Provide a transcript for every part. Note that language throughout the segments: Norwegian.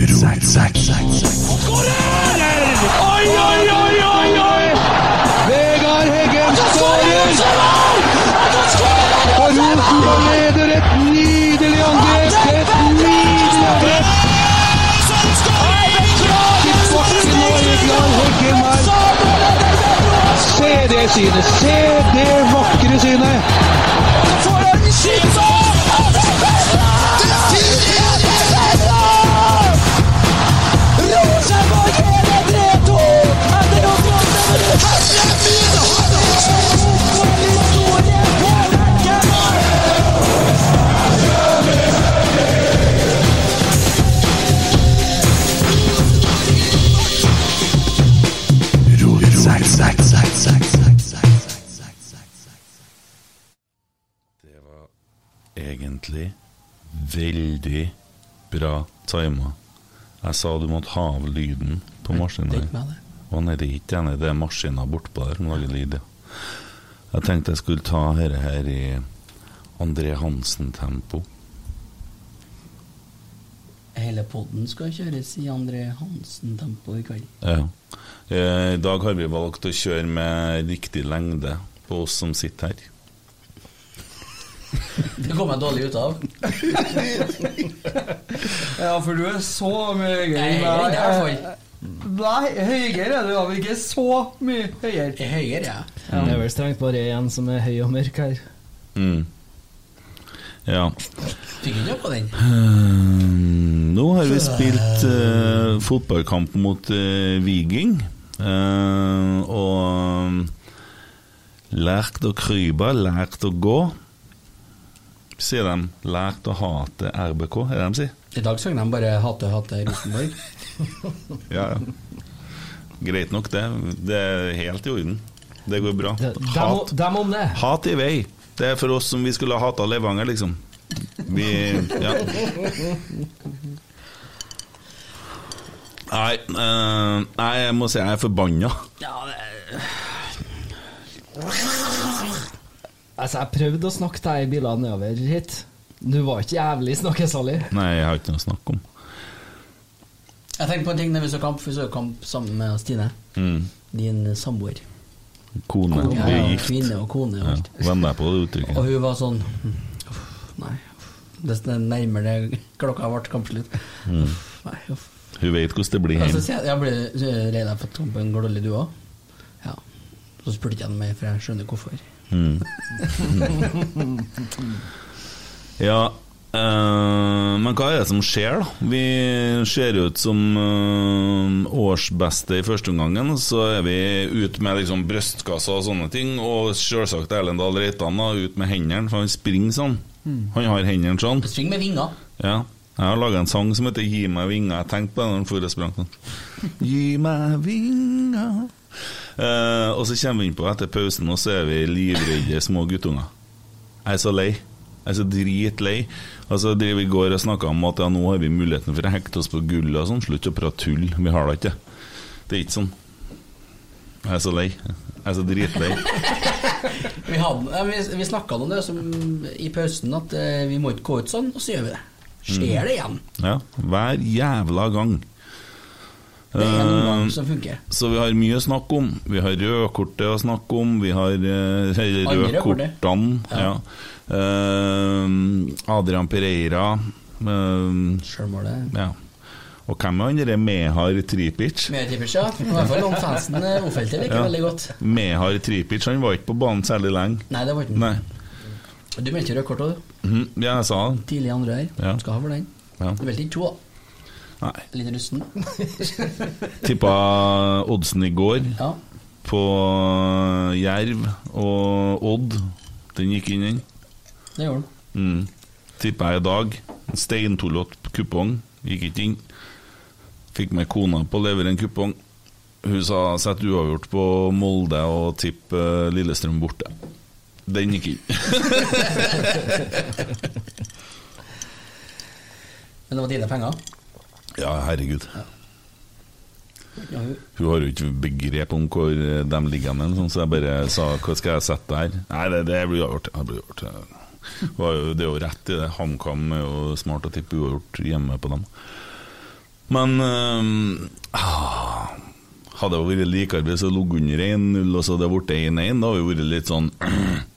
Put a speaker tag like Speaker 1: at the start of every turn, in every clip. Speaker 1: Sack, sack, sack, sack.
Speaker 2: Oi, oi, oi, oi, oi!
Speaker 3: Vegard Heggen skårer! Og Rosenborg leder et nydelig angrep! Et nydelig angrep! Tilbake nå, Vegard Heggen her. Se det synet! Se det vakre synet!
Speaker 1: Sack, sack, sack, sack, sack, sack, sack, sack, sack, sack.
Speaker 4: egentlig veldig bra tima. Jeg sa du måtte ha av lyden på maskinen. Å nei, det er ikke enig, det er maskinen bortpå der som lager lyd, ja. Jeg tenkte jeg skulle ta dette her i André Hansen-tempo.
Speaker 5: Hele podden skal kjøres i André Hansen-tempo i kveld.
Speaker 4: Ja. Eh, I dag har vi valgt å kjøre med riktig lengde på oss som sitter her.
Speaker 5: Det kom jeg dårlig ut av.
Speaker 6: Ja, for du er så mye høyere
Speaker 5: Jeg
Speaker 6: enn
Speaker 5: er høyere enn deg, i hvert fall.
Speaker 6: meg. Nei, høyere er du da, men ikke så mye høyere.
Speaker 5: Jeg er høyere, jeg.
Speaker 7: Ja, det er vel strengt bare én som er høy og mørk her.
Speaker 4: Mm. Ja.
Speaker 5: Fikk ikke noe på den.
Speaker 4: Ehm, Nå har vi spilt eh, fotballkamp mot eh, Viking. Eh, og lært å krype, lært å gå. Sier de. Lært å hate RBK, er det de sier?
Speaker 5: I dag sang de bare 'Hate, hate Rosenborg'.
Speaker 4: Ja, ja. Greit nok, det. Det er helt i orden. Det går bra.
Speaker 7: De- Dem,
Speaker 4: Hat,
Speaker 7: dem om det.
Speaker 4: hat i vei. Det er for oss som vi skulle ha hata Levanger, liksom. Vi Ja. Nei, eh, nei, jeg må si jeg er forbanna.
Speaker 5: Ja, det
Speaker 7: Altså, jeg prøvde å snakke deg i bilene nedover hit. Du var ikke jævlig snakkesalig.
Speaker 4: Nei, jeg har ikke noe å snakke om.
Speaker 5: Jeg tenkte på en ting da vi så kamp. Vi så kamp sammen med Stine.
Speaker 4: Mm.
Speaker 5: Din samboer.
Speaker 4: Kone.
Speaker 5: Ja,
Speaker 4: Vi er
Speaker 5: ja,
Speaker 4: gift.
Speaker 5: kvinne og kone og
Speaker 4: Ja,
Speaker 5: alt.
Speaker 4: Venn deg på det
Speaker 5: Og
Speaker 4: uttrykket.
Speaker 5: hun var sånn «Uff, Nei. uff». Desto nærmere det klokka ble kampslutt. Uff, Nei, uff.
Speaker 4: Mm. Hun vet hvordan det blir
Speaker 5: Og så
Speaker 4: hjemme.
Speaker 5: sier jeg, jeg ble redd deg for Tompen Glolly, du òg? Ja. Så spurte jeg ham mer, for jeg skjønner hvorfor.
Speaker 4: Mm. ja, eh, men hva er det som skjer, da? Vi ser ut som eh, årsbeste i første omgangen, så er vi ute med liksom brystkassa og sånne ting, og selvsagt Erlend Dahl Reitan da, ut med hendene, for han springer sånn. Han har hendene sånn.
Speaker 5: Sving med vinger.
Speaker 4: Ja. Jeg har laga en sang som heter 'Gi meg vinger'. Jeg tenkte på den når den forrige sprang sånn. Gi meg vinger Eh, Og så kommer vi innpå etter pausen, og så er vi livredde små guttunger. Jeg er så lei. Jeg er så dritlei. Altså, det vi går og snakker om at ja, nå har vi muligheten for å hekte oss på gullet og sånn. Slutt å prate tull. Vi har da ikke det. Det er ikke sånn. Jeg er så lei. Jeg er så dritlei.
Speaker 5: Vi, hadde- ja, vi, vi snakka om det som, i pausen, at eh, vi må ikke gå ut sånn, og så gjør vi det.
Speaker 4: Mm.
Speaker 5: Skjer det igjen?
Speaker 4: Ja, hver jævla gang.
Speaker 5: Det er en
Speaker 4: Eh,
Speaker 5: omgang som funker.
Speaker 4: Så vi har mye å snakke om. Vi har rødkortet å snakke om, vi har eh,
Speaker 5: Andre kortet.
Speaker 4: rødkortene. Ja. Eh, Adrian Pereira um,
Speaker 5: Sjølmålet.
Speaker 4: Ja. Og hvem er han derre Mehar Tripic?
Speaker 5: Mer tippers, ja. I hvert fall om fansen eh, Ofeldt liker
Speaker 4: Ja.
Speaker 5: veldig godt.
Speaker 4: Mehar Tripic han var ikke på banen særlig lenge.
Speaker 5: Nei, det var ikke
Speaker 4: Nei.
Speaker 5: Du meldte rødt kort òg, du.
Speaker 4: Mhm, Ja, jeg sa det.
Speaker 5: Tidlig andre her.
Speaker 4: Ja.
Speaker 5: Skal ha for den.
Speaker 4: Ja.
Speaker 5: Du meldte ikke to, da.
Speaker 4: Nei.
Speaker 5: Litt rusten.
Speaker 4: Tippa oddsen i går
Speaker 5: Ja.
Speaker 4: på eh, Jerv og Odd. Den gikk inn, den.
Speaker 5: Det gjorde han.
Speaker 4: Mm. Tippa jeg i dag. En steintullete kupong. Gikk ikke inn. Fikk med kona på å levere en kupong. Hun sa 'sett uavgjort på Molde og tipp eh, Lillestrøm borte'. Den gikk inn.
Speaker 5: Men det var dine penger.
Speaker 4: Ja, herregud.
Speaker 5: Ja, hun-
Speaker 4: Hun har jo ikke begrep om hvor eh, de ligger hen, sånn, så jeg bare sa 'hva skal jeg sette der'? Nei, det, det blir uavgjort. Det blir uavgjort. Hun har jo- Det er jo rett i det. HamKam er jo smart å tippe uavgjort hjemme på dem. Men eh, ah, hadde det vært likearbeid, så lå under 1-0, og så hadde det blitt 1-1. Da hadde det vært litt sånn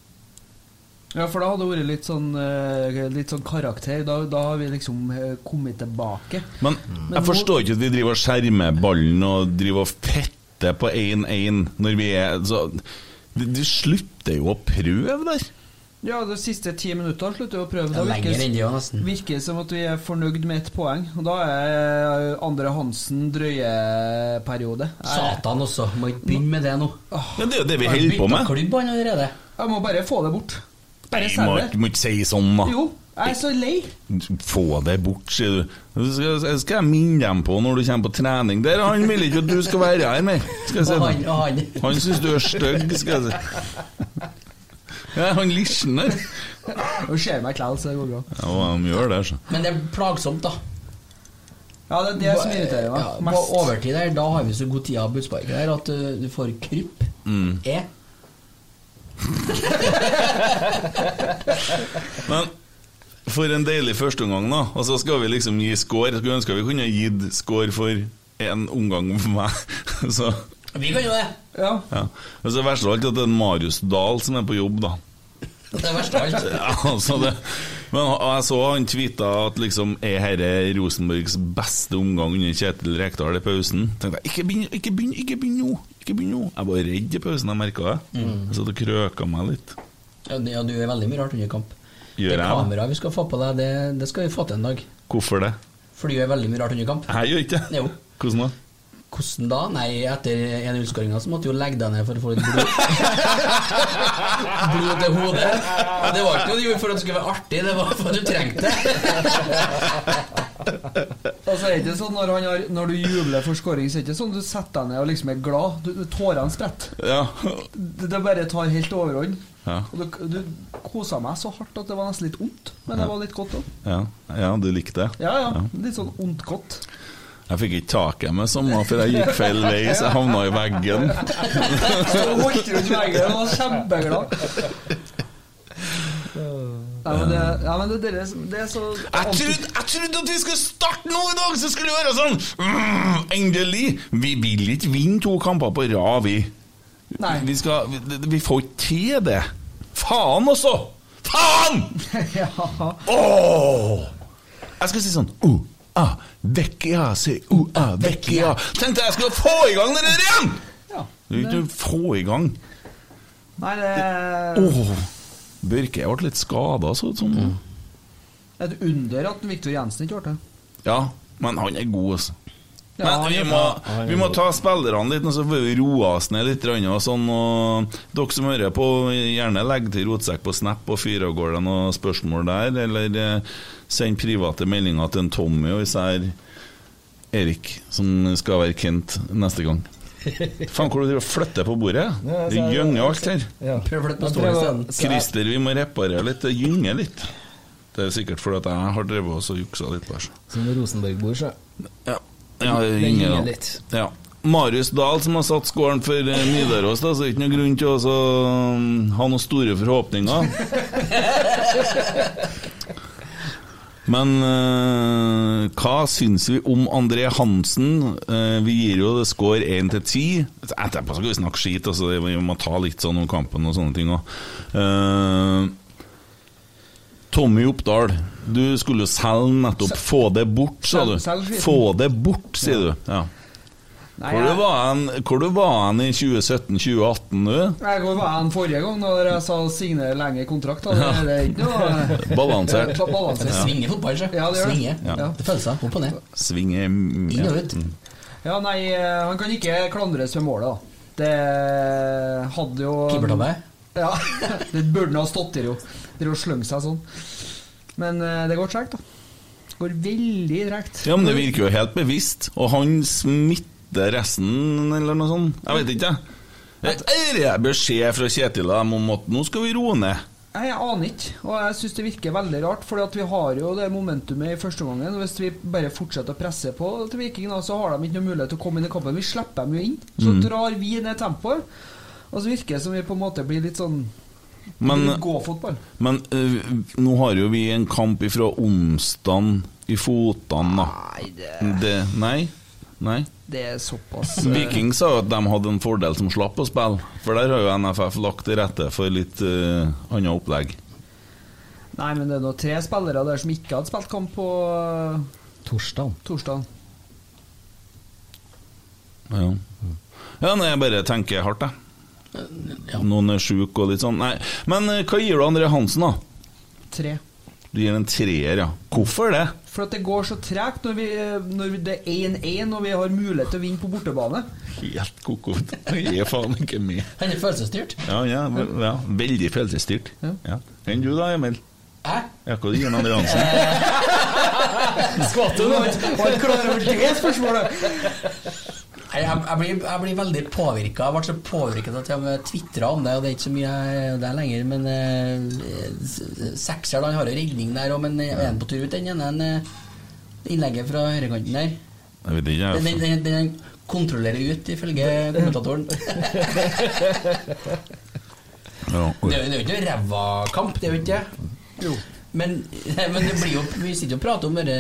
Speaker 6: Ja, for da hadde det vært litt sånn, eh, litt sånn karakter. Da, da har vi liksom eh, kommet tilbake.
Speaker 4: Men jeg
Speaker 6: Men nå-
Speaker 4: forstår ikke at vi driver og skjermer ballen og driver og fetter på 1-1 når vi er så Du du slutter jo å prøve der.
Speaker 6: Ja, de siste ti minutter slutter vi å prøve.
Speaker 5: Det er
Speaker 6: Da virker,
Speaker 5: lenger enn det, ja, nesten.
Speaker 6: virker som at vi er fornøyd med ett poeng. Og da er eh, Andre Hansen drøyeperiode. Jeg,
Speaker 5: Satan også. Må ikke begynne med det nå.
Speaker 4: Ja, det er jo det vi holder på med.
Speaker 5: Klubb han allerede.
Speaker 6: jeg må bare få det bort. Bare
Speaker 4: Nei, må,
Speaker 6: selge
Speaker 4: ikke-
Speaker 6: det.
Speaker 4: må ikke si sånn, da.
Speaker 6: Jo, jeg er så lei.
Speaker 4: Få det bort, sier du. Så Skal, skal jeg minne dem på når du kommer på trening Der, han vil ikke at du skal være her mer. Skal jeg si
Speaker 5: Og han,
Speaker 4: det.
Speaker 5: og han.
Speaker 4: Han syns du er stygg, skal jeg si. Ja, han lisjen der.
Speaker 6: Nå ser jeg meg klæl, så det går bra.
Speaker 4: Ja, de gjør det, så.
Speaker 5: Men det er plagsomt, da.
Speaker 6: Ja, det er det som irriterer
Speaker 5: Ja,
Speaker 6: meg
Speaker 5: på
Speaker 6: mest.
Speaker 5: overtid der, da har vi så god tid av budsparket der at uh, du får krypp.
Speaker 4: Mm.
Speaker 5: E.
Speaker 4: Men for en deilig førsteomgang, da. Og så skal vi liksom gi score. Skulle ønske vi kunne gitt score for én omgang for meg. Så,
Speaker 5: Vi kan jo det.
Speaker 6: Ja.
Speaker 4: ja. Og så verst av alt at det er Marius Dahl som er på jobb, da.
Speaker 5: Det er verst av alt.
Speaker 4: Ja, altså det. Men og jeg så han tweeta at liksom er herre Rosenborgs beste omgang under Kjetil Rekdal i pausen. Tenkte jeg, ikke begynn, ikke begynn, ikke begynn nå! Ikke begynn nå! Jeg var redd i pausen, jeg merka det.
Speaker 6: Mm.
Speaker 4: Jeg satt og krøka meg litt.
Speaker 5: Ja, det- ja, du gjør veldig mye rart under kamp.
Speaker 4: Gjør
Speaker 5: det
Speaker 4: jeg?
Speaker 5: kameraet vi skal få på deg, det, det skal vi få til en dag.
Speaker 4: Hvorfor det?
Speaker 5: For du gjør veldig mye rart under kamp.
Speaker 4: Jeg gjør ikke det.
Speaker 5: Jo.
Speaker 4: Hvordan da?
Speaker 5: Hvordan da? Nei, etter 1-0-skåringa så måtte du jo legge deg ned for å få litt blod. blod til hodet. Og det var ikke noe du gjorde for at det skulle være artig, det var for at du trengte det.
Speaker 6: Altså, er det ikke sånn når, han har, når du jubler for scoring, så er det ikke sånn du setter deg ned og liksom er glad. Du, du- tårene spretter.
Speaker 4: Ja,
Speaker 6: Det, det bare tar helt overhånd.
Speaker 4: Ja.
Speaker 6: Og du, du kosa meg så hardt at det var nesten litt vondt, men det var litt godt òg.
Speaker 4: Ja, ja du likte det.
Speaker 6: Ja, ja, Litt sånn ondt godt.
Speaker 4: Jeg fikk ikke tak i meg samme, for jeg gikk feil vei, så jeg havna i veggen.
Speaker 6: Så jeg holdt rundt veggen og var kjempeglad. Nei, men det, ja, men det, det, er så- det er så
Speaker 4: Jeg trodde, jeg trodde at vi skulle starte nå i dag, så skulle vi være sånn mm, Endelig! Vi vil ikke vinne to kamper på rad, vi.
Speaker 6: Nei.
Speaker 4: Vi, skal, vi, vi får ikke til det. Faen også! Faen!
Speaker 6: Ja.
Speaker 4: Åh! Jeg skal si sånn uh, ah, Vecchia, si uh, ah, Vecchia. Tenkte jeg skulle få i gang det der igjen!
Speaker 6: ja.
Speaker 4: Du vil ikke få i gang.
Speaker 6: Nei, det er
Speaker 4: Åh, Børke jeg ble litt skada, så ut som.
Speaker 6: Mm. et under at Viktor Jensen ikke ble det.
Speaker 4: Ja, men han er god, altså.
Speaker 6: Ja,
Speaker 4: men
Speaker 6: han
Speaker 4: vi
Speaker 6: er
Speaker 4: må, vi må ta spillerne litt, og så får vi roe oss ned litt. grann, Og sånn, og dere som hører på, gjerne legg til rotsekk på Snap og fyr av gårde noen spørsmål der. Eller eh, send private meldinger til en Tommy og især Erik, som skal være Kent neste gang. Faen, hvor du driver og flytter på bordet?
Speaker 7: Ja,
Speaker 4: Det
Speaker 7: så er-
Speaker 4: gynger alt her.
Speaker 7: Ja.
Speaker 5: Prøv å flytte på
Speaker 7: Jeg
Speaker 5: stolen
Speaker 7: prøver-
Speaker 5: isteden.
Speaker 7: så jeg-
Speaker 4: Christer, vi må reparere litt. Det gynger litt. Det er sikkert fordi at jeg har drevet oss og juksa litt. på her, så.
Speaker 7: Som Rosenborg-bord, så.
Speaker 4: Ja, ja det
Speaker 7: Det
Speaker 4: ringer
Speaker 7: ringer
Speaker 4: da.
Speaker 7: litt.
Speaker 4: Ja. Marius Dahl som har satt skåren for eh, Nidaros, da, så det er ikke noen grunn til å så, mm, ha noen store forhåpninger. Men eh, hva syns vi om André Hansen? Eh, vi gir jo det score 1 til 10. Etterpå skal vi snakke skit, altså, vi må ta litt sånn om kampen og sånne ting òg. Eh, Tommy Oppdal, du skulle jo selge nettopp. Få det bort, sa du.
Speaker 6: Selg- selg skiten.
Speaker 4: Få det bort, sier du. Ja.
Speaker 6: Nei,
Speaker 4: Hvor du
Speaker 6: jeg-
Speaker 4: var hen hvor du var hen i 2017-2018, du?
Speaker 6: Nei, Hvor var jeg den forrige gang da dere sa signere lengre kontrakt? Da?
Speaker 4: Ja.
Speaker 6: Det, det er ikke noe
Speaker 4: Balansert.
Speaker 6: Ba- balansert.
Speaker 4: Ja.
Speaker 5: Svinger fotball, sjø.
Speaker 6: Ja, det gjør det.
Speaker 5: Svinger.
Speaker 4: Ja.
Speaker 5: Det føles seg opp og ned.
Speaker 4: Svinge
Speaker 5: Inn og ut.
Speaker 6: Ja, nei, eh, han kan ikke klandres med målet, da. Det eh, hadde jo
Speaker 5: Keepertabbe.
Speaker 6: Ja, det burde han ha stått der, jo. Dere å slenge seg sånn. Men eh, det går tregt, da. Går veldig tregt.
Speaker 4: Ja, men det virker jo helt bevisst. Og han smitter resten, eller noe sånt. Jeg vet ikke, jeg. Et øre beskjed fra Kjetil og dem om at nå skal vi roe ned.
Speaker 6: Nei, Jeg aner ikke, og jeg syns det virker veldig rart. For vi har jo det momentumet i første omgangen. og Hvis vi bare fortsetter å presse på til Viking, da, så har de ikke noe mulighet til å komme inn i kampen. Vi slipper dem jo inn. Så
Speaker 4: Mm.
Speaker 6: drar vi ned tempoet. Og så virker det som vi på en måte blir litt sånn
Speaker 4: Men-
Speaker 6: Gå-fotball.
Speaker 4: Men øh, nå har jo vi en kamp ifra onsdagen i fotene, da. Nei, det... Nei? Nei?
Speaker 6: Det er såpass eh,
Speaker 4: Viking sa jo at de hadde en fordel som slapp å spille, for der har jo NFF lagt til rette for litt øh, annet opplegg.
Speaker 6: Nei, men det er nå tre spillere der som ikke hadde spilt kamp på eh,
Speaker 7: Torsdag.
Speaker 6: torsdag.
Speaker 4: Ja, ja nei, jeg bare tenker hardt, jeg. Noen er sjuke og litt sånn. Nei, men øh, hva gir du André Hansen, da?
Speaker 6: Tre.
Speaker 4: Du gir en treer, ja. Hvorfor det?
Speaker 6: For at det går så tregt når, vi, eh, når det er 1-1 og vi har mulighet til å vinne på bortebane.
Speaker 4: Helt ko-ko. Jeg er faen ikke med.
Speaker 5: Han er følelsesstyrt.
Speaker 4: Ja, ja, ve- ja. Veldig følelsesstyrt. Ja. Enn du da, Emil?
Speaker 5: Hæ?
Speaker 4: Ja, hva gir han André Hansen?
Speaker 6: Skvatt du nå? Var ikke klar over det spørsmålet?
Speaker 5: Nei, Jeg, jeg, blir, jeg blir veldig påvirka. Jeg ble så påvirka at jeg tvitra om det, og det er ikke så mye jeg- det er lenger. Men eh, s- sekser, da, han har jo redning der òg, men eh, er han på tur ut, den ene? en, eh, Innlegget fra høyrekanten der.
Speaker 4: Jeg vet ikke,
Speaker 5: Den,
Speaker 4: jeg.
Speaker 5: den, den, den kontrollerer ut, ifølge kommentatoren. Det
Speaker 4: Ja, oi.
Speaker 5: er jo det er jo ikke noe ræva kamp, det er jo ikke det.
Speaker 6: Jo.
Speaker 5: Men, men det blir jo, vi sitter jo og prater om dette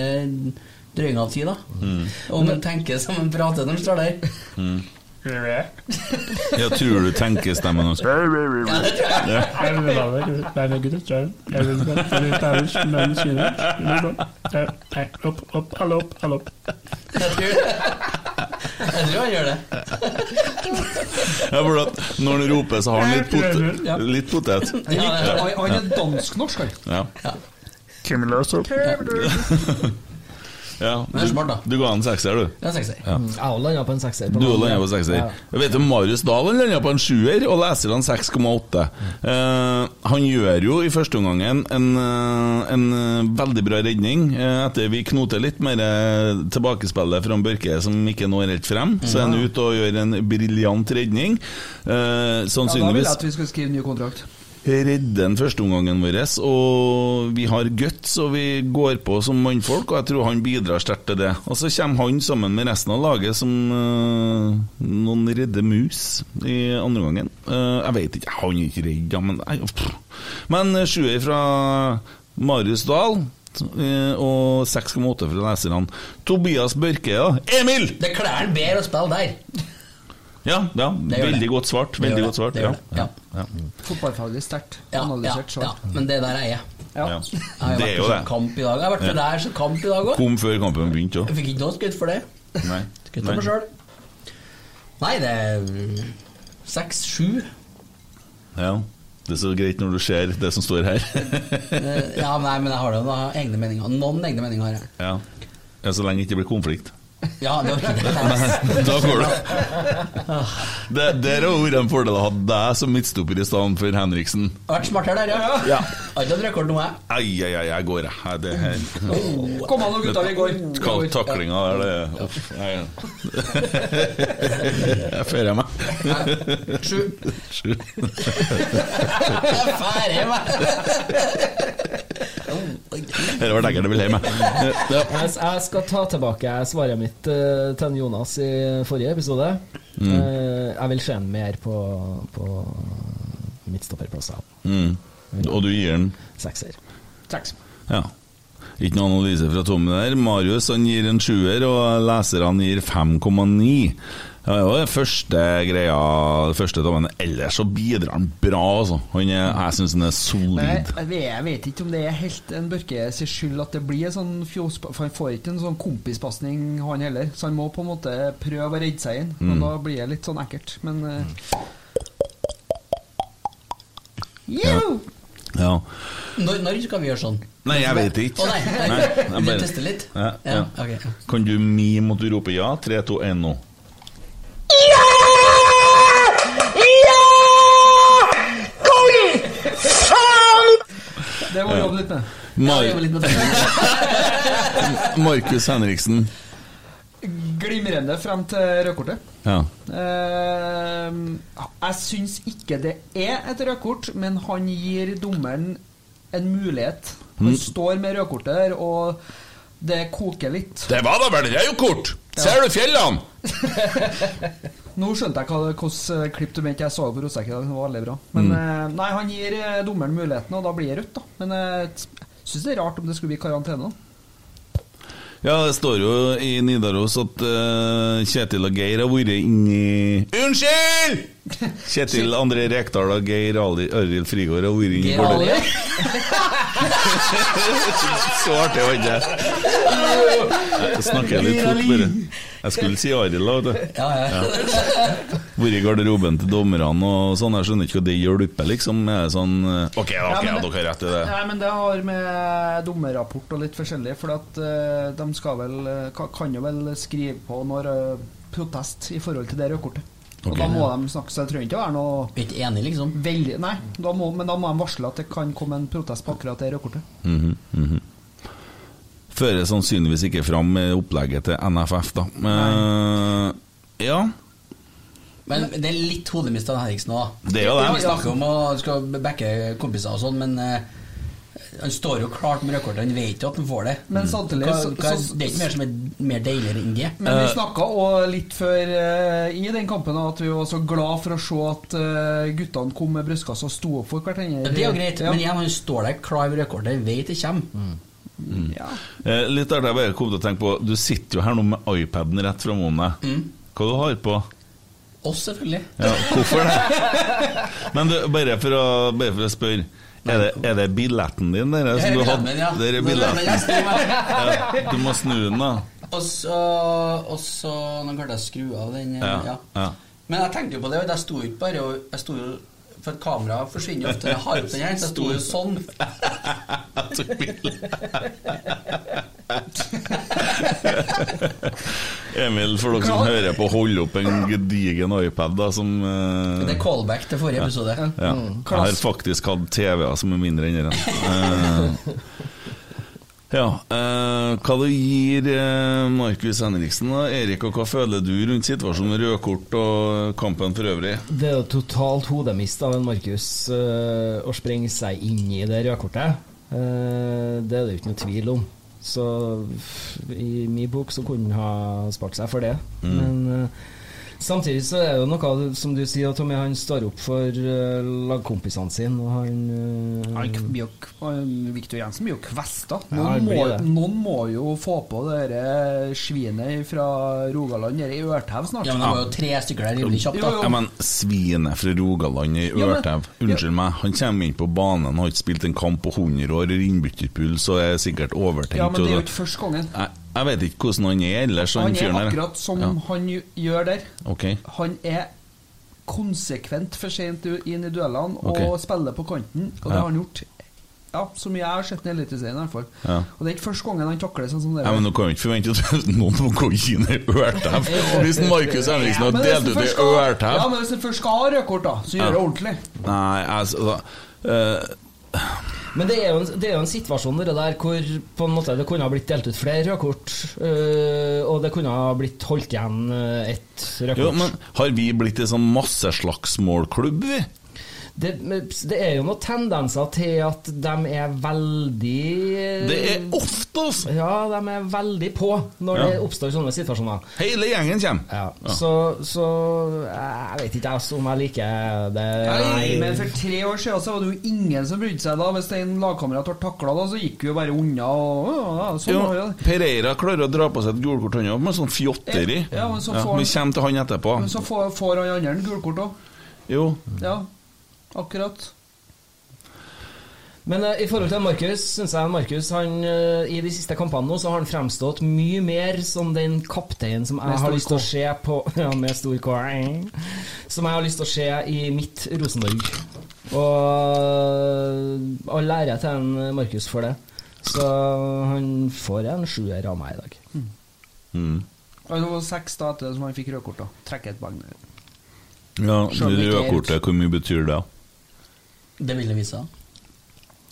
Speaker 5: drøyinga av tid, da.
Speaker 4: Mm.
Speaker 5: Om de tenker som de prater når de står der.
Speaker 4: Jeg Mm. tror du tenker stemmen hans.
Speaker 5: Ja, det tror jeg.
Speaker 2: Eh, Opp, opp, alle opp, alle opp.
Speaker 5: Jeg tror, jeg tror han gjør det.
Speaker 4: Ja, for at når han roper, så har han litt, potet- litt potet.
Speaker 5: Ja, det-
Speaker 6: Han han er dansk-norsk, han.
Speaker 4: Ja. ja.
Speaker 5: Men det er smart, da.
Speaker 4: Du ga han sekser, du.
Speaker 5: det er en sekser.
Speaker 7: Mm, Jeg òg landa på en sekser.
Speaker 4: Du landa på
Speaker 7: Ja.
Speaker 4: sekser. Jeg vet jo Marius Dahl han landa på en sjuer, og leser han 6,8. Eh, han gjør jo i første omgang en, eh, en eh, veldig bra redning. Eh, etter vi knoter litt med det tilbakespillet fra Børke som ikke når helt frem, så er han ute og gjør en briljant redning. Eh,
Speaker 6: Ja, da vil jeg
Speaker 4: sannsynligvis
Speaker 6: at vi skal skrive ny kontrakt.
Speaker 4: redde den førsteomgangen vår, og vi har guts, og vi går på som mannfolk, og jeg tror han bidrar sterkt til det. Og så kommer han sammen med resten av laget som øh, noen redde mus i andre gangen. Øh, jeg vet ikke, han er ikke redd, ja, men nei, pff. Men øh, sjuer fra Marius Dahl. øh, Og 6,8 fra leserne. Tobias Børke, ja. Emil!
Speaker 5: Det klær han bedre å spille der.
Speaker 4: Ja, ja
Speaker 5: Det gjør det.
Speaker 4: veldig godt svart.
Speaker 5: Det gjør
Speaker 4: Veldig
Speaker 5: det.
Speaker 4: godt svart.
Speaker 5: Det
Speaker 4: Ja.
Speaker 5: gjør det. Ja.
Speaker 4: Ja.
Speaker 6: Fotballfaglig sterkt
Speaker 5: Ja, ja,
Speaker 6: analysert.
Speaker 5: ja,
Speaker 6: så.
Speaker 5: men det der er jeg.
Speaker 6: Ja.
Speaker 4: Ja.
Speaker 5: Jeg har
Speaker 4: Det er
Speaker 5: vært
Speaker 4: jo
Speaker 5: på
Speaker 4: det.
Speaker 5: sånn kamp i dag. Jeg har vært på der så kamp i dag òg.
Speaker 4: Kom før kampen begynte òg.
Speaker 5: Jeg fikk ikke noe skudd for det.
Speaker 4: Nei.
Speaker 5: Skutt på meg sjøl. Nei, det er mm, seks-sju.
Speaker 4: Ja, det er så greit når du ser det som står her.
Speaker 5: Eh, Ja, nei, men jeg har jo noen egne meninger. Noen egne meninger har jeg.
Speaker 4: ja. ja, Så lenge det ikke blir konflikt.
Speaker 5: Ja, det orker jeg ikke.
Speaker 4: da går det. det der har vært en fordel å ha deg som midtstopper i stedet for Henriksen.
Speaker 5: Jeg har vært smartere der, ja.
Speaker 4: Ja.
Speaker 5: Jeg Har ikke hatt rekord nå, jeg.
Speaker 4: Ai, ai, ai, jeg går, jeg. Nei, Det her
Speaker 6: Kom an, nå, gutta, vi går. Vi
Speaker 4: Hva
Speaker 6: går.
Speaker 4: taklinga der, det Uff, nei. Jeg fører meg.
Speaker 5: Sju.
Speaker 4: Sju.
Speaker 5: Jeg er ferdig med
Speaker 4: Dette var dekkende vil hjem, jeg. Ja.
Speaker 7: Jeg, jeg skal ta tilbake svaret mitt eh, til Jonas i forrige episode. Eh, jeg vil se ham mer på, på midtstopperplasser.
Speaker 4: Mm. Og du gir den
Speaker 7: Sekser.
Speaker 6: Seks.
Speaker 4: Ja. Ikke noe analyse fra Tommy der. Marius han gir en sjuer, og leserne gir 5,9. Ja, det var den første greia, første dommen. Ellers så bidrar han bra, altså. Han er, jeg syns han er
Speaker 6: Men jeg,
Speaker 4: solid.
Speaker 6: jeg vet- jeg vet ikke om det er helt en Børke sin skyld at det blir en sånn fjospa... For han får ikke en sånn kompispasning, han heller. Så han må på en måte prøve å redde seg inn.
Speaker 4: Mm.
Speaker 6: Og da blir det litt sånn ekkelt. Men eh,
Speaker 4: Ja.
Speaker 5: Jo!
Speaker 4: ja.
Speaker 5: Når, når skal vi gjøre sånn?
Speaker 4: Nei, jeg vet ikke.
Speaker 5: Å, nei, nei.
Speaker 4: jeg
Speaker 5: Vil du teste litt?
Speaker 4: Ja, ja.
Speaker 5: Ja, ok.
Speaker 4: Kan du mime at du roper ja? 3, 2, 1 nå.
Speaker 6: det må vi jobbe litt med.
Speaker 4: Mar Markus Henriksen.
Speaker 6: Glimrende frem til rødkortet.
Speaker 4: Ja.
Speaker 6: Eh, jeg syns ikke det er et rødkort, men han gir dommeren en mulighet. Han
Speaker 4: Mm.
Speaker 6: står med rødkortet der, og det koker litt.
Speaker 4: Det var da vel rødkort! Ser du fjellene?
Speaker 6: Nå skjønte jeg hva- hvordan eh, klipp du mente jeg så på Rosek i dag. Det var veldig bra.
Speaker 5: Mm.
Speaker 6: Men eh, nei, han gir eh, dommeren muligheten, og da blir det rødt, da. Men eh, jeg syns det er rart om det skulle bli karantene. da.
Speaker 4: Ja, det står jo i Nidaros at eh, Kjetil og Geir har vært inni Unnskyld! Kjetil André Rekdal og Geir Ali- Arild Frigård har vært inni bordet. Så artig var det Jeg snakker litt fort, bare. Jeg skulle si Arild, da. vet du. Ja. Vært i garderoben til dommerne og sånn. Jeg skjønner ikke hva det hjelper, liksom. Er det sånn eh, Ok, da,
Speaker 6: Ja,
Speaker 4: ok,
Speaker 6: men
Speaker 4: ja,
Speaker 6: det-
Speaker 4: dere har rett i det.
Speaker 6: Nei, men det har med dommerrapport og litt forskjellig, for at eh, de skal vel eh, ka- kan jo vel skrive på når eh, protest i forhold til det rødkortet. Og
Speaker 5: Ok.
Speaker 6: da må de snakke, så det trenger ikke å være noe
Speaker 5: Ikke enig, liksom?
Speaker 6: Veldig, nei, da må, men da må de varsle at det kan komme en protest på akkurat det rødkortet.
Speaker 4: Mhm, mhm. Fører sannsynligvis ikke fram med opplegget til NFF, da. Eh, ja.
Speaker 5: Men det er litt hodemist av Henriksen òg.
Speaker 4: Det er jo det.
Speaker 5: Vi snakker om å skal backe kompiser og sånn, men eh, han står jo klart med rødkortet. Han vet jo at han får det.
Speaker 6: Men samtidig
Speaker 5: hva,
Speaker 6: så-
Speaker 5: hva,
Speaker 6: så-
Speaker 5: Det er ikke mer som er mer deiligere enn det.
Speaker 6: Men
Speaker 4: Eh.
Speaker 6: vi snakka òg litt før eh, i den kampen at vi var så glad for å se at eh, guttene kom med brystkassa og sto opp for hverandre.
Speaker 5: Det er jo greit,
Speaker 6: Ja. Mm.
Speaker 5: men igjen, han står der klar med rødkortet, vet det kommer.
Speaker 4: Eh, litt av det jeg bare kom til å tenke på. Du sitter jo her nå med iPaden rett framom deg.
Speaker 5: Mm.
Speaker 4: Hva du har på?
Speaker 5: Oss, selvfølgelig.
Speaker 4: Ja, hvorfor det? Men du, bare for å, bare for å spørre. Er det, er det billetten din der?
Speaker 5: Det
Speaker 4: som
Speaker 5: er
Speaker 4: du
Speaker 5: billetten
Speaker 4: hadde?
Speaker 5: min, ja.
Speaker 4: Det er
Speaker 5: Det er den jeg
Speaker 4: billetten.
Speaker 5: står med.
Speaker 4: Ja, du må snu den, da.
Speaker 5: Og så og så- Nå klarte jeg å skru av den. eh,
Speaker 4: Ja,
Speaker 5: ja.
Speaker 4: ja.
Speaker 5: Men jeg tenkte jo på det, og jeg sto jo ikke bare og jeg sto jo, For et kamera forsvinner jo ofte. Jeg har opp den her, så jeg sto jo sånn.
Speaker 4: Emil, for dere som hører på, hold opp en gedigen iPad da, som eh,
Speaker 5: Det er callback til forrige episode.
Speaker 6: Mm.
Speaker 4: Ja. Jeg har faktisk hatt TV-er som er mindre enn den. Eh, ja. eh, hva du gir eh, Markus Henriksen, da? Erik, og hva føler du rundt situasjonen med rødkort og kampen for øvrig?
Speaker 7: Det er jo totalt hodemist av en Markus øh, å sprenge seg inn i det rødkortet. Eh, det er det jo ikke noe tvil om. Så f- i min bok så kunne han ha spart seg for det.
Speaker 8: Mm.
Speaker 7: Men eh, samtidig så er det jo noe av det- som du sier, Tommy, han står opp for eh, lagkompisene sine, og han eh,
Speaker 6: Han k- blir jo k- han- Victor Jensen blir jo kvesta.
Speaker 7: Ja,
Speaker 6: Noen,
Speaker 7: han blir
Speaker 6: må,
Speaker 7: det.
Speaker 6: noen må jo få på det her eh, svinet fra Rogaland her i Ørtev snart.
Speaker 5: Ja, men det var jo tre stykker der rimelig kjapt, da.
Speaker 6: Jo, jo.
Speaker 4: Ja, men Svinet fra Rogaland i
Speaker 6: Ja, men-
Speaker 4: Ørtev. Unnskyld meg, han kommer inn på banen, har ikke spilt en kamp på 100 år, har innbytterpuls og er sikkert overtenkt.
Speaker 6: Ja, men det er jo
Speaker 4: og-
Speaker 6: ikke første gangen.
Speaker 4: Jeg, jeg vet ikke hvordan han er ellers, han
Speaker 6: Han er
Speaker 4: fyren der.
Speaker 6: akkurat som
Speaker 4: Ja,
Speaker 6: han jo- gjør der.
Speaker 4: ok.
Speaker 6: Han er konsekvent for sent u- inn i duellene og
Speaker 4: Ok.
Speaker 6: spiller på kanten, og det
Speaker 4: Ja.
Speaker 6: har han gjort. Ja, Så mye jeg har sett i Eliteserien, i hvert fall.
Speaker 4: Ja.
Speaker 6: Og det er ikke første gangen han takler sånn som det.
Speaker 4: Ja, men Nå kan vi ikke forvente at noen må gå inn i ørtev. Hvis Markus Henriksen har
Speaker 6: Ja, men hvis
Speaker 4: delt
Speaker 6: du
Speaker 4: ut i
Speaker 6: først skal- Ja,
Speaker 4: ørtev
Speaker 6: men hvis du først skal ha rødkort, da, så gjør
Speaker 4: Ja.
Speaker 6: det ordentlig.
Speaker 4: Nei, altså eh,
Speaker 7: Men det er, jo en, det er jo en situasjon det der hvor på en måte det kunne ha blitt delt ut flere rødkort, øh, og det kunne ha blitt holdt igjen øh, ett
Speaker 4: jo,
Speaker 7: rødkort.
Speaker 4: men Har vi blitt en sånn masseslagsmålklubb, vi?
Speaker 7: det, men det er jo noen tendenser til at de er veldig øh,
Speaker 4: Det er ofte, altså!
Speaker 7: Ja, de er veldig på når
Speaker 4: Ja.
Speaker 7: det oppstår sånne situasjoner.
Speaker 4: Hele gjengen kommer. Ja.
Speaker 7: Så, så jeg vet ikke altså, om jeg liker det
Speaker 6: Nei, men for tre år siden så var det jo ingen som brydde seg da. Hvis en lagkamerat ble takla da, så gikk vi jo bare unna. Og, ja, sånn var
Speaker 4: Jo,
Speaker 6: det.
Speaker 4: Pereira klarer å dra på seg et gulkort han òg, med sånn fjotteri.
Speaker 6: Ja, men så får-
Speaker 4: vi kommer til han etterpå.
Speaker 6: Men så får, får han andre en gulkort òg.
Speaker 4: Jo.
Speaker 6: Ja, akkurat.
Speaker 7: Men eh, i forhold til Markus, syns jeg Markus han, eh, i de siste kampene nå, så har han fremstått mye mer som den kapteinen som
Speaker 6: Med
Speaker 7: jeg
Speaker 6: stor
Speaker 7: har lyst til
Speaker 6: K.
Speaker 7: å se på Ja, med stor K. Som jeg har lyst til å se i mitt Rosenborg. Og all ære til en Markus for det. Så han får en sjuer av meg i dag.
Speaker 4: Mm.
Speaker 6: Og det var seks da etter det som han fikk rødkort. da Trekke et poeng.
Speaker 4: Ja,
Speaker 6: Skjønner
Speaker 4: det
Speaker 6: ikke
Speaker 4: røde
Speaker 6: helt.
Speaker 4: kortet, hvor mye betyr det?
Speaker 5: Det vil det vise seg.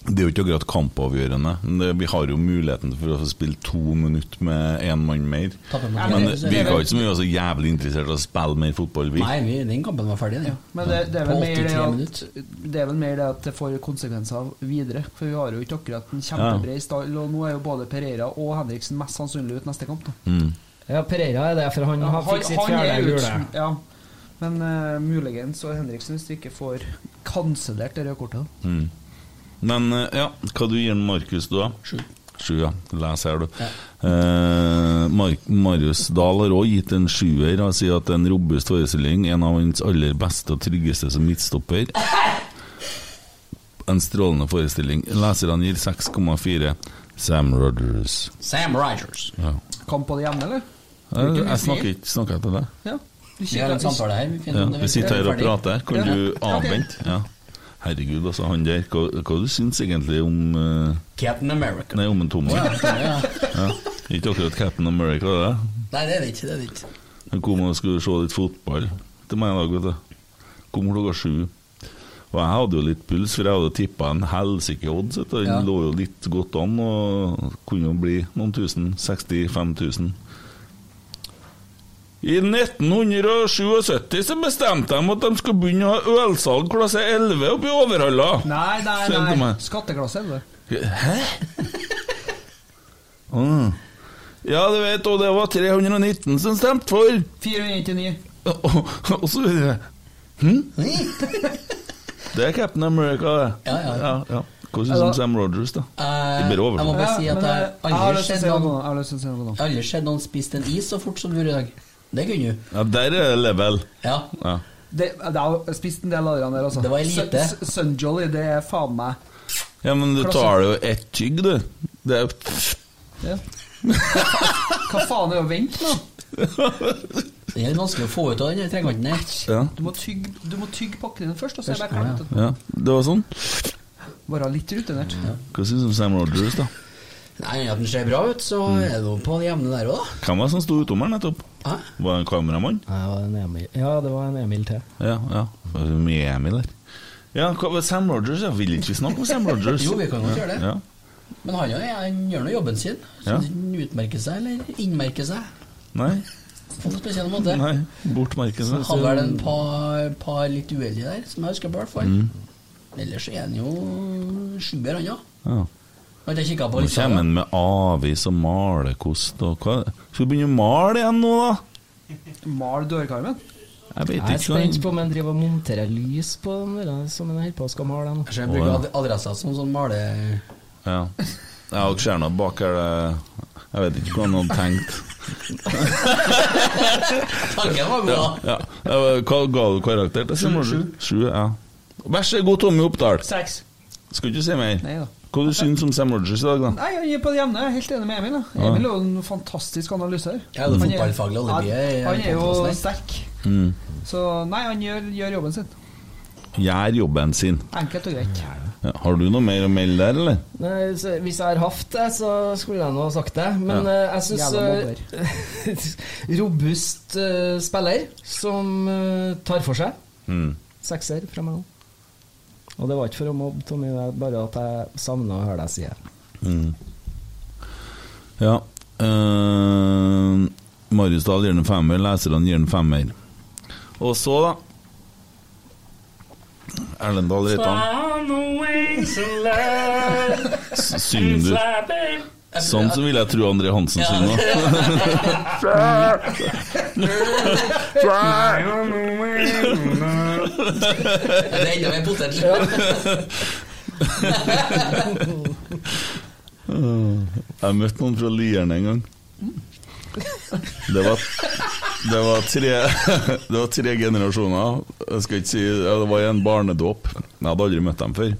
Speaker 4: Det er jo ikke akkurat kampavgjørende. men det- Vi har jo muligheten for å få spille to minutter med én mann mer.
Speaker 5: Taper mot
Speaker 4: Men
Speaker 5: Norge,
Speaker 4: det
Speaker 5: så-
Speaker 4: virker ikke som vi er så jævlig interessert i å spille mer fotball, vi.
Speaker 5: Nei, vi, den kampen var ferdig, den.
Speaker 6: Men det, det, er
Speaker 5: På
Speaker 6: vel mer det,
Speaker 5: 83
Speaker 6: at, det er vel mer det at det får konsekvenser videre. For vi har jo ikke akkurat en kjempebred stall, og nå er jo både Pereira og Henriksen mest sannsynlig ut neste kamp. da
Speaker 4: Mm.
Speaker 7: Ja, Pereira er det, for han har fikk sitt fjerde
Speaker 6: er ut.
Speaker 7: gule.
Speaker 6: Ja. Men eh, muligens og Henriksen hvis du ikke får kansellert det røde kortet.
Speaker 4: Mm. Men eh, ja, hva du gir Markus da?
Speaker 5: Sju.
Speaker 4: Sju, ja. Les her, du. Eh, Mar Marius Dahl har også gitt en sjuer. Han sier at det er en robust forestilling, en av hans aller beste og tryggeste som midtstopper. En strålende forestilling. Leserne gir 6,4. Sam Rogers.
Speaker 5: Sam Rogers.
Speaker 4: Ja.
Speaker 6: Kamp på det hjemme, eller?
Speaker 4: Jeg,
Speaker 6: Hvilken
Speaker 4: jeg
Speaker 6: vi
Speaker 4: snakker ikke snakker jeg til deg.
Speaker 6: Ja. Du
Speaker 5: Vi har en
Speaker 6: kikker-
Speaker 5: samtale her. Vi, finner
Speaker 4: Ja,
Speaker 5: om det
Speaker 4: vi sitter her og
Speaker 5: ferdig.
Speaker 4: prater. Kan
Speaker 6: Ja.
Speaker 4: du
Speaker 6: Ja, ok.
Speaker 4: avvente? Ja. Herregud, altså, han der. Hva, hva du syns egentlig om eh,
Speaker 5: Captain America.
Speaker 4: Nei, om en tomme?
Speaker 5: Ja, ja.
Speaker 4: Ja. Ikke akkurat Captain America, det.
Speaker 5: Nei, det er det ikke. Det er det ikke.
Speaker 4: Han kom og skulle se litt fotball til meg i dag, vet du. Kom klokka sju. Og jeg hadde jo litt puls, for jeg hadde tippa en helsike odds. vet du. Den
Speaker 5: Ja.
Speaker 4: lå jo litt godt an og kunne jo bli noen tusen. 65 000. I 1977 så bestemte de at de skulle begynne å ha ølsalg klasse 11 oppe i Overhalla.
Speaker 6: Nei, nei,
Speaker 4: Send til
Speaker 6: nei.
Speaker 4: meg.
Speaker 6: Skatteklasse, eller?
Speaker 4: Hæ? Mm. Ja, du vet, og det var 319 som stemte for.
Speaker 6: 499.
Speaker 4: Og, og, og så videre. Hm? Det er Captain America, det.
Speaker 5: Ja, ja. Altså,
Speaker 4: Hva syns du om Sam Rogers, da?
Speaker 5: Eh,
Speaker 4: Det blir over.
Speaker 5: jeg må
Speaker 4: for.
Speaker 5: bare si
Speaker 6: Ja,
Speaker 5: at
Speaker 6: men,
Speaker 5: jeg
Speaker 6: eh, jeg har
Speaker 5: aldri
Speaker 6: lyst til å
Speaker 5: sett
Speaker 6: si noe nå,
Speaker 5: noen
Speaker 6: jeg har lyst til å si noe nå.
Speaker 5: Aldri sett noen spise en is så fort som du gjorde i dag. Det kunne du.
Speaker 4: Ja, der er det level.
Speaker 5: Ja.
Speaker 4: Ja.
Speaker 6: Det- Jeg har spist en del av dem der, altså.
Speaker 5: Det var elite.
Speaker 6: Sun- Sun- Sunjolly, det er faen meg
Speaker 4: ja, men du
Speaker 6: Klasse.
Speaker 4: tar det jo ett tygg, du. Det er
Speaker 6: ja. Hva faen er det å vente nå?
Speaker 5: Det er litt vanskelig å få ut av den her trekanten her.
Speaker 4: ja.
Speaker 6: Du må tygge du må tygge pakken din først, og så er det bare klart.
Speaker 4: ja, det var sånn.
Speaker 6: Være litt rutinert.
Speaker 4: Hva syns du om Sam Rogers, da?
Speaker 5: Nei, at den ser bra ut, så
Speaker 4: Mm.
Speaker 5: er det noe på det jevne der òg,
Speaker 4: Hvem var det som sto utom her nettopp?
Speaker 5: da. Hæ?
Speaker 4: Var det en kameramann?
Speaker 7: Ja, det var en Emil. ja, det var en Emil til.
Speaker 4: Ja, ja. Det er Mye Emil der. Ja, hva, var Sam Rogers, ja. Vil ikke vi snakke om Sam Rogers?
Speaker 5: Jo, vi kan godt gjøre det.
Speaker 4: Ja.
Speaker 5: Men han, han, han gjør nå jobben sin. Så
Speaker 4: Ja.
Speaker 5: han utmerker seg, eller innmerker seg,
Speaker 4: Nei,
Speaker 5: på en spesiell måte.
Speaker 4: nei. Bortmerke seg.
Speaker 5: Hadde vel en par, par litt uheldige der, som jeg husker på i hvert
Speaker 4: Mm.
Speaker 5: fall. Ellers er han jo sjuer, han òg.
Speaker 4: Ja.
Speaker 5: Har ikke kikket på
Speaker 4: Nå
Speaker 5: lista.
Speaker 4: kommer han med avis og malerkost og hva Skal vi begynne å male igjen nå, da?
Speaker 6: Mal dørkarmen.
Speaker 4: Jeg vet
Speaker 7: Jeg er
Speaker 4: ikke.
Speaker 7: spent
Speaker 4: hva-
Speaker 7: på om han driver og monterer lys på den der, som han holder på å skal male nå.
Speaker 5: Jeg ser jeg
Speaker 4: Å, ja.
Speaker 5: bruker ad- adressa som sånn male...
Speaker 4: Ja. Jeg har ikke skjerna bak her. det- Jeg vet ikke hva han hadde tenkt.
Speaker 5: Tanken var god, da.
Speaker 4: Ja. Eh, Hva ga du karakter til Sam Rogers? Sju, ja. Vær så god, Tommy Oppdal.
Speaker 6: Seks.
Speaker 4: Skal ikke si mer.
Speaker 6: Nei da.
Speaker 4: Hva du syns om Sam Rogers i dag, da?
Speaker 6: Nei, jeg er på det jevne. Jeg er helt enig med Emil. Da. Emil er jo en fantastisk analyser.
Speaker 5: Ja, det er
Speaker 6: Han
Speaker 5: fotballfaglig alibi i- i
Speaker 6: Han er jo
Speaker 5: podcasten her.
Speaker 6: sterk.
Speaker 5: Mm.
Speaker 6: Så nei, han gjør, gjør jobben sin.
Speaker 4: Gjør jobben sin.
Speaker 6: Enkelt og greit.
Speaker 4: Ja, Har du noe mer å melde der, eller?
Speaker 7: Nei, så Hvis jeg har hatt det, så skulle jeg nå ha sagt det. Men eh, jeg
Speaker 6: Jævla mobber.
Speaker 7: syns Robust eh, spiller som eh, tar for seg.
Speaker 4: Hmm.
Speaker 7: Sekser fra meg nå. Og det var ikke for å mobbe Tommy, det er bare at jeg savna å høre deg si det.
Speaker 4: Ja. eh, Marius Dahl gir den femmer, leserne gir den femmer. Og så, da Erlendal Reitan. S- Synger du? Sånn så vil jeg tro André Hansen synger
Speaker 5: Det er enda mer potet.
Speaker 4: Jeg møtte noen fra Lierne en gang. Det var, det, var tre, det var tre generasjoner. Jeg skal ikke si ja, Det var i en barnedåp. Jeg hadde aldri møtt dem før.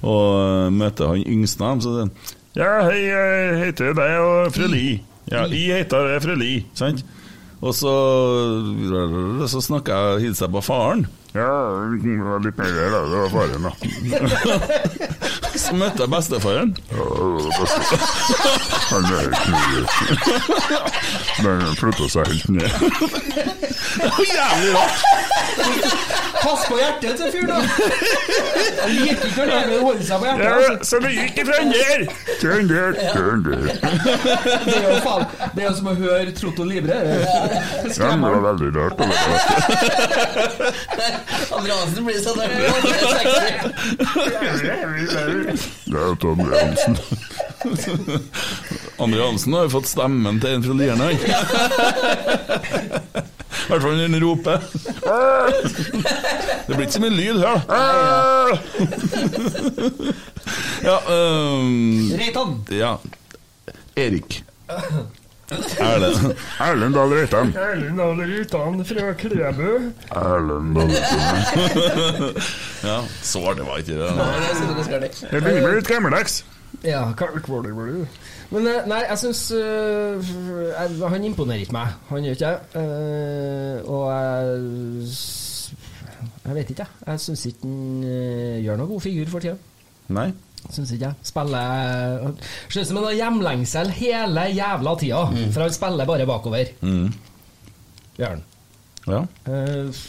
Speaker 4: Og eh, møtte han yngste av dem, så sier han Ja, hei, jeg heter deg og fru Li. Ja, jeg heter deg fru Li, sant? Og så, så snakka jeg og hilste jeg på faren. Ja, det var litt mer der, da. Det var faren, da. så møtte jeg bestefaren. Han er helt nydelig. Han flytta seg helt ned. Jævlig rart!
Speaker 6: Pass på hjertet til fyren, da! Han liker ikke å leve og holde seg på hjertet. Altså.
Speaker 4: Så du gikk ifra den der? Den der, den der.
Speaker 6: Det er jo faen Det er jo som å høre Trotto Libre.
Speaker 4: Den
Speaker 6: Skremmer.
Speaker 4: var veldig rart. det var.
Speaker 5: Andre Hansen blir sånn der. Det er sexy.
Speaker 4: Det er Tom Hansen. Andre Hansen har jo fått stemmen til en fra Lierne, han. I hvert fall når han roper. Det blir ikke så mye lyd her, da. Ja, øhm,
Speaker 6: Reitan.
Speaker 4: Ja. Erik. Erlend. Erlend Dahl Reitan.
Speaker 7: Erlend Dahl Reitan fra Klæbø.
Speaker 4: Erlend Dahl Reitan. ja, svar det var ikke det. da.
Speaker 5: Det er sånn det skal bli.
Speaker 4: Jeg begynner med litt gammeldags.
Speaker 7: Ja, kalkvåler var du. Men eh, nei, jeg syns eh, Han imponerer ikke meg. Han gjør ikke det. Eh, og jeg s- Jeg vet ikke, jeg. Jeg syns ikke han eh, gjør noen god figur for tida.
Speaker 4: Nei.
Speaker 7: Syns ikke jeg. Spiller eh, Ser ut som han har hjemlengsel hele jævla tida, for han spiller bare bakover. Mm. Gjør han.
Speaker 4: Mm. Ja.
Speaker 7: Eh,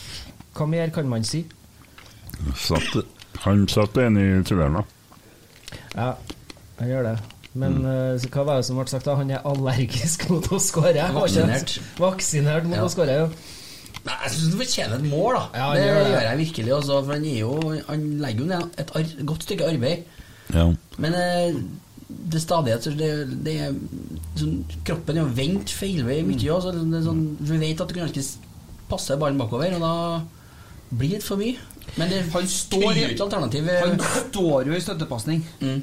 Speaker 7: hva mer kan man si?
Speaker 4: han satt en i Trøndelag.
Speaker 7: Ja, han gjør det. Men eh, så hva var det som ble sagt da? Han er allergisk mot å skåre.
Speaker 5: Vaksinert.
Speaker 7: Vaksinert mot
Speaker 5: Ja.
Speaker 7: å skåre, ja.
Speaker 5: Nei, jeg syns han fortjener et mål, da.
Speaker 7: Ja, han
Speaker 5: det
Speaker 7: gjør det.
Speaker 5: gjør jeg virkelig. Også, for han, gir jo, han legger jo ned et ar godt stykke arbeid.
Speaker 4: Ja.
Speaker 5: Men eh, det er stadighet så det, det er sånn, Kroppen er jo vendt feilvei mye. Også, det er sånn, vi vet at du kan ikke s- passe ballen bakover, og da blir det for mye. Men det
Speaker 6: Han står
Speaker 5: tvinger
Speaker 6: i-
Speaker 5: jo ikke alternativ.
Speaker 6: Han står jo i støttepasning.
Speaker 5: Mm.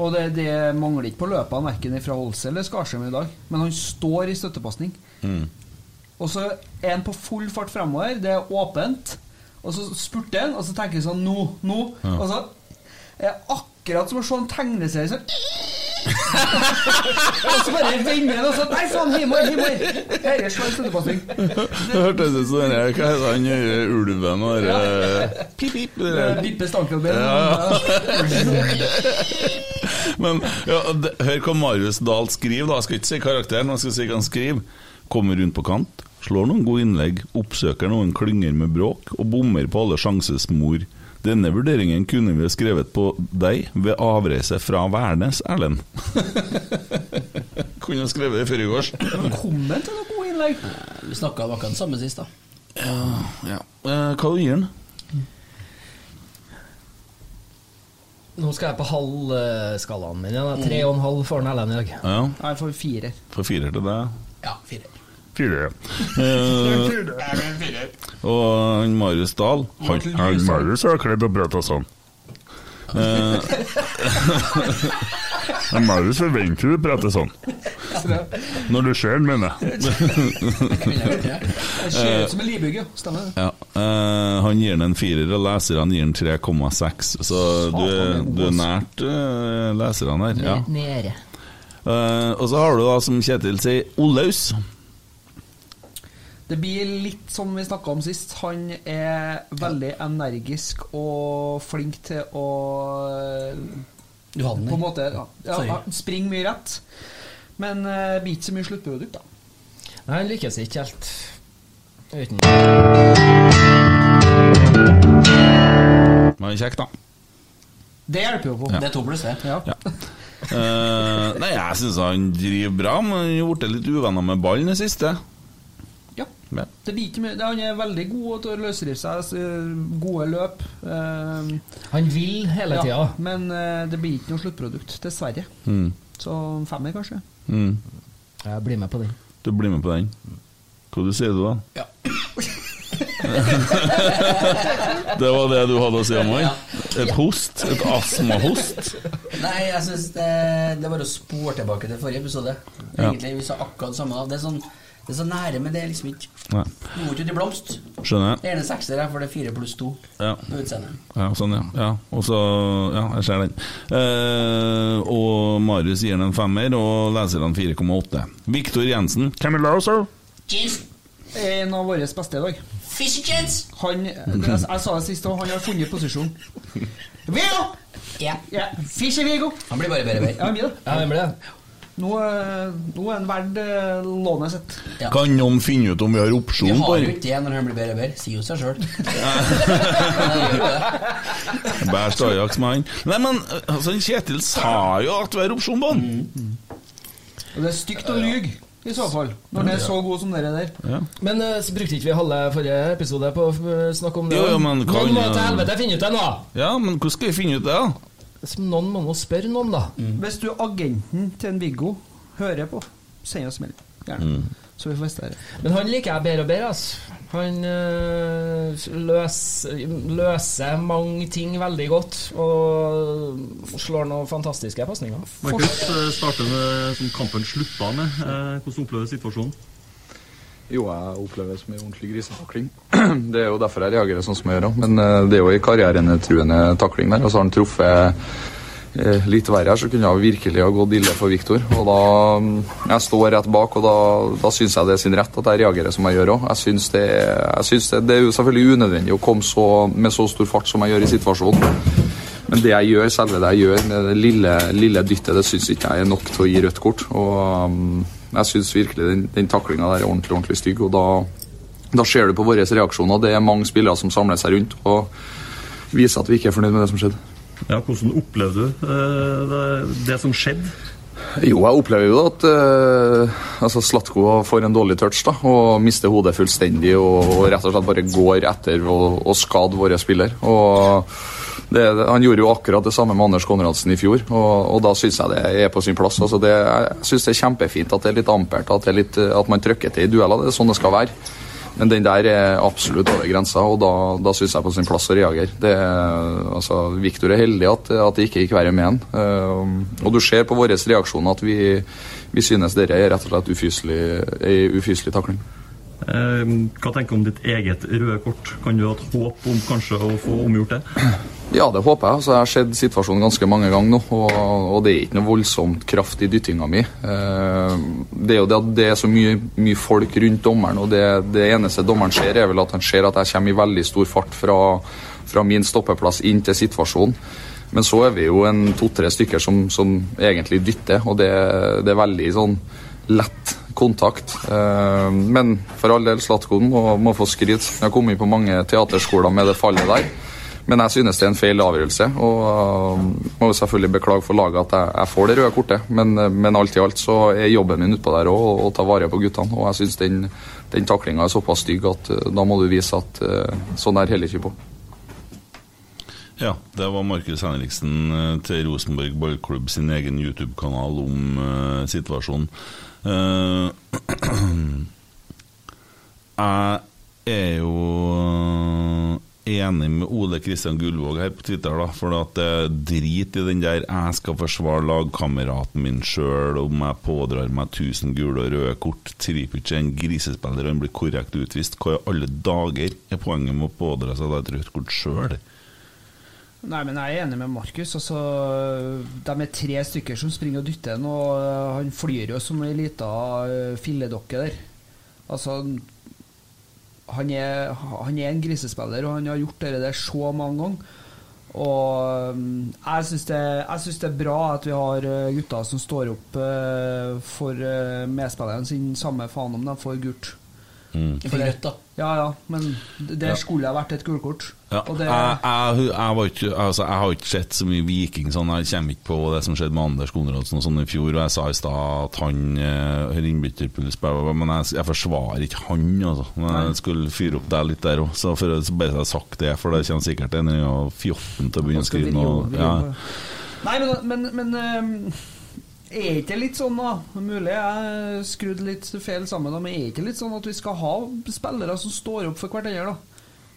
Speaker 6: Og det, det mangler ikke på løpene, verken fra Holse eller Skarsheim i dag. Men han står i støttepasning. Og så er han på full fart fremover, det er åpent. Og så spurter han, og så tenker han sånn Nå, nå. Og så er det akkurat som å se en tegneserie sånn Og så bare vender han, og så Nei, faen, himmel, himmel! Dette slår i støttepasning.
Speaker 4: Det hørtes ut som den der Hva heter han eh, ulven eh, og det der, Pip, pip. det der.
Speaker 6: Bippe stankelben.
Speaker 4: Ja. Men ja, det, hør hva Marius Dahl skriver, da. Jeg skal ikke si karakteren, men jeg skal si hva han skriver. Kommer rundt på kant, slår noen gode innlegg, oppsøker noen klynger med bråk og bommer på alle sjanses mor. Denne vurderingen kunne vi skrevet på deg ved avreise fra Værnes, Erlend. kunne skrevet det før i gårs.
Speaker 6: Kommer han til noen gode innlegg?
Speaker 5: Eh, Vi snakka om akkurat det samme sist, da.
Speaker 4: Ja. Eh, hva du gir den?
Speaker 7: Nå skal jeg på halv eh, skalaen min igjen. da. Tre og en halv får han Ellen i dag.
Speaker 4: Ja,
Speaker 6: Nei, for firer.
Speaker 4: for firer til deg.
Speaker 5: Ja, fire.
Speaker 4: Fire. Eh, og han Marius Dahl Han, han Marius har kledd og brøt og sånn. Men Eh, Marius forventer du prater sånn. Når du ser den, mener jeg.
Speaker 6: Det
Speaker 4: Eh.
Speaker 6: ser ut som en libygge, stemmer det?
Speaker 4: Ja, eh, han gir den en firer, og leserne gir den 3,6, så du, er- du
Speaker 6: altså.
Speaker 4: er nært eh, leserne her. Ja.
Speaker 7: Nede.
Speaker 4: Eh, og så har du da, som Kjetil sier, Olaus.
Speaker 6: Det blir litt som vi snakka om sist. Han er veldig energisk og flink til å
Speaker 5: Du hadde den
Speaker 6: På
Speaker 5: der.
Speaker 6: en måte ja, ja,
Speaker 5: Sorry.
Speaker 6: han springer mye rett. Men eh, blir ikke så mye sluttprodukt, da.
Speaker 7: Nei, han lykkes ikke helt. Uten.
Speaker 4: Men kjekk, da.
Speaker 6: Det hjelper jo på.
Speaker 5: Det er to pluss, det.
Speaker 6: Ja.
Speaker 4: Eh, nei, jeg syns han driver bra, men han har blitt litt uvenner med ballen i det siste.
Speaker 6: Ja.
Speaker 4: Ja.
Speaker 6: Det blir ikke mye. Han er veldig god til å løsrive seg, s- gode løp. Ehm,
Speaker 7: Han vil hele tida.
Speaker 6: Men eh, det blir ikke noe sluttprodukt, dessverre.
Speaker 4: Mm.
Speaker 6: Så femmer, kanskje.
Speaker 4: Mm.
Speaker 7: Jeg blir med på den.
Speaker 4: Du blir med på den. Hva du sier du da?
Speaker 5: Ja.
Speaker 4: Det var det du hadde å si om han?
Speaker 5: Ja.
Speaker 4: Et host? Et astmahost?
Speaker 5: Nei, jeg syns det, det er bare å spore tilbake til forrige episode.
Speaker 4: Ja.
Speaker 5: Egentlig, Vi sa akkurat det samme. Det er, sånn, det er så nære, men det er liksom ikke
Speaker 4: Nei.
Speaker 5: Gjorde ikke til blomst.
Speaker 4: Skjønner
Speaker 5: Det
Speaker 4: jeg.
Speaker 5: er en sekser her, for det er fire pluss to
Speaker 4: Ja.
Speaker 5: på utseendet.
Speaker 4: Ja, sånn, ja. ja. Og så Ja, jeg ser den. Eh, og Marius gir den en femmer, og leserne 4,8. Viktor Jensen. Camilla, sir.
Speaker 5: Jeez,
Speaker 6: En av våre beste i dag.
Speaker 5: fish and chips!
Speaker 6: Han, eh, det- jeg, jeg sa det sist, og han har funnet posisjon. Vigo!
Speaker 5: Ja.
Speaker 6: Ja, Fischer Vigo!
Speaker 5: Han blir bare bedre og bedre.
Speaker 6: Ja, han blir det.
Speaker 7: Ja, det blir det.
Speaker 6: Nå, eh, nå er han verd eh, lånet sitt.
Speaker 5: Ja.
Speaker 4: Kan noen finne ut om vi har
Speaker 5: Vi
Speaker 4: opsjon på
Speaker 5: har jo
Speaker 4: den?
Speaker 5: ikke det når han blir bedre og bedre. Sier jo seg sjøl.
Speaker 4: Bæsj Ajax med han. Nei, men altså, Kjetil sa jo at vi har opsjon på den!
Speaker 5: Mm.
Speaker 6: Og det er stygt å lyge, i så fall. Når den er så god som dere der.
Speaker 4: Ja.
Speaker 7: Men eh, så brukte ikke vi halve forrige episode på å eh, snakke om det?
Speaker 4: Jo, jo, men kan-
Speaker 7: Noen må til helvete finne ut det nå!
Speaker 4: ja, men hvordan skal vi finne ut det, da?
Speaker 7: Som noen må nå spørre noen, da.
Speaker 6: Hvis du agenten til en Viggo hører på, send oss melding. Gjerne. Så vi får vite det.
Speaker 7: Men han liker jeg bedre og bedre, altså. Han eh, løs, løser mange ting veldig godt, og slår noen fantastiske pasninger.
Speaker 2: Markus eh, starter med som kampen slutta med. Eh, Hvordan opplever du situasjonen?
Speaker 8: Jo, jeg opplever det som en ordentlig grisetakling. Det er jo derfor jeg reagerer sånn som jeg gjør også. Men eh, det er jo en karrieretruende takling der. Og så har han truffet eh, litt verre her, så kunne jeg virkelig ha gått ille for Viktor. Og da mm, Jeg står rett bak, og da, da syns jeg det er sin rett at jeg reagerer som jeg gjør òg. Jeg syns det, er- jeg synes det, det er jo selvfølgelig unødvendig å komme så, med så stor fart som jeg gjør i situasjonen. Men det jeg gjør, selve det jeg gjør med det lille, lille dyttet, det syns ikke jeg er nok til å gi rødt kort. Og um, jeg syns virkelig den, den taklinga der er ordentlig, ordentlig stygg. Og da, da ser du på våre reaksjoner. Det er mange spillere som samler seg rundt og viser at vi ikke er fornøyd med det som skjedde.
Speaker 2: Ja, hvordan opplevde du eh, det, det som skjedde?
Speaker 8: Jo, jeg opplever jo at eh, altså Slatko får en dårlig touch da, og mister hodet fullstendig og, og rett og slett bare går etter og, og skader våre spiller. Og det, han gjorde jo akkurat det samme med Anders Konradsen i fjor, og, og da syns jeg det er på sin plass. Altså det, jeg syns det er kjempefint at det er litt ampert, at, det er litt, eh, at man trykker til i dueller. Det er sånn det skal være. Men den der er absolutt over grensa, og da, da syns jeg på sin plass å reagere. Det er- Altså, Viktor er heldig at, at det ikke gikk verre med han. Eh, og du ser på våre reaksjoner at vi, vi synes dere er rett og slett ufyselig, ei ufyselig takling.
Speaker 2: Eh, Hva tenker du om ditt eget røde kort? Kan du ha et håp om kanskje å få omgjort det?
Speaker 8: Ja, det håper jeg. Altså, jeg har sett situasjonen ganske mange ganger nå, og, og det er ikke noe voldsomt kraft i dyttinga mi. Eh, det er jo det at det er så mye, mye folk rundt dommeren, og det, det eneste dommeren ser, er vel at han ser at jeg kommer i veldig stor fart fra, fra min stoppeplass inn til situasjonen. Men så er vi jo en to-tre stykker som, som egentlig dytter, og det, det er veldig sånn lett kontakt. Eh, men for all del, Slatko må, må få skryt. Jeg har kommet på mange teaterskoler med det fallet der. Men jeg synes det er en feil avgjørelse, og øh, må jo selvfølgelig beklage for laget at jeg, jeg får det røde kortet. Men, øh, men alt i alt så er jobben min utpå der òg å ta vare på guttene. Og jeg synes den, den taklinga er såpass stygg at øh, da må du vise at øh, sånn der heller ikke på.
Speaker 4: Ja, det var Markus Henriksen eh, til Rosenborg Ballklubb sin egen YouTube-kanal om eh, situasjonen. Eh, jeg er jo eh, enig med Ole Kristian Gullvåg her på Twitter, da, for at det er drit i den der 'jeg skal forsvare lagkameraten min sjøl' om jeg pådrar meg 1000 gule og røde kort. Tripic er en grisespiller, og han blir korrekt utvist. Hva i alle dager er poenget med å pådra seg da et rødt kort sjøl?
Speaker 6: Nei, men jeg er enig med Markus. Altså, de er tre stykker som springer og dytter han, og øh, han flyr jo som ei lita øh, filledokke der. Altså han er, han er en grisespiller, og han har gjort det der så mange ganger. Og øhm, jeg syns det, jeg synes det er bra at vi har øh, gutter eh, som står opp øh, for øh, medspilleren sin, samme faen om de får gult.
Speaker 4: Mm.
Speaker 6: For rødt, da. Ja, ja, men det det
Speaker 4: Ja.
Speaker 6: skulle ha vært et gulkort.
Speaker 4: Ja.
Speaker 6: Og
Speaker 4: Jeg,
Speaker 6: det,
Speaker 4: jeg, jeg, var ikke, altså, jeg har ikke sett så mye Viking sånn. Jeg kommer ikke på det som skjedde med Anders Konradsen og sånn i fjor. Og jeg sa i stad at han eh, har innbytterpuls, bla, bla, bla, men jeg, jeg forsvarer ikke han, altså. Men jeg skulle fyre opp deg litt der òg, så for å så bare så jeg har sagt det. For det kommer sikkert en eller annen fjotten til å begynne å skrive noe.
Speaker 6: vri
Speaker 4: Ja.
Speaker 6: over. Nei, men, men, men ehm, er ikke det litt sånn, da? Mulig jeg skrudde litt feil sammen, da, men er ikke det litt sånn at vi skal ha spillere som står opp for hverandre, da?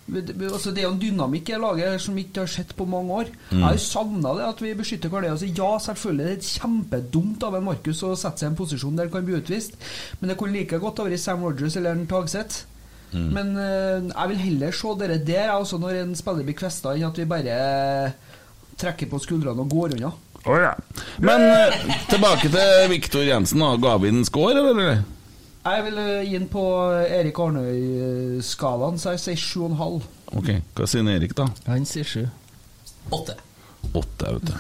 Speaker 6: Vi- vi- Altså, det er jo en dynamikk i laget her som vi ikke har sett på mange år.
Speaker 9: Mm.
Speaker 6: Jeg har jo savna det, at vi beskytter hverandre. Altså, ja, selvfølgelig det er kjempedumt av en Markus å sette seg i en posisjon der han kan bli utvist, men det kunne like godt ha vært Sam Rogers eller en Tagseth.
Speaker 9: Mm.
Speaker 6: Men eh, jeg vil heller se dere der, jeg, også når en spiller blir kvesta, enn at vi bare trekker på skuldrene og går unna.
Speaker 4: Å ja. Men eh, tilbake til Viktor Jensen. Da. Ga vi den score, eller?
Speaker 6: Jeg vil eh, gi den på Erik Arnøy-skalaen, så jeg sier sju og en halv.
Speaker 4: Ok, Hva sier Erik, da?
Speaker 7: Han sier sju.
Speaker 5: Åtte.
Speaker 4: Åtte, vet du.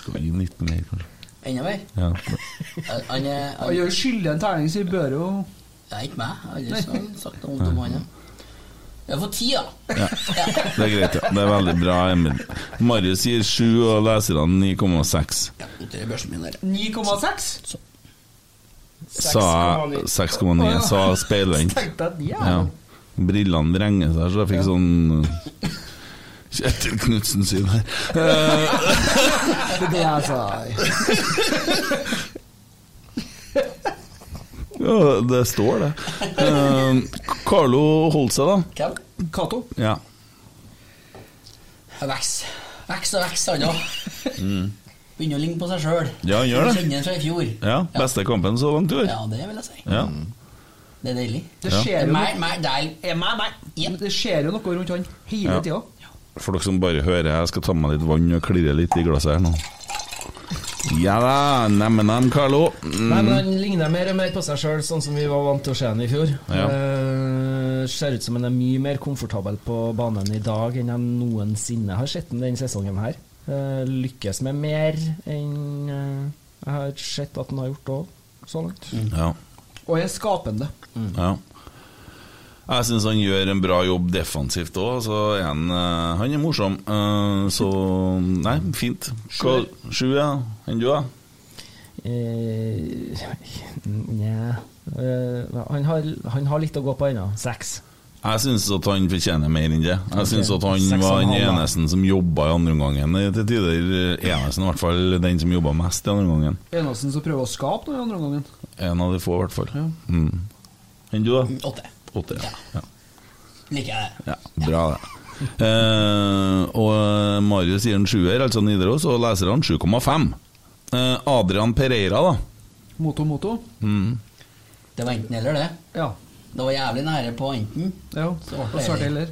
Speaker 4: Skal vi gi 19 mer, kanskje?
Speaker 5: Enda mer?
Speaker 4: Ja.
Speaker 5: Han- Han er
Speaker 6: Han gjør skyldig en terning, så vi bør jo
Speaker 5: Det er ikke meg. Jeg har aldri så- sagt noe vondt om han. ja. Jeg får ti, da.
Speaker 4: Ja. Det er greit, ja. Det er veldig bra, Emil. Marius gir 7, og leserne 9,6.
Speaker 5: Det er børsen min der.
Speaker 6: 9,6?
Speaker 4: Sa jeg 6,9, sa speilvendt.
Speaker 6: Tenkte at ja.
Speaker 4: Ja. Brillene vrenger seg, så jeg fikk
Speaker 6: Ja.
Speaker 4: sånn Kjetil Knutsen syn her. Eh,
Speaker 6: Det er det jeg sa.
Speaker 4: ja, det står, det. Eh, Carlo holdt seg, da.
Speaker 5: Hvem?
Speaker 6: Cato.
Speaker 4: Ja.
Speaker 5: Veks. Veks og veks, han òg.
Speaker 4: Mm.
Speaker 5: Begynner å ligne på seg sjøl.
Speaker 4: Ja, han gjør det.
Speaker 5: Kjenner han fra i fjor.
Speaker 4: ja. Beste kampen så langt i år.
Speaker 5: Ja, det vil jeg si.
Speaker 4: Ja.
Speaker 5: Det er deilig.
Speaker 4: Det Ja. skjer jo
Speaker 5: meg,
Speaker 6: noe.
Speaker 5: meg, deg.
Speaker 6: Det skjer jo noe rundt han hele
Speaker 4: Ja.
Speaker 6: tida.
Speaker 4: For dere som bare hører, jeg skal ta med litt vann og klirre litt i glasset her nå. Ja da, nemmen-nem, Carlo. Mm.
Speaker 7: Nei, men Han ligner mer og mer på seg sjøl, sånn som vi var vant til å se han i fjor.
Speaker 4: Ja.
Speaker 7: Eh, ser ut som han er mye mer komfortabel på banen i dag enn han noensinne har sett han denne sesongen her. Eh, lykkes med mer enn eh, jeg har sett at han har gjort òg, så langt.
Speaker 4: Mm, Ja.
Speaker 6: Og er skapende.
Speaker 4: ja. Jeg syns han gjør en bra jobb defensivt òg, så er han, eh, han er morsom. Eh, Så Nei, fint. Hva- Sju, ja. Enn du, da?
Speaker 7: Eh, Nja eh, han, har, han har litt å gå på ennå. Seks.
Speaker 4: Jeg syns at han fortjener mer enn det. Jeg syns
Speaker 7: Ok.
Speaker 4: at han
Speaker 7: Seks og
Speaker 4: var
Speaker 7: en
Speaker 4: den
Speaker 7: halv, da.
Speaker 4: eneste som jobba i andre omgangen. eh, Til tider eh, eneste, i hvert fall den som jobba mest i andre omgangen.
Speaker 6: Eneste som prøver å skape noe i andre omgangen.
Speaker 4: En av de få, i hvert fall. Mm. Enn du, da?
Speaker 5: Åtte.
Speaker 4: Åtte, ja. ja.
Speaker 5: Liker jeg det.
Speaker 4: Ja, bra det. Eh, og Marius gir en sjuer, altså Nidaros, og leserne 7,5. Eh, Adrian Pereira, da.
Speaker 6: Moto, moto.
Speaker 4: Mm.
Speaker 5: Det var enten eller, det.
Speaker 6: Ja.
Speaker 5: Det var jævlig nære på enten.
Speaker 6: Ja, og svarte heller.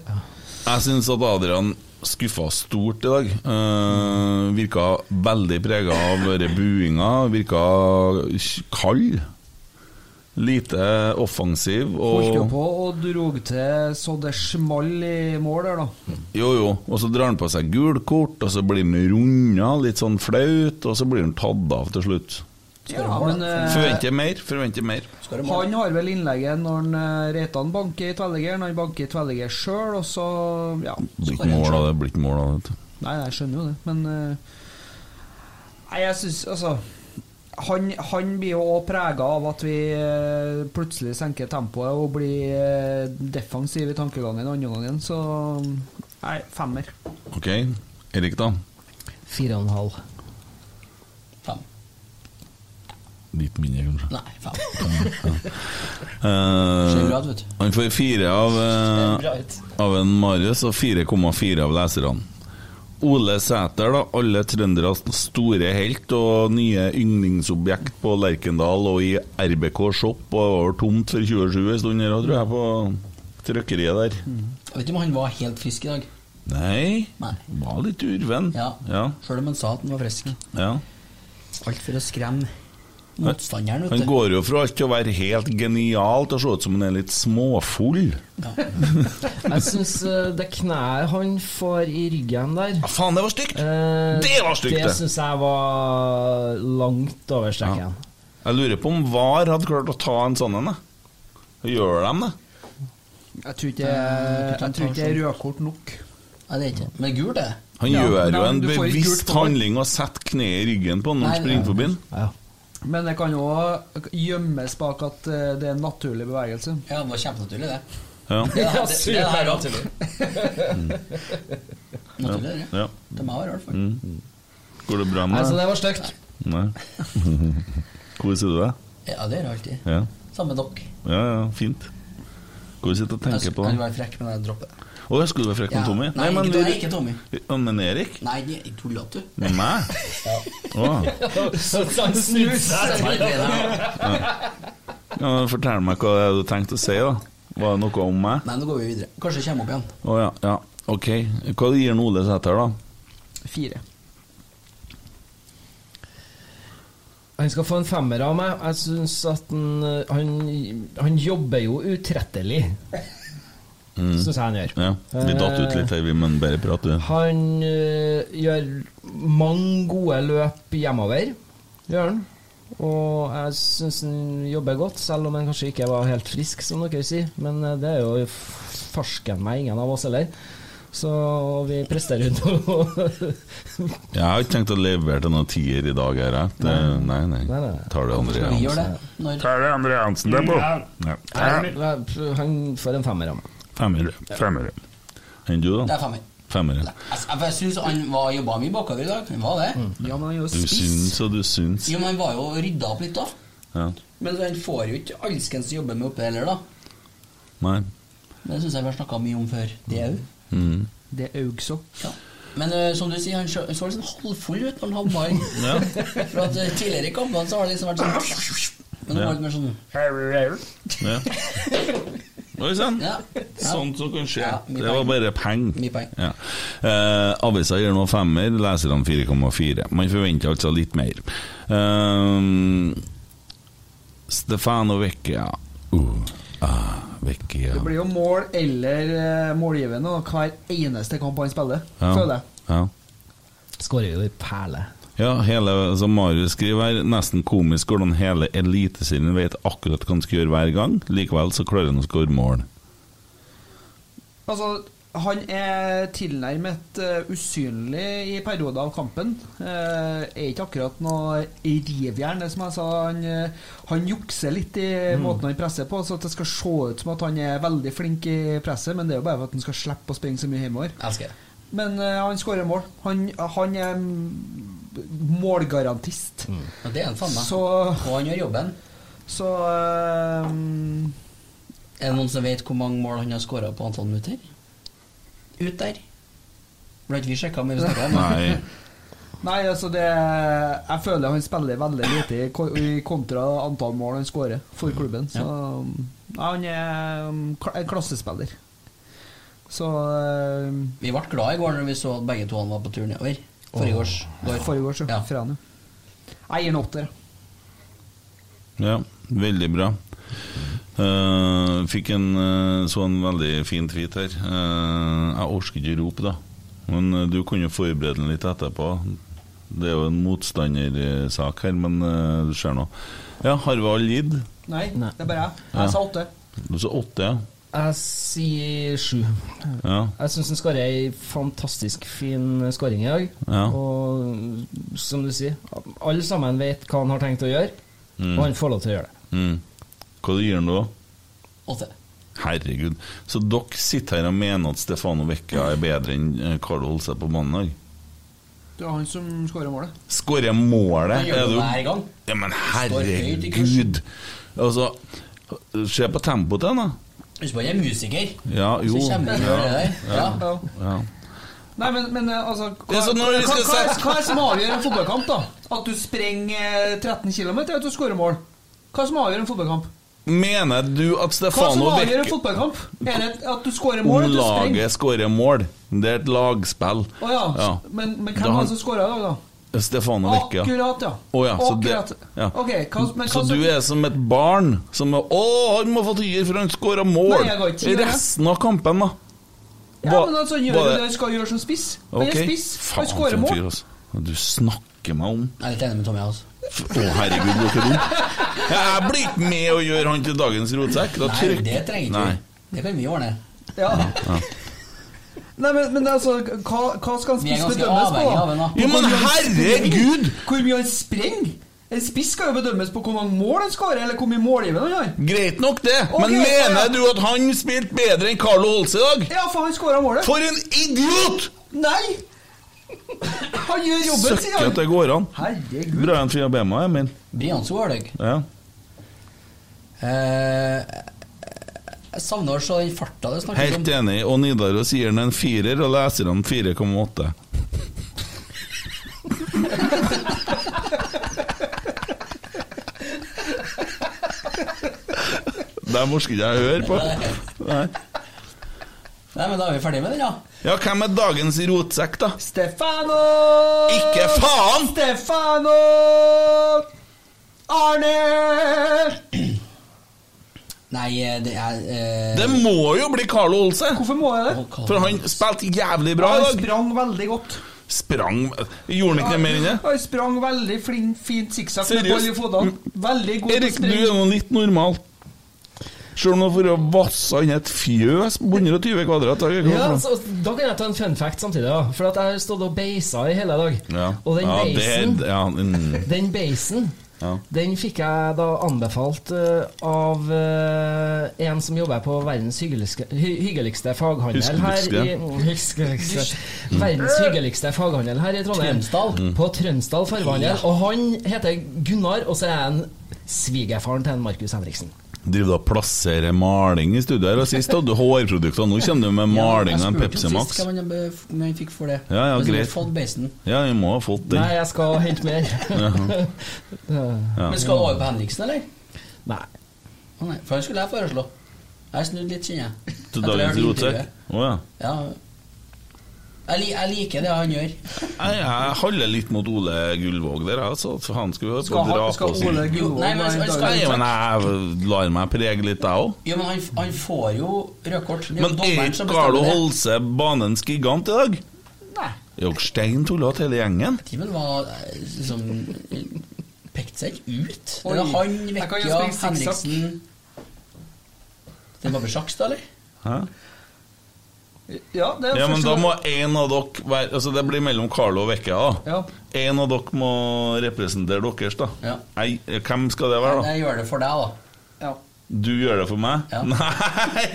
Speaker 4: Jeg syns at Adrian skuffa stort i dag. Eh, virka veldig prega av denne buinga. Virka kald. Lite offensiv. Og
Speaker 6: Holdt jo på og drog til så det small i mål der, da.
Speaker 4: Jo, jo. Og så drar han på seg gult kort, og så blir han runda, litt sånn flaut, og så blir han tatt av til slutt.
Speaker 6: Ja, men eh,
Speaker 4: Forventer mer, forventer mer.
Speaker 6: han har vel innlegget når han, eh, Reitan banker i tvellegeren, han banker i tvellegeren sjøl, og så ja.
Speaker 4: Blir ikke mål av det, blir ikke mål av det.
Speaker 6: Nei, jeg skjønner jo det, men eh, Nei, jeg syns altså han, han blir jo òg prega av at vi eh, plutselig senker tempoet og blir eh, defensive i tankegangen andre gangen, så Nei, femmer.
Speaker 4: Ok, Erik da?
Speaker 7: Fire og en halv.
Speaker 4: Litt mindre, kanskje.
Speaker 5: Nei, faen.
Speaker 4: Eh,
Speaker 5: Ser bra ut, vet du.
Speaker 4: han får fire av, eh,
Speaker 5: Ser bra ut.
Speaker 4: av en Marius og 4,4 av leserne. Ole Sæter, da, alle trønderes store helt og nye yndlingsobjekt på Lerkendal og i RBK Shop. Og det var tomt for 27 en stund her òg, tror jeg, på trykkeriet der.
Speaker 5: Jeg vet ikke om han var helt frisk i dag.
Speaker 4: Nei,
Speaker 5: Mm. Nei.
Speaker 4: var litt urven.
Speaker 5: Ja.
Speaker 4: Ja.
Speaker 5: Sjøl om han sa at han var frisk.
Speaker 4: ja.
Speaker 5: Alt for å skremme motstanderen, vet
Speaker 4: Han
Speaker 5: du.
Speaker 4: går jo fra alt til å være helt genial til å se ut som han er litt småfull.
Speaker 7: Jeg syns det kneet han får i ryggen der
Speaker 4: Faen, det var stygt!
Speaker 7: det
Speaker 4: var stygt,
Speaker 7: Det
Speaker 4: det.
Speaker 7: syns jeg var langt over streken.
Speaker 4: Jeg lurer på om VAR hadde klart å ta en sånn en. da. Gjør de det?
Speaker 6: Eh, Jeg tror ikke jeg tror ikke det er rødkort nok.
Speaker 5: Nei, det er ikke Men gult er det.
Speaker 4: Han
Speaker 6: Ja,
Speaker 4: gjør jo
Speaker 6: men
Speaker 4: en
Speaker 6: du får ikke
Speaker 4: bevisst
Speaker 6: gult på den.
Speaker 4: handling og setter kneet i ryggen på han når
Speaker 6: Nei,
Speaker 4: han springer
Speaker 6: ja.
Speaker 4: forbi han.
Speaker 6: Men det kan jo også gjemmes bak at eh, det er en naturlig bevegelse.
Speaker 5: Ja, det var kjempenaturlig, det.
Speaker 4: Ja.
Speaker 5: Det er det- det er det her også.
Speaker 4: Naturlig,
Speaker 5: Naturlig,
Speaker 4: Mm. ja. Ja.
Speaker 5: Det må være rart, faktisk.
Speaker 4: Mm. Går det bra med
Speaker 5: Nei, så
Speaker 4: deg?
Speaker 5: det var stygt.
Speaker 4: Nei. Hvor sitter du deg?
Speaker 5: Ja, det gjør jeg alltid.
Speaker 4: Ja.
Speaker 5: Samme dokk.
Speaker 4: ja, ja, fint. Hvor sitter du og tenker på
Speaker 5: Kan
Speaker 4: det?
Speaker 5: du være frekk, men jeg dropper det.
Speaker 4: Å, jeg skulle være frekk med
Speaker 5: Ja.
Speaker 4: Tommy.
Speaker 5: Nei,
Speaker 4: men
Speaker 5: ikke-
Speaker 4: vi-
Speaker 5: nei, ikke Tommy.
Speaker 4: Ja, Men Erik?
Speaker 5: Nei, jeg tuller at du.
Speaker 4: Med meg? Å.
Speaker 5: Så
Speaker 7: han snudde seg.
Speaker 4: Ja. Ja, fortell meg hva det er du tenkte å si, da. Var det noe om meg?
Speaker 5: Nei, nå går vi videre. Kanskje det kommer opp igjen.
Speaker 4: Å ja, ja. Ok. Hva gir han Ole Sæter, da?
Speaker 6: Fire.
Speaker 7: Han skal få en femmer av meg. Jeg syns at han, eh, han Han jobber jo utrettelig.
Speaker 4: Mm.
Speaker 7: Synes jeg han gjør. Eh.
Speaker 4: Ja. Vi datt ut litt her, vi, men bare prat, du.
Speaker 7: Han eh, gjør mange gode løp hjemover. Gjør han. Og jeg syns han jobber godt, selv om han kanskje ikke var helt frisk, som dere sier. Men eh, det er jo f- farsken meg ingen av oss heller. Så vi presterer noe
Speaker 4: Jeg har ikke tenkt å levere til noen tier i dag her, jeg. Det, nei, nei.
Speaker 7: Nei, nei.
Speaker 4: Tar det André
Speaker 7: Skal vi gjøre
Speaker 4: Hansen.
Speaker 7: det? Når-
Speaker 4: Tar det André Hansen derpå. Ja.
Speaker 7: Han får en femmer av meg.
Speaker 4: Femmer. Femmer. Enn du, da?
Speaker 5: Det er femmer.
Speaker 4: Femmer.
Speaker 5: Altså, jeg- jeg syns han var jobba mye bakover i dag. Han var det.
Speaker 6: Mm. Ja, men han er jo
Speaker 4: Du syns og du syns.
Speaker 5: Jo, men han var jo rydda opp litt, da.
Speaker 4: Ja.
Speaker 5: Men han får jo ikke alskens jobbe med oppe heller, da.
Speaker 4: Nei.
Speaker 5: Det syns jeg vi har snakka mye om før. Det òg.
Speaker 4: Mm.
Speaker 6: Det er aug så.
Speaker 5: Men eh, som du sier, han så, så litt sånn halvfull ut når han havna inn.
Speaker 4: Ja.
Speaker 5: For at eh, tidligere i kampene så har det liksom vært sånn Men nå
Speaker 4: Ja.
Speaker 5: var det mer sånn
Speaker 4: Ja. Oi sann.
Speaker 5: Ja.
Speaker 4: Sånt som kan skje.
Speaker 5: mye
Speaker 4: det var
Speaker 5: poeng.
Speaker 4: bare penger.
Speaker 5: Mye poeng.
Speaker 4: Ja. Eh, avisa gir nå femmer, leserne 4,4. Man forventer altså litt mer. Eh, Stefano Vecchia. Uh, ah, Vecchia.
Speaker 6: Det blir jo mål eller eh, målgivende og hver eneste kamp han spiller,
Speaker 4: Ja.
Speaker 6: føler jeg.
Speaker 4: Ja.
Speaker 7: Skårer jo i perle.
Speaker 4: Ja, hele, som Marius skriver her, nesten komisk hvordan hele Eliteserien vet akkurat hva han skal gjøre hver gang. Likevel så klarer han å skåre mål.
Speaker 6: Altså, han er tilnærmet eh, usynlig i perioder av kampen. Eh, er ikke akkurat noe rivjern, det som jeg sa. Han, eh, han jukser litt i
Speaker 5: Mm.
Speaker 6: måten han presser på, så at det skal se ut som at han er veldig flink i presset, men det er jo bare for at han skal slippe å springe så mye hjemover.
Speaker 5: Elsker det.
Speaker 6: Men eh, han skårer mål. Han, han er mm, målgarantist.
Speaker 5: Mm. Ja, det er han faen meg.
Speaker 6: Så,
Speaker 5: Og han gjør jobben.
Speaker 6: så eh,
Speaker 5: Er det noen som vet hvor mange mål han har skåra på antall minutter? Ut der. Ble ikke vi sjekka, men vi snakka om det.
Speaker 4: Nei.
Speaker 6: Nei, altså det Jeg føler han spiller veldig lite i ko- i kontra antall mål han skårer for klubben. Så Nei, han er um, kla- en klassespiller. Så um,
Speaker 5: Vi ble glad i går når vi så at begge to han var på tur nedover. Forrige års. går.
Speaker 6: Forrige år, så. Ja. Franu. Jeg gir en åtter.
Speaker 4: Ja, veldig bra. Eh, fikk en eh, sånn veldig fin tweet her. Eh, jeg orker ikke rope, da. Men eh, du kunne jo forberede den litt etterpå. Det er jo en motstandersak her, men eh, du ser nå. Ja, har vi alle gitt?
Speaker 6: Nei, det er bare jeg. Jeg
Speaker 4: Ja.
Speaker 6: sa åtte.
Speaker 4: Du sa åtte, ja.
Speaker 7: Jeg sier sju.
Speaker 4: Ja.
Speaker 7: Jeg syns han skårer ei fantastisk fin skåring i dag.
Speaker 4: Ja.
Speaker 7: Og som du sier, alle sammen vet hva han har tenkt å gjøre,
Speaker 4: Mm.
Speaker 7: og han får lov til å gjøre det.
Speaker 4: Mm. Hva gir han da?
Speaker 5: Åtte.
Speaker 4: Herregud. Så dere sitter her og mener at Stefano Vecchia er bedre enn eh, Carlo Holse på mandag?
Speaker 6: Det var han som skårer målet.
Speaker 4: Skårer jeg målet
Speaker 5: Han gjør
Speaker 4: er
Speaker 5: det
Speaker 4: du-
Speaker 5: hver gang.
Speaker 4: Ja, men
Speaker 5: Står høyt i
Speaker 4: herregud! Altså, se på tempoet til han, da.
Speaker 5: Husk på at jeg er musiker.
Speaker 4: Ja, jo.
Speaker 5: Så kommer han og gjør det der. Ja.
Speaker 6: Ja.
Speaker 4: Ja.
Speaker 6: Nei, men, men eh, altså
Speaker 4: Det er
Speaker 6: hva,
Speaker 4: sånn når
Speaker 6: hva,
Speaker 4: vi
Speaker 6: hva,
Speaker 4: skal
Speaker 6: hva, er-
Speaker 4: sette-
Speaker 6: hva er det som avgjør en fotballkamp, da? At du sprenger eh, 13 km, eller at du skårer mål? Hva er det som avgjør en fotballkamp?
Speaker 4: Mener du at
Speaker 6: Hva som
Speaker 4: Stefano
Speaker 6: avgjør en
Speaker 4: Vecchia
Speaker 6: fotballkamp? Er det at du skårer mål?
Speaker 4: Om
Speaker 6: eller at du
Speaker 4: laget
Speaker 6: springer?
Speaker 4: skårer mål. Det er et lagspill.
Speaker 6: Å ja.
Speaker 4: Ja.
Speaker 6: Men, men
Speaker 4: Da
Speaker 6: hvem var
Speaker 4: han-
Speaker 6: det som skåra i dag, da?
Speaker 4: Stefano Vecchia.
Speaker 6: Akkurat, ja.
Speaker 4: Å ja, så det-
Speaker 6: Akkurat.
Speaker 4: ja.
Speaker 6: Ok, hva, men hva
Speaker 4: Så
Speaker 6: som-
Speaker 4: du er som et barn som er, Å, han må få tier, for han skåra mål!
Speaker 6: Nei, jeg ga ikke tier, jeg.
Speaker 4: Resten av kampen, da?
Speaker 6: Ja,
Speaker 4: Hva-
Speaker 6: men altså, gjør
Speaker 4: var
Speaker 6: jo
Speaker 4: det-
Speaker 6: det han skal gjøre som spiss. Han
Speaker 4: Ok.
Speaker 6: er spiss,
Speaker 4: Faen,
Speaker 6: han
Speaker 4: for
Speaker 6: skårer
Speaker 4: en
Speaker 6: mål.
Speaker 4: fyr, altså. Du snakker meg om
Speaker 5: Jeg er litt enig med Tommy. Altså.
Speaker 4: F- Å, herregud, dere er dumme. Jeg blir ikke med å gjøre han til dagens rotsekk. Da
Speaker 5: Nei,
Speaker 4: trykker
Speaker 5: det trenger ikke vi.
Speaker 4: Nei.
Speaker 5: Det kan vi ordne.
Speaker 4: Ja.
Speaker 6: Nei, men, men altså, hva, hva skal en
Speaker 5: Vi er
Speaker 6: spiss
Speaker 5: ganske
Speaker 6: bedømmes på?
Speaker 5: avhengig av en, da.
Speaker 6: På
Speaker 5: Jo, men
Speaker 6: hvor mye han
Speaker 4: herregud!
Speaker 6: sprenger? Hvor mye han sprenger? En spiss skal jo bedømmes på hvor mange mål han skårer, eller hvor mye målgivende han har.
Speaker 4: Greit nok det,
Speaker 6: Ok,
Speaker 4: men mener
Speaker 6: ja.
Speaker 4: du at han spilte bedre enn Carlo Holse i dag?
Speaker 6: Ja, for han skåra målet.
Speaker 4: For en idiot!
Speaker 6: Nei! Han gjør jobben, sier
Speaker 4: Søkker at det
Speaker 6: han.
Speaker 4: går an.
Speaker 6: Herregud.
Speaker 4: Bra igjen for Abema, Emil.
Speaker 5: Brianzo har deg.
Speaker 4: Ja.
Speaker 5: Eh, jeg savner å se den farta det snakkes om.
Speaker 4: Helt enig. Og Nidaros gir den en firer, og leserne 4,8. Det orker ikke jeg høre på. Nei.
Speaker 5: Nei, men Da er vi ferdige med den, da.
Speaker 4: Ja, hvem er dagens rotsekk, da?
Speaker 6: Stefano!
Speaker 4: Ikke faen!
Speaker 6: Stefano! Arne!
Speaker 5: Nei, eh, det er eh,
Speaker 4: Det må jo bli Carlo Olse!
Speaker 6: Hvorfor må jeg det?
Speaker 4: For han spilte jævlig bra i
Speaker 6: Han
Speaker 4: dag.
Speaker 6: sprang veldig godt.
Speaker 4: Sprang Gjorde han ikke det mer enn det?
Speaker 6: Han sprang veldig flin, fint sikksakk med
Speaker 4: Seriøst? Mm.
Speaker 6: ball i fotene. Veldig god til å
Speaker 4: Erik, du er
Speaker 6: springe.
Speaker 4: nå litt normal. Sjøl om du har vært vassa inn i et fjøs på 120 kvadrat. da er det ikke
Speaker 7: Ja,
Speaker 4: noe
Speaker 6: altså.
Speaker 7: så, da kan jeg ta en fun fact samtidig, da. For at jeg har stått og beisa i hele dag.
Speaker 4: problem. ja.
Speaker 7: Og den
Speaker 4: ja,
Speaker 7: beisen,
Speaker 4: det er- ja, mm,
Speaker 7: den beisen
Speaker 4: ja.
Speaker 7: den fikk jeg da anbefalt eh, av eh, en som jobber på verdens hyggeligste, hy hyggeligste faghandel her i Hyskeligste. Verdens hyggeligste faghandel her i Trondheim.
Speaker 5: Trømsdal.
Speaker 7: På Trømsdal fargehandel. Og han heter Gunnar, og så er han svigerfaren til en Markus Henriksen.
Speaker 4: Driver du og plasserer maling i studio her? Og sist hadde du hårprodukter, nå kommer du med maling og en Pepsi Max.
Speaker 5: Hva man, eh, f- man fikk for det.
Speaker 4: Ja, ja,
Speaker 5: Men så har vi
Speaker 4: greit.
Speaker 5: Fått beisen.
Speaker 4: Ja, vi må ha fått
Speaker 7: Nei,
Speaker 4: den.
Speaker 7: jeg skal hente mer.
Speaker 4: Ja.
Speaker 5: Men skal du over på Henriksen, eller?
Speaker 7: Nei.
Speaker 5: Å nei, for han skulle jeg foreslå. Jeg har snudd litt, kjenner jeg.
Speaker 4: Til
Speaker 5: Etter jeg
Speaker 4: dagens
Speaker 5: hørte
Speaker 4: rotsekk? Å
Speaker 5: intervjuet.
Speaker 4: ja.
Speaker 5: Ja. Jeg, li, jeg liker det han gjør.
Speaker 4: Jeg, jeg holder litt mot Ole Gullvåg der, altså. For han skulle jo
Speaker 6: Skal,
Speaker 4: på
Speaker 6: ha-
Speaker 4: dra
Speaker 6: skal
Speaker 4: på
Speaker 6: Ole
Speaker 4: seg.
Speaker 5: Jo,
Speaker 6: Gullvåg
Speaker 5: nei, men
Speaker 6: være
Speaker 5: han skal-
Speaker 6: dagens-
Speaker 4: Nei, men jeg lar meg prege litt, jeg òg.
Speaker 5: Jo, men han, han får jo rødkort.
Speaker 4: Men er ikke Carlo Holse banens gigant i dag?
Speaker 5: Nei.
Speaker 4: Er dere stein tullete, hele gjengen?
Speaker 5: Timen var eh, liksom Pekte seg ikke ut. Det
Speaker 6: Oi.
Speaker 5: var han,
Speaker 6: Jeg kan jo
Speaker 5: Vekkia,
Speaker 6: springe sikksakk.
Speaker 5: Henriksen Det var vel sjakk, da, eller?
Speaker 4: Hæ?
Speaker 6: Ja, det er
Speaker 4: Ja, men
Speaker 6: første
Speaker 4: da
Speaker 6: gang.
Speaker 4: må en av dere være Altså, det blir mellom Carlo og Vekka, da.
Speaker 6: ja.
Speaker 4: En av dere må representere deres, da.
Speaker 5: Ja.
Speaker 4: Nei, hvem skal det være, da?
Speaker 5: Jeg gjør det for deg, da.
Speaker 6: Ja.
Speaker 4: Du gjør det for meg?
Speaker 5: Ja.
Speaker 4: Nei!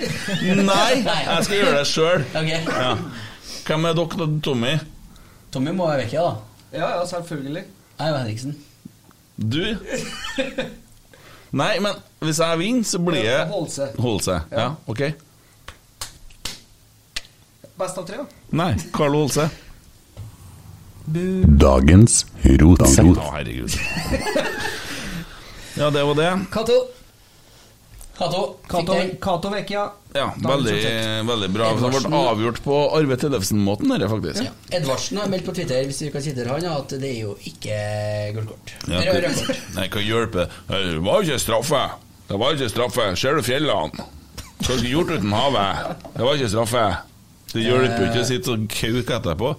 Speaker 4: Nei! Jeg skal gjøre det sjøl.
Speaker 5: Ok.
Speaker 4: Ja. Hvem er dere, da, Tommy?
Speaker 5: Tommy må være Vekkia, da.
Speaker 6: ja, ja, selvfølgelig.
Speaker 5: Jeg er jo Henriksen.
Speaker 4: Du? Nei, men hvis jeg vinner, så blir jeg
Speaker 6: Holde seg.
Speaker 4: Holde seg. Ja, ok?
Speaker 6: Best av tre, da.
Speaker 4: Nei, Carlo Holse.
Speaker 9: Dagens rotsekk.
Speaker 4: Å, herregud. Ja, det var det.
Speaker 7: Cato.
Speaker 5: Cato. fikk
Speaker 6: Kato,
Speaker 5: den.
Speaker 6: Kato Vecchia.
Speaker 4: Ja, veldig, veldig bra. Det ble
Speaker 5: Edvardsen.
Speaker 4: avgjort på Arve Tellefsen-måten, dette, faktisk.
Speaker 5: Ja. Edvardsen har meldt på Twitter hvis vi kan sitere han, at det er jo ikke gullkort.
Speaker 4: Ja,
Speaker 5: Rød-
Speaker 4: hva-
Speaker 5: rød kort.
Speaker 4: Nei, hva hjelper det? Det var jo ikke straffe. Det var ikke straffe. Ser du fjellene? Hva skulle gjort uten havet? Det var ikke straffe. Det hjelper jo ikke å sitte og kauke etterpå.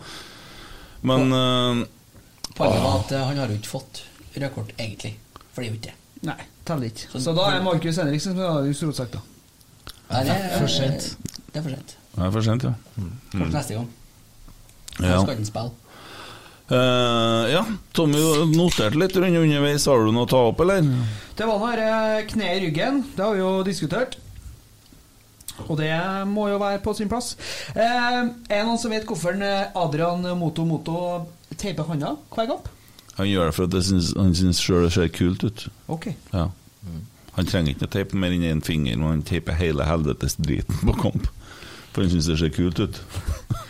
Speaker 4: Men eh,
Speaker 5: Poenget var at eh, han har jo ikke fått rødt kort, egentlig. For det er jo ikke det.
Speaker 6: Nei, teller ikke. Så da er Markus Henriksen som er dagens rotsekk, da.
Speaker 5: Nei, det er
Speaker 7: For sent.
Speaker 5: Det er for sent.
Speaker 4: det er for sent, ja.
Speaker 5: Kort neste gang. Da
Speaker 4: Mm. Ja.
Speaker 5: skal han spille.
Speaker 4: Eh, ja. Tommy noterte litt rundt underveis. Har du noe å ta opp, eller?
Speaker 6: Det var nå dette kneet i ryggen. Det har vi jo diskutert. Og det må jo være på sin plass. Eh, er det noen som vet hvorfor en, eh, Adrian Moto Moto teiper hånda hver kamp?
Speaker 4: Han gjør det for at det syns- han syns sjøl det ser kult ut.
Speaker 6: Ok.
Speaker 4: Ja. Han trenger ikke noe teip mer enn én finger, men han teiper hele helvetes driten på kamp. For han syns det ser kult ut.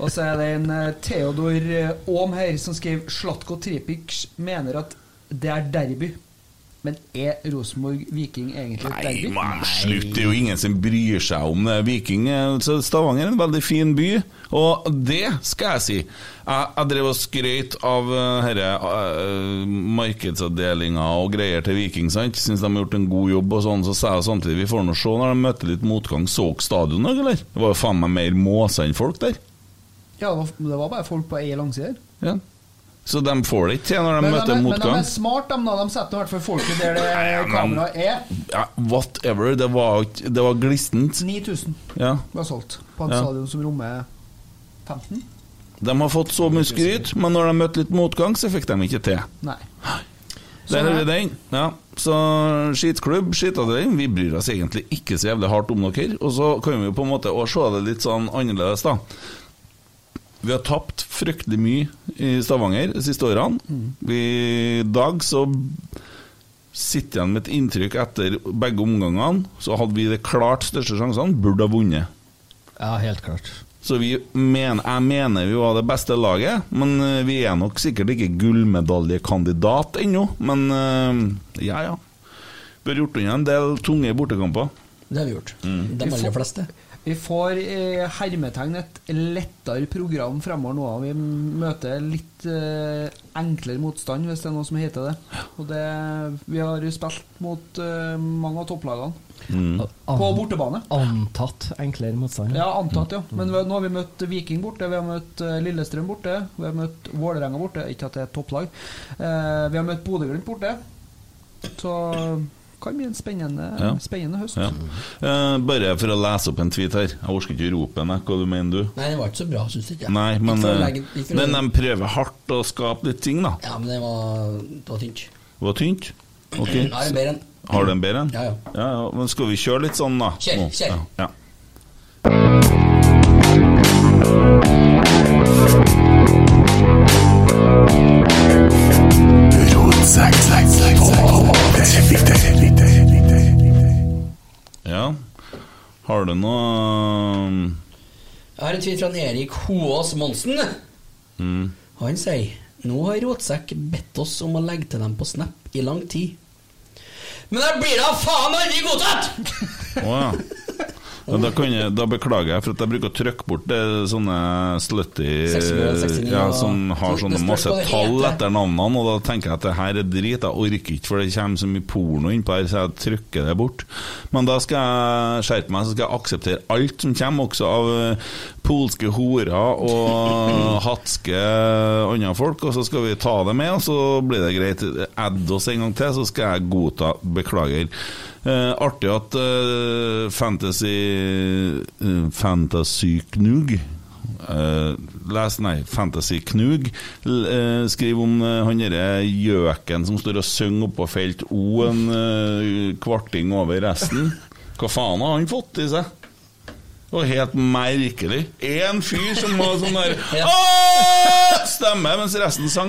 Speaker 6: Og så er det en eh, Theodor eh, Aam her som skriver Slatko Tripic mener at det er derby. Men er Rosenborg Viking egentlig et
Speaker 4: Nei,
Speaker 6: derby?
Speaker 4: man, slutt! Det er jo ingen som bryr seg om det. Viking eh, så Stavanger er en veldig fin by, og det skal jeg si. Jeg, jeg drev og skrøt av eh, herre eh, markedsavdelinga og greier til Viking, sant. Syns de har gjort en god jobb og sånn. Så sa jeg samtidig vi får nå se når de møter litt motgang. Så dere stadion òg, eller? Det var jo faen meg mer måser enn folk der.
Speaker 6: Ja, det var- det var bare folk på ei langside her.
Speaker 4: Ja. Så de får det ikke til når de
Speaker 6: Men de,
Speaker 4: møter
Speaker 6: er- men de
Speaker 4: motgang.
Speaker 6: er smart, de, nå. de setter i hvert fall folket der det E?
Speaker 4: men-
Speaker 6: kameraet er.
Speaker 4: Ja, whatever. Det var, ikke- det var glistent.
Speaker 6: 9000
Speaker 4: Ja.
Speaker 6: var solgt på et
Speaker 4: Ja.
Speaker 6: stadion som rommer 15.
Speaker 4: De har fått så mye skryt, men når de møtte litt motgang, så fikk de ikke til.
Speaker 6: Nei.
Speaker 4: Der er vi den. Ja. Så skitklubb, skitavdeling. Vi bryr oss egentlig ikke så jævlig hardt om dere. Og så kan vi jo på en måte også se det litt sånn annerledes, da. Vi har tapt fryktelig mye i Stavanger de siste årene. Vi, I dag så sitter igjen med et inntrykk etter begge omgangene. Så hadde vi de klart største sjansene, burde ha vunnet.
Speaker 7: Ja, helt klart.
Speaker 4: Så vi men, jeg mener vi var det beste laget, men eh, vi er nok sikkert ikke gullmedaljekandidat ennå. Men eh, ja, ja. Vi har gjort unna en del tunge bortekamper.
Speaker 5: Det har vi gjort.
Speaker 4: Mm.
Speaker 5: De aller
Speaker 6: får-
Speaker 5: fleste.
Speaker 6: Vi får eh, hermetegn et lettere program fremover nå. Vi møter litt eh, enklere motstand, hvis det er noe som heter det. Og det vi har spilt mot eh, mange av topplagene. På bortebane.
Speaker 7: Antatt enklere motstander.
Speaker 6: Ja, antatt, ja. Men vi, nå har vi møtt Viking borte, vi har møtt eh, Lillestrøm borte, vi har møtt Vålerenga borte. Ikke at det er et topplag. Eh, vi har møtt Bodø-Glimt borte. Så kan bli en spennende,
Speaker 4: Ja.
Speaker 6: spennende høst.
Speaker 4: Ja. Eh, bare for å lese opp en tweet her. Jeg orker ikke rope den, jeg. hva du mener du?
Speaker 5: Nei, den var ikke så bra, syns ikke jeg.
Speaker 4: Nei, men,
Speaker 5: Ikke for å
Speaker 4: eh,
Speaker 5: legge- ikke for å
Speaker 4: men
Speaker 5: legge-
Speaker 4: de prøver hardt å skape litt ting, da.
Speaker 5: Ja, men det var, det var tynt.
Speaker 4: Det var tynt. Ok.
Speaker 5: Jeg har en bedre en.
Speaker 4: Har du en bedre en?
Speaker 5: Ja, ja.
Speaker 4: Men skal vi kjøre litt sånn, da?
Speaker 5: Kjør,
Speaker 4: Nå?
Speaker 5: kjør.
Speaker 4: Ja. ja. Ja. Har du noe
Speaker 5: Jeg har en tweet fra en Erik Hoås Monsen.
Speaker 4: mm.
Speaker 5: Han sier Nå har Rotsekk bedt oss om å legge til dem på Snap i lang tid. Men da blir da faen aldri godtatt!
Speaker 4: Å ja. Ja, Da, kan jeg, da beklager jeg for at jeg bruker å trykke bort det, sånne slutty
Speaker 5: 69, 69,
Speaker 4: ja,
Speaker 5: og-
Speaker 4: Som har
Speaker 5: Det
Speaker 4: sånne
Speaker 5: spørs
Speaker 4: masse
Speaker 5: hva det
Speaker 4: tall
Speaker 5: heter.
Speaker 4: etter navnene, og da tenker jeg at det her er drit. Jeg orker ikke, for det kommer så mye porno innpå her, så jeg trykker det bort. Men da skal jeg skjerpe meg, så skal jeg akseptere alt som kommer, også av eh, polske horer og hatske andre folk, og så skal vi ta det med, og så blir det greit. Add oss en gang til, så skal jeg godta. Beklager. Eh, artig at eh, Fantasy eh, Fantasy Knug eh, les, nei, Fantasy Knug l- eh, skriver om eh, han derre gjøken som står og synger oppå felt O en eh, kvarting over resten. Hva faen har han fått i seg? Det var helt merkelig. Én fyr som var sånn der «Åh!» Stemme, mens resten sang.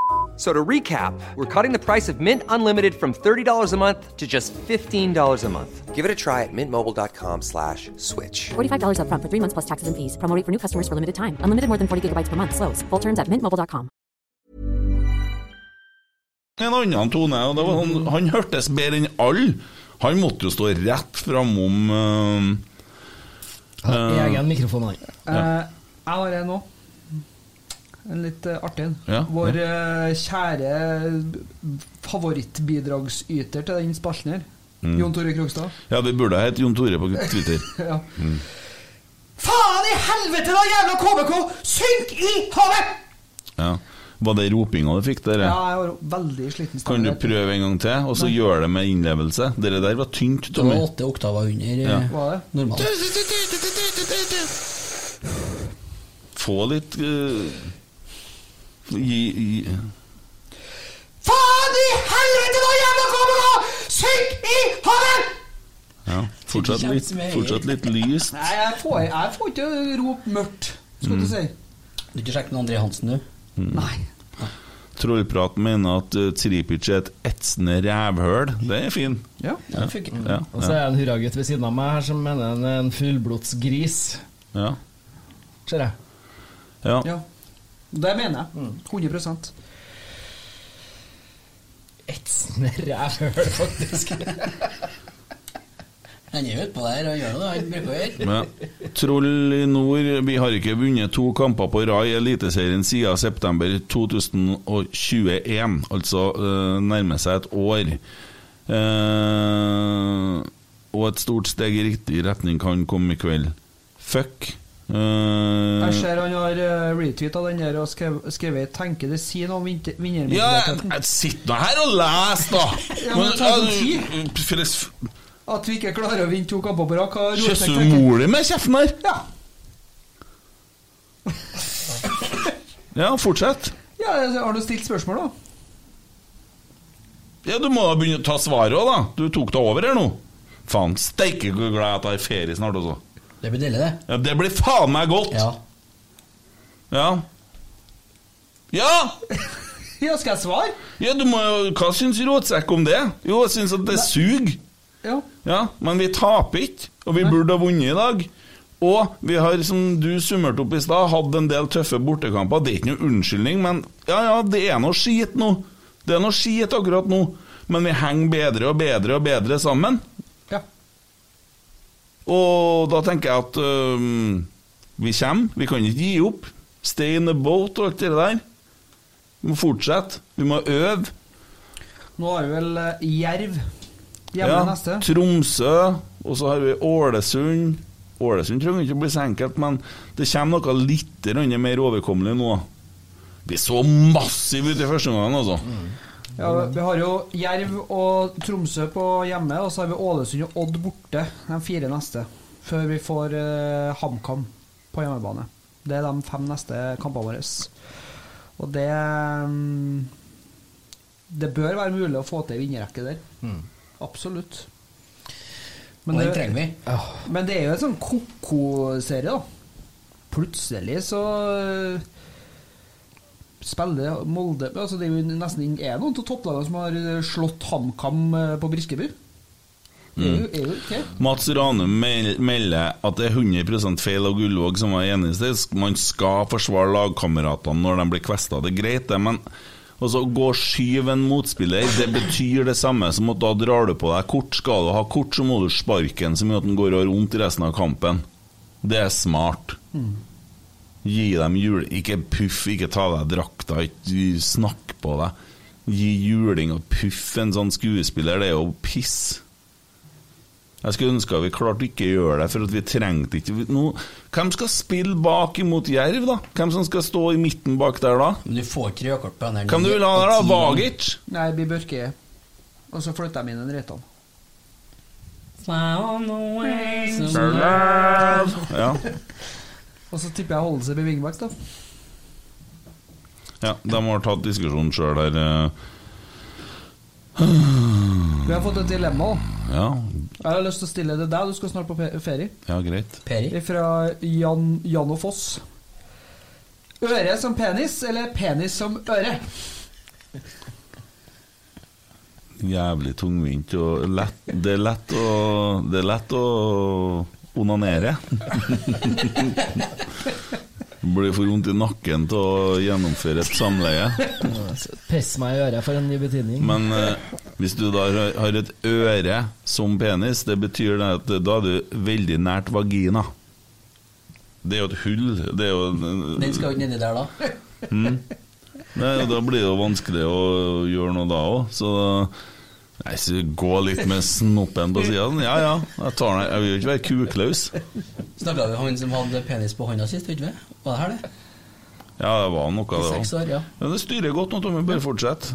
Speaker 10: So to recap, we're cutting the price of Mint Unlimited from $30 a month to just $15 a month. Give it a try at mintmobile.com slash switch.
Speaker 11: $45 up front for three months plus taxes and fees. Promo rate for new customers for limited time. Unlimited more than 40 gigabytes per month. Slows. Full terms at mintmobile.com.
Speaker 4: en annen tone. Og det var sånn, han hørtes bedre enn alle. Han måtte jo stå rett ehm, framom uh,
Speaker 7: Egen mikrofon, han.
Speaker 6: Eh, jeg har en òg. En litt eh, artig en.
Speaker 4: Ja,
Speaker 6: Vår eh, kjære favorittbidragsyter til den spalten her,
Speaker 4: Mm.
Speaker 6: Jon Tore Krogstad.
Speaker 4: Ja, det burde ha hett Jon Tore på Twitter.
Speaker 6: ja.
Speaker 4: Mm.
Speaker 3: Faen i helvete, da, jævla KBK! Synk i havet!
Speaker 4: Ja. Var det ropinga du fikk, dere?
Speaker 6: Ja, jeg var veldig sliten.
Speaker 4: Kan du prøve en gang til, og så gjør det med innlevelse? Dere der var tynt, Tommy.
Speaker 5: var åtte oktaver under eh,
Speaker 4: Ja.
Speaker 6: Var det?
Speaker 5: normalt.
Speaker 4: Få litt eh, gi, gi.
Speaker 3: Faen i helvete, da, jævla KBK! Synk i havet!
Speaker 4: Ja. Fortsatt litt, fortsatt litt lyst.
Speaker 6: Nei, jeg får, jeg får ikke rop mørkt, skal du
Speaker 4: Mm.
Speaker 6: si.
Speaker 5: Du ikke sjekket med André Hansen, du?
Speaker 6: Nei.
Speaker 4: Trollprat mener at eh, Tripic er et etsende rævhøl. Det er fin.
Speaker 6: Ja,
Speaker 4: ja. ja.
Speaker 7: Og så er det en hurragutt ved siden av meg her som mener han er en fullblodsgris,
Speaker 4: ja.
Speaker 7: ser jeg.
Speaker 4: Ja.
Speaker 6: Ja. Det mener jeg.
Speaker 4: Mm.
Speaker 6: 100
Speaker 7: Etsende rævhøl, faktisk.
Speaker 5: Han er jo utpå der og gjør det, han bruker å gjøre.
Speaker 4: Ja. Troll i nord, vi har ikke vunnet to kamper på rad i Eliteserien siden september 2021, altså eh, nærmer seg et år. Eh, og et stort steg i riktig retning kan komme i kveld. Fuck. Eh,
Speaker 6: Jeg ser han har eh, retweetet den der og skrev- skrevet 'Tenker det sier noe om vinter-
Speaker 4: ja,
Speaker 6: vinnermentaliteten'.
Speaker 4: jeg- jeg sitter nå her og leser, da!
Speaker 6: Ja, men ta deg
Speaker 4: Men, eh, for det-
Speaker 6: At vi ikke klarer å vinne to kamper på rad. hva Rosek
Speaker 4: Kysser du
Speaker 6: tenker.
Speaker 4: mor di med kjeften her?
Speaker 6: Ja.
Speaker 4: Ja, fortsett.
Speaker 6: ja, altså, har du stilt spørsmål, da?
Speaker 4: Ja, Du må da begynne å ta svaret òg, da. Du tok det over her nå. Faen, steike hvor glad jeg er at jeg har ferie snart også.
Speaker 5: Det blir deilig, det.
Speaker 4: Ja, det blir faen meg godt! Ja. Ja. ja.
Speaker 6: Ja, skal jeg svare?
Speaker 4: du må jo Hva syns Råtsekk om det? Jo, jeg syns at det suger.
Speaker 6: Ja.
Speaker 4: Men vi taper ikke, og vi burde ha vunnet i dag. Og vi har, som du summerte opp i stad, hatt en del tøffe bortekamper. Det er ikke noe unnskyldning, men ja, ja, det er noe skit nå. Det er noe skit akkurat nå. Men vi henger bedre og bedre og bedre sammen.
Speaker 6: Ja.
Speaker 4: Og da tenker jeg at øhm, vi kommer. Vi kan ikke gi opp. Stay in the boat og alt det der. Vi må fortsette. Vi må øve.
Speaker 6: Nå har vi vel eh, Jerv hjemme
Speaker 4: Ja,
Speaker 6: neste.
Speaker 4: Tromsø, og så har vi Ålesund. Ålesund trenger ikke å bli så enkelt, men det kommer noe litt grann mer overkommelig nå. Vi så massive ut i første omgang, altså.
Speaker 6: Mm. Ja, vi har jo Jerv og Tromsø på hjemme, og så har vi Ålesund og Odd borte, de fire neste. Før vi får eh, HamKam på hjemmebane. Det er de fem neste kampene våre. Og det mm, Det bør være mulig å få til en vinnerrekke der.
Speaker 5: Mm.
Speaker 6: Absolutt.
Speaker 5: Og den trenger vi.
Speaker 6: Men det er jo en sånn ko-ko-serie, da. Plutselig så eh, spiller Molde altså Det er jo nesten ingen- er det noen av topplagene som har eh, slått HamKam eh, på Briskeby.
Speaker 4: Mm.
Speaker 6: Det er jo, er jo ikke det.
Speaker 4: Mats Ranum mel- melder at det er 100 feil av Gullvåg som var enig i sted. Man skal forsvare lagkameratene når de blir kvesta. Det er greit, det, men altså, å gå og skyve en motspiller, det betyr det samme som at da drar du på deg kort. Skal du ha kort, så må du sparke den så mye at den går og har vondt i resten av kampen. Det er smart. Gi dem jul... Ikke puff, ikke ta av deg drakta, ikke snakk på deg. Gi juling og puff en sånn skuespiller, det er jo piss. Jeg skulle ønske at vi klarte ikke å gjøre det, for at vi trengte ikke vi- nå, Hvem skal spille bak imot Jerv, da? Hvem som skal stå i midten bak der, da?
Speaker 5: Men du får ikke rødkort på den her.
Speaker 4: Hvem du vil ha der, da? Vagic?
Speaker 6: Nei, det blir Børke. Og så flytter de inn en Reitan.
Speaker 4: Ja.
Speaker 6: Og så tipper jeg Holden seg blir wingback, da.
Speaker 4: ja, de har tatt diskusjonen sjøl der.
Speaker 6: Vi har fått et dilemma. da.
Speaker 4: eh. Ja,
Speaker 6: Jeg har lyst til å stille det deg. Du skal snart på fe- ferie.
Speaker 4: ja greit.
Speaker 6: Fra Jan, Jan og Foss. Øre som penis, eller penis som øre?
Speaker 4: Jævlig tungvint og lett Det er lett å Det er lett å onanere. Blir for vondt i nakken til å gjennomføre et samleie.
Speaker 7: Piss meg i øret for en ny betydning.
Speaker 4: Men eh, hvis du da har- har et øre som penis, det betyr det at da er du veldig nært vagina. Det er jo et hull. Det er jo en-
Speaker 5: Den skal jo ikke nedi der, da.
Speaker 4: Mm. Nei, og da blir det jo vanskelig å gjøre noe da òg, så Nei, så Gå litt med snoppen på sida. Ja ja, jeg tar den. Jeg vil jo ikke være kukløs.
Speaker 5: Snakka vi om han som hadde penis på hånda sist, gjorde vi ikke? Var det her, det?
Speaker 4: Ja, det var noe, det
Speaker 5: Seks
Speaker 4: også.
Speaker 5: år, ja.
Speaker 4: Men det styrer godt nå, Tommy. Bare fortsett.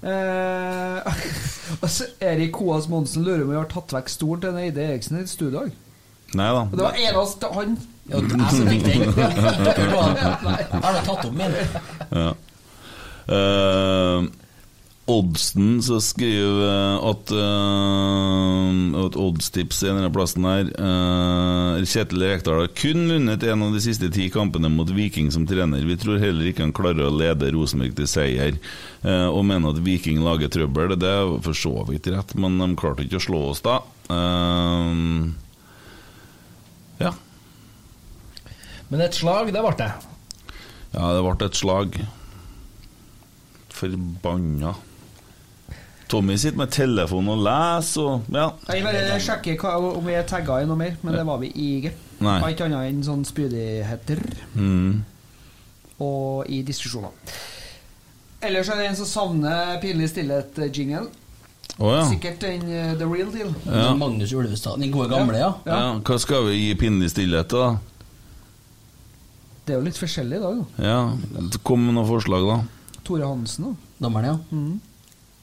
Speaker 6: Eh, altså, Erik Koas Monsen lurer om vi har tatt vekk stolen til Eide Eriksen i et studio.
Speaker 4: Nei da.
Speaker 6: Og det var eneste
Speaker 7: altså
Speaker 6: han
Speaker 4: Ja, det er så viktig.
Speaker 5: Har du tatt opp min?
Speaker 4: Ja. Eh, oddsen så skriver eh, at eh, at oddstips i denne plassen her eh, Kjetil Rekdal har kun vunnet en av de siste ti kampene mot Viking som trener. Vi tror heller ikke han klarer å lede Rosenborg til seier, eh, og mener at Viking lager trøbbel. Det er for så vidt rett, men de klarte ikke å slå oss da. Eh, ja.
Speaker 7: Men et slag, det ble det.
Speaker 4: Ja, det ble et slag. Forbanna. Tommy sitter med telefonen og leser og Ja.
Speaker 6: Jeg bare sjekker hva, om vi er tagga i noe mer, men det var vi ikke.
Speaker 4: Nei.
Speaker 6: Det var Ikke annet enn sånn spydigheter
Speaker 4: Mm.
Speaker 6: og i diskusjoner. Ellers er det en som savner pinlig stillhet-jingle.
Speaker 4: Å, ja.
Speaker 6: Sikkert den eh, The Real Deal.
Speaker 4: Ja.
Speaker 5: Magnus Ulvestad, den gode
Speaker 6: gamle, ja.
Speaker 4: ja. Hva skal vi gi pinlig stillhet til, da?
Speaker 6: Det er jo litt forskjellig i dag, da.
Speaker 4: Ja, Kom med noen forslag, da.
Speaker 6: Tore Hansen, da. Mm.
Speaker 5: Dommeren, ja.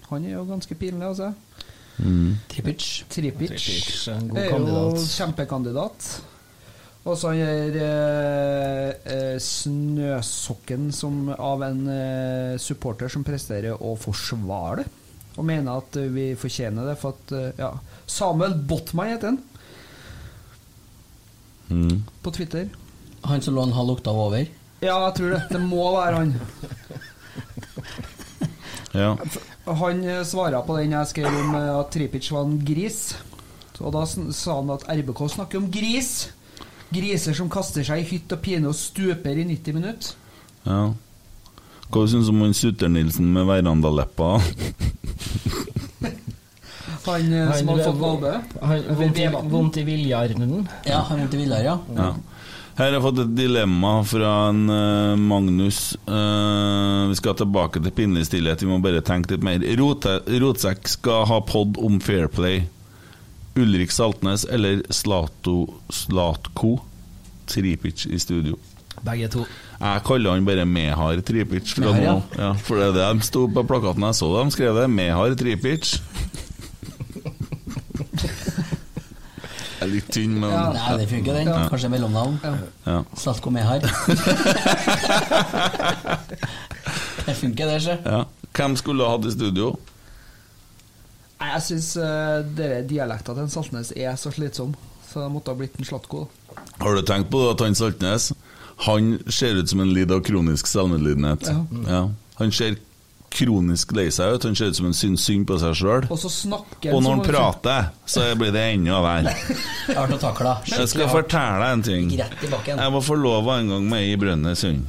Speaker 6: Han er jo ganske pinlig, altså.
Speaker 4: Mm.
Speaker 5: Tripic.
Speaker 6: Tripic.
Speaker 7: Tripic, en god
Speaker 6: er
Speaker 7: kandidat.
Speaker 6: jo kjempekandidat. Og så han der eh, eh, snøsokken som, av en eh, supporter som presterer å forsvare det. Og mener at eh, vi fortjener det for at eh, ja. Samuel Botman heter han
Speaker 4: Mm.
Speaker 6: på Twitter.
Speaker 5: Han som lå en halv oktav over.
Speaker 6: Ja, jeg tror det. Det må være han.
Speaker 4: Ja.
Speaker 6: Han eh, svarer på den jeg skrev om eh, at Tripic var en gris. Og da sn- sa han at RBK snakker om gris. Griser som kaster seg i hytt og pine og stuper i 90 minutter.
Speaker 4: ja. Hva syns du om han Sutter-Nilsen med verandaleppa?
Speaker 6: Han eh, som har fått valbø.
Speaker 7: Han- vondt i- Vondt i viljarden.
Speaker 5: Ja, han vondt i viljar, ja.
Speaker 4: Ja. Her har jeg fått et dilemma fra en eh, Magnus. Eh, vi skal tilbake til pinlig stillhet, vi må bare tenke litt mer. Rote, Rotsekk skal ha pod om Fair Play. Ulrik Saltnes eller Slato Slatko Tripic i studio.
Speaker 7: Begge to.
Speaker 4: Jeg kaller han bare Mehar Tripic fra
Speaker 7: Mehar, ja.
Speaker 4: nå. Ja, for det er det de sto på plakaten jeg så de skrev det. Mehar Tripic. Jeg er litt tynn, men
Speaker 5: Ja, Nei, det funker, den.
Speaker 4: Ja.
Speaker 5: Kanskje mellomnavn.
Speaker 4: Ja.
Speaker 5: Slatko Mehar. det funker, det, sjø.
Speaker 4: Ja. Hvem skulle ha hatt i studio?
Speaker 6: Nei, Jeg syns uh, dere dialekta til en Saltnes er så slitsom, så det måtte ha blitt en Slatko.
Speaker 4: Har du tenkt på det at han Saltnes Han ser ut som en lider av kronisk selvmedlidenhet.
Speaker 6: Ja.
Speaker 4: Ja. Han ser kronisk lei seg ut. Han ser ut som han syns synd på seg sjøl.
Speaker 6: Og så snakker
Speaker 4: Og
Speaker 6: som
Speaker 4: når han
Speaker 6: om-
Speaker 4: prater, så blir det enda verre.
Speaker 5: Jeg har vært og takla.
Speaker 4: Jeg skal fortelle deg en ting.
Speaker 5: Gikk rett i bakken.
Speaker 4: Jeg var forlova en gang med ei i Brønnøysund.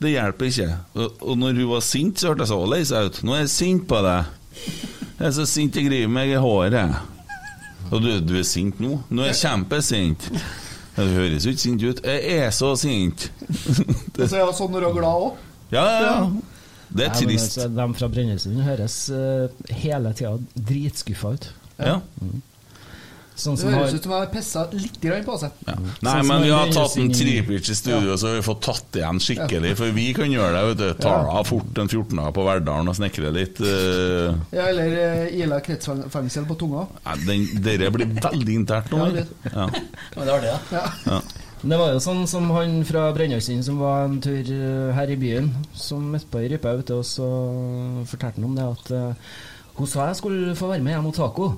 Speaker 4: Det hjelper ikke. Og og når hun var sint, så hørtes hun lei seg ut. Nå er jeg sint på deg. Jeg er så sint jeg griver meg i håret. Og du, du er sint nå? Nå er jeg kjempesint. Ja, Du høres jo ikke sint ut. Jeg er så sint.
Speaker 6: Og så er hun sånn når hun er glad òg.
Speaker 4: Ja, ja, ja. Det er
Speaker 7: Nei, men
Speaker 4: trist.
Speaker 7: altså, De fra Brønnøysund høres eh, hele tida dritskuffa ut.
Speaker 4: Ja.
Speaker 7: Mm. Sånn
Speaker 6: Det
Speaker 7: som har
Speaker 6: høres ut som jeg har pissa litt grann på seg.
Speaker 4: Nei, men vi har tatt en tripic i studio, så vi får tatt igjen skikkelig. For vi kan gjøre det. vet du Ta av fort den 14. på Verdalen og snekre litt. eh,
Speaker 6: Ja, eller eh, Ila kretsfengsel på tunga.
Speaker 4: Nei, den, dere blir veldig internt nå.
Speaker 7: Ja, det
Speaker 4: Ja,
Speaker 5: Men det var det,
Speaker 6: ja.
Speaker 4: ja.
Speaker 7: Men Det var jo sånn som han fra Brønnøysund som var en tur eh, her i byen, som møtte på ei rype ute, og så fortalte han om det at eh, hun sa jeg skulle få være med hjem og taco.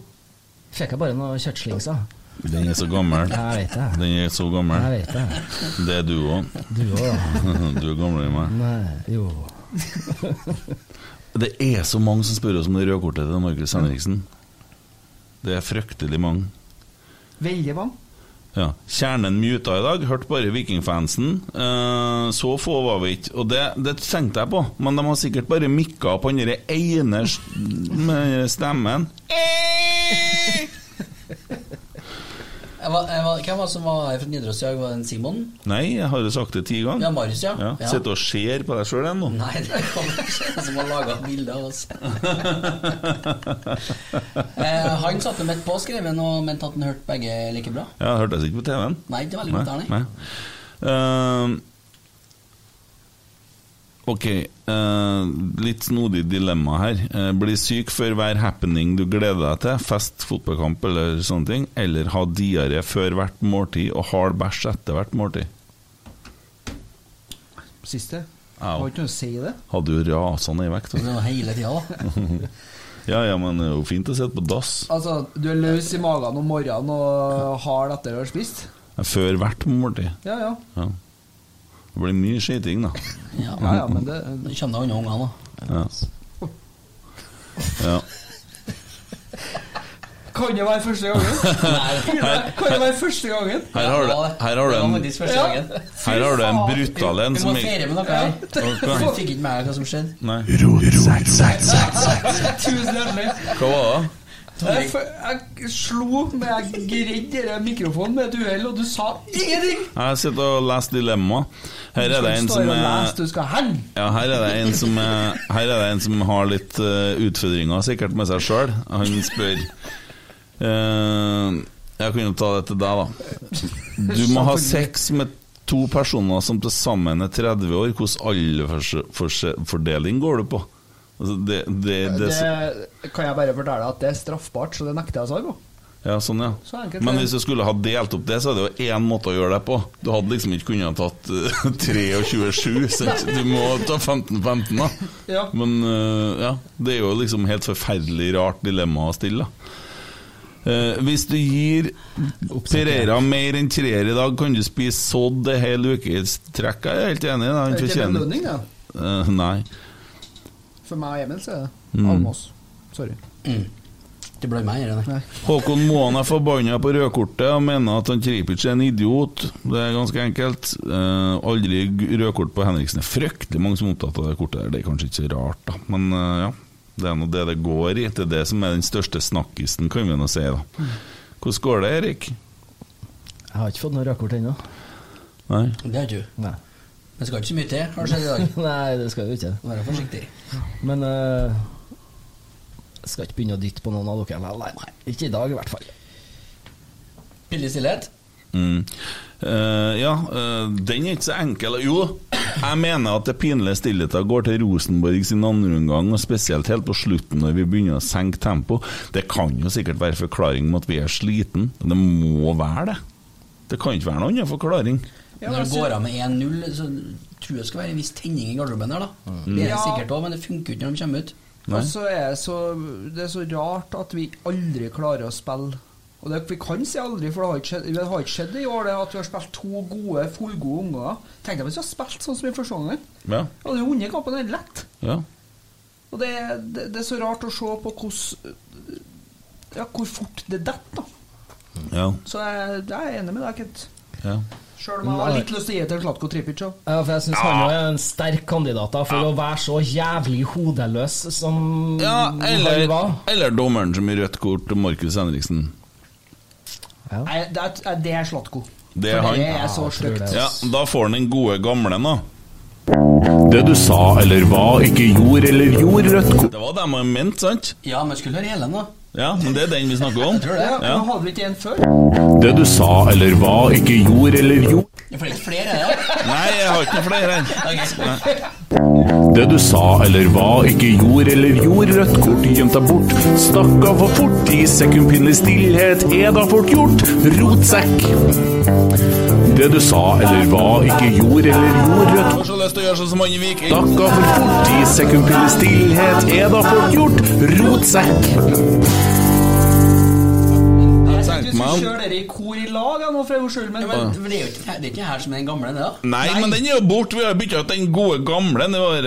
Speaker 7: Fikk jeg bare noen kjøttslinger.
Speaker 4: Den er så gammel.
Speaker 7: Jeg vet det.
Speaker 4: Den er så gammel.
Speaker 7: Jeg vet det.
Speaker 4: Det er du òg.
Speaker 7: Du også.
Speaker 4: Du er gamlere enn meg.
Speaker 7: Nei, jo
Speaker 4: Det er så mange som spør oss om det røde kortet til Markus Henriksen. Det er fryktelig mange.
Speaker 6: Veldig mange.
Speaker 4: Ja. Kjernen muta i dag, hørte bare vikingfansen. Eh, så få var vi ikke. Og det, det tenkte jeg på, men de har sikkert bare mikka på den der ene s- med den der stemmen.
Speaker 5: Jeg hva- eh, hva- Hvem var det som var her fra Nidaros i dag? Var det en Simon?
Speaker 4: Nei, jeg har jo sagt det ti ganger.
Speaker 5: Ja, Marius, ja. Ja.
Speaker 4: Sitter og ser på deg sjøl ennå.
Speaker 5: Nei, det er Kåre som har laga et bilde av oss. eh, han satte midt på og skrev en og mente at han hørte begge like bra.
Speaker 4: Ja, hørte jeg det ikke på TV-en?
Speaker 5: Nei, det er veldig godt der, nei.
Speaker 4: Ehm, ok, eh, litt snodig dilemma her. Eh, bli syk før hver happening du gleder deg til, fest, fotballkamp eller sånne ting, eller ha diaré før hvert måltid og hard bæsj etter hvert måltid.
Speaker 6: Siste.
Speaker 4: Au.
Speaker 6: Har ikke noe å si det.
Speaker 4: Hadde jo rasa ned i vekt. altså.
Speaker 6: Det var hele tida, da.
Speaker 4: ja, ja, men det er jo fint å sitte på dass.
Speaker 6: Altså, du er løs i magen om morgenen og hard etter å ha spist.
Speaker 4: eh, Før hvert måltid.
Speaker 6: Ja, ja.
Speaker 4: Ja. Det blir mye skiting, da.
Speaker 5: Ja,
Speaker 6: ja, ja men det
Speaker 5: Kjenner han ungene, da?
Speaker 4: Ja. ja.
Speaker 6: Kan det være første gangen?
Speaker 4: Her-
Speaker 6: Kan det være første gangen?
Speaker 4: Her har du, her har du
Speaker 5: Det var
Speaker 4: en
Speaker 5: faktisk første gangen.
Speaker 4: Her har du en brutal en
Speaker 5: Vi
Speaker 4: som
Speaker 5: må feire med noe her.
Speaker 4: Ok.
Speaker 5: Du fikk ikke med deg hva som skjedde.
Speaker 4: Nei.
Speaker 6: Tusen hjertelig.
Speaker 4: Hva var det?
Speaker 6: Jeg, f jeg slo med Jeg gredde denne mikrofonen med et uhell, og du sa ingenting!
Speaker 4: Jeg sitter og leser Dilemma. Her er det en som
Speaker 6: er
Speaker 4: er
Speaker 6: Du skal henge!
Speaker 4: ja, her er, det en som er, her er det en som har litt eh, utfordringer sikkert med seg sjøl. Han spør eh, Jeg kunne ta det til deg, da. Du må ha sex med to personer som til sammen er 30 år. Hvilken alderfordeling går du på? Altså, det, det, det,
Speaker 6: Det kan jeg bare fortelle at det er straffbart, så det nekter jeg å svare på.
Speaker 4: Ja, sånn, ja.
Speaker 6: Så enkelt
Speaker 4: Men
Speaker 6: er det.
Speaker 4: hvis du skulle ha delt opp det, så er det jo én måte å gjøre det på. Du hadde liksom ikke kunnet ha tatt eh, 23-27, så du må ta 15-15, da.
Speaker 6: Ja.
Speaker 4: Men eh, ja, det er jo liksom helt forferdelig rart dilemma å stille, da. Eh, hvis du gir Pereira mer enn treer i dag, kan du spise sodd ei hel uke i strekk? Jeg er helt enig. Da. Han
Speaker 6: Det er ikke
Speaker 4: fortjener
Speaker 6: belønning, da.
Speaker 4: Eh, nei.
Speaker 6: For meg og Emil så er det
Speaker 4: Mm.
Speaker 6: Almås. Sorry.
Speaker 5: Mm. Det ble meg, eller?
Speaker 6: Nei.
Speaker 4: Håkon Moan er forbanna på rødkortet og mener at han Tripic er en idiot. Det er ganske enkelt. Eh, aldri g- rødkort på Henriksen. Det er fryktelig mange som er opptatt av det kortet. der Det er kanskje ikke så rart, da. Men eh, ja, det er nå det det går i. Det er det som er den største snakkisen, kan vi nå si. da Hvordan går det, Erik?
Speaker 7: Jeg har ikke fått noe rødkort ennå.
Speaker 4: Nei?
Speaker 5: Det har du.
Speaker 7: Nei.
Speaker 5: Det skal ikke så mye til, har det skjedd i dag.
Speaker 7: Nei, det skal jo ikke.
Speaker 5: Vær forsiktig.
Speaker 7: Men eh, jeg skal ikke begynne å dytte på noen av dere. Nei, nei, nei. Ikke i dag, i hvert fall.
Speaker 5: Billig stillhet.
Speaker 4: Mm. Eh, ja, eh, den er ikke så enkel. Jo, jeg mener at det pinlige stillheten går til Rosenborg sin andre omgang, og spesielt helt på slutten når vi begynner å senke tempo. Det kan jo sikkert være forklaring med at vi er sliten. Det må være det. Det kan ikke være noen annen forklaring.
Speaker 5: Når
Speaker 4: altså-
Speaker 5: det går av med 1-0, så tror jeg det skal være en viss tenning i garderoben der, da.
Speaker 4: Mm.
Speaker 5: Det er det
Speaker 6: Ja.
Speaker 5: sikkert òg, men det funker jo ikke når de kommer ut.
Speaker 6: Og så er det så, det er så rart at vi aldri klarer å spille. Og det, vi kan si aldri, for det har ikke skjedd, det har ikke skjedd i år det at vi har spilt to gode, fullgode unger. Tenk deg hvis vi hadde spilt sånn som i første gangen.
Speaker 4: Ja,
Speaker 6: Vi hadde jo vunnet kampen helt lett.
Speaker 4: ja.
Speaker 6: Og det, er- det, det er så rart å se på hvordan Ja, hvor fort det detter, da.
Speaker 4: ja,
Speaker 6: Så jeg, jeg er enig med deg, Kent.
Speaker 4: ja.
Speaker 6: Sjøl om jeg har litt lyst til å gi til Slatko Tripic òg.
Speaker 7: Ja, for jeg syns han er en sterk kandidat da, for å være så jævlig hodeløs som han
Speaker 4: Eller,
Speaker 7: var.
Speaker 4: eller dommeren som i rødt kort til Markus Henriksen.
Speaker 6: Nei, Det, er- det er Slatko.
Speaker 4: Det er han.
Speaker 6: Det er så stygt.
Speaker 4: Ja, da får han den gode gamle, da.
Speaker 12: Det du sa eller hva ikke gjorde eller gjorde rødt kort
Speaker 4: Det var det man mente, sant?
Speaker 5: Ja, men skulle høre Helen, da.
Speaker 4: Ja, men det er den vi snakker om.
Speaker 6: Ja,
Speaker 4: Ja.
Speaker 6: men Hadde vi ikke en før?
Speaker 12: Det du sa eller hva ikke gjorde eller gjorde
Speaker 5: Det er ikke flere, er det?
Speaker 4: Nei, jeg har ikke noe flere her. Nei.
Speaker 12: Det du sa eller hva ikke gjorde eller gjorde rødt kort gjemt deg bort Stakk av for fort i sekundpinnelig stillhet er da fort gjort Rotsekk Det du sa eller hva ikke gjorde eller gjorde rødt
Speaker 4: Jeg har så lyst til å gjøre sånn som han i Viking.
Speaker 12: Stakk av for fort i sekundpinnelig stillhet er da fort gjort Rotsekk
Speaker 6: Jeg tenkte vi
Speaker 4: meg om.
Speaker 6: skulle kjøre dere i kor i lag, ja, nå for jeg skyld, men,
Speaker 4: Ja, men-
Speaker 5: For Det er jo ikke, det er ikke her som er den gamle, det, da.
Speaker 4: Nei, men den er jo borte. Vi har bytta ut den gode gamle. Det var, eh,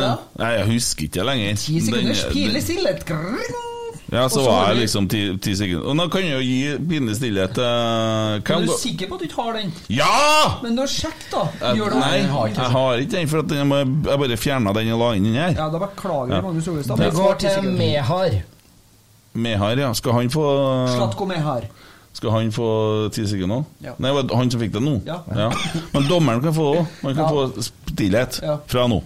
Speaker 5: da?
Speaker 4: Nei, jeg husker ikke lenger.
Speaker 6: Ti sekunders
Speaker 4: Den-
Speaker 6: pile
Speaker 4: den-
Speaker 6: stillhet. Grrrr.
Speaker 4: Ja,
Speaker 6: Og
Speaker 4: så
Speaker 6: så
Speaker 4: var jeg
Speaker 6: har vi-
Speaker 4: liksom ti, ti sekunder. Og nå kan jeg jo gi pinlig stillhet til
Speaker 6: Men
Speaker 4: Hvem
Speaker 6: du
Speaker 4: går
Speaker 6: er sikker på at du ikke har den?
Speaker 4: Ja!
Speaker 6: Men du har sjekket, da.
Speaker 4: Eh,
Speaker 6: Gjør det.
Speaker 4: Nei, jeg har ikke den, for at jeg, må- jeg bare fjerna den og la inn den her.
Speaker 6: Ja, da beklager
Speaker 4: Ja.
Speaker 6: jeg, Magnus Olestad.
Speaker 4: Det
Speaker 6: men
Speaker 7: går
Speaker 6: svart i
Speaker 7: til
Speaker 6: sekunder.
Speaker 7: Mehar.
Speaker 4: Mehar, ja. Skal han få
Speaker 6: Slatko Mehar.
Speaker 4: Skal han få ti sekunder?
Speaker 6: Ja.
Speaker 4: Nei, var det han som fikk det nå?
Speaker 6: Ja.
Speaker 4: Men dommeren kan få det òg. Han kan
Speaker 6: Ja.
Speaker 4: få stillhet
Speaker 6: Ja.
Speaker 4: fra nå.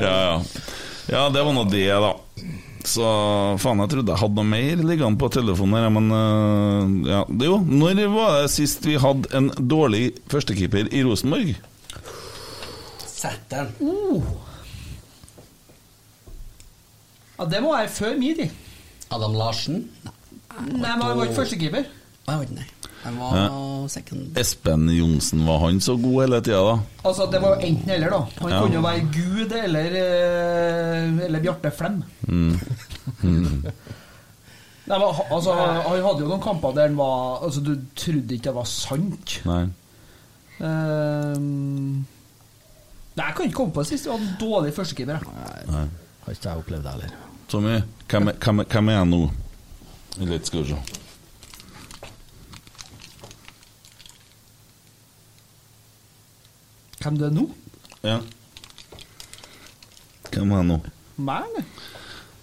Speaker 4: Ja, ja. ja, det var nå det, da. Så faen, jeg trodde jeg hadde noe mer liggende på telefonen her, men øh, ja. Det jo, når var det sist vi hadde en dårlig førstekeeper i Rosenborg?
Speaker 5: Sett den.
Speaker 6: Oh. Ja, det må være før min tid.
Speaker 5: Adam Larsen?
Speaker 6: Nei, men han var ikke førstekeeper.
Speaker 5: Nei, jeg vet ikke, nei. Han var
Speaker 4: Ja.
Speaker 5: second.
Speaker 4: Espen Johnsen, var han så god hele tida, da?
Speaker 6: Altså, det var jo enten eller, da. Han
Speaker 4: Ja.
Speaker 6: kunne jo være Gud eller, eh, eller Bjarte Flem.
Speaker 4: Mm. Mm.
Speaker 6: Nei, men, ha- altså, han han hadde jo noen kamper der han var Altså, du trodde ikke det var sant.
Speaker 4: Nei.
Speaker 6: Ehm, nei, jeg kan ikke komme på sist. Det var en dårlig førstekeeper. jeg.
Speaker 4: Nei.
Speaker 7: Har ikke jeg opplevd det heller.
Speaker 4: Tommy, hvem, er- hvem, er- hvem er jeg nå? Litt, skal vi se.
Speaker 6: Hvem det er nå?
Speaker 4: Ja. Hvem er jeg nå?
Speaker 6: Meg, eller?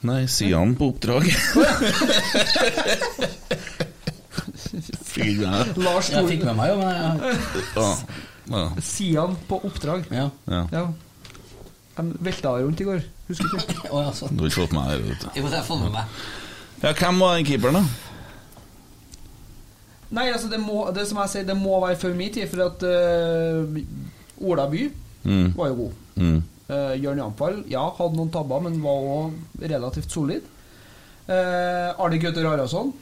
Speaker 4: Nei, sier han på oppdrag. Fikk ikke med meg.
Speaker 6: Lars
Speaker 5: Jeg fikk med meg, jo, men
Speaker 4: Ja. Ja.
Speaker 6: Sian på oppdrag.
Speaker 5: Ja.
Speaker 4: Ja.
Speaker 6: De velta rundt i går, husker du ikke?
Speaker 5: Å, ja, sånn.
Speaker 4: Du har ikke fått med deg det, vet du.
Speaker 5: Jo, det har jeg fått med meg.
Speaker 4: Ja, hvem var den keeperen, da?
Speaker 6: Nei, altså, det, må, det som jeg sier, det må være før min tid, for at eh, Ola By
Speaker 4: Mm.
Speaker 6: var jo god.
Speaker 4: Mm.
Speaker 6: Uh, Jørn Jampal ja, hadde noen tabber, men var også relativt solid. Eh, Arne Gaute Rarason.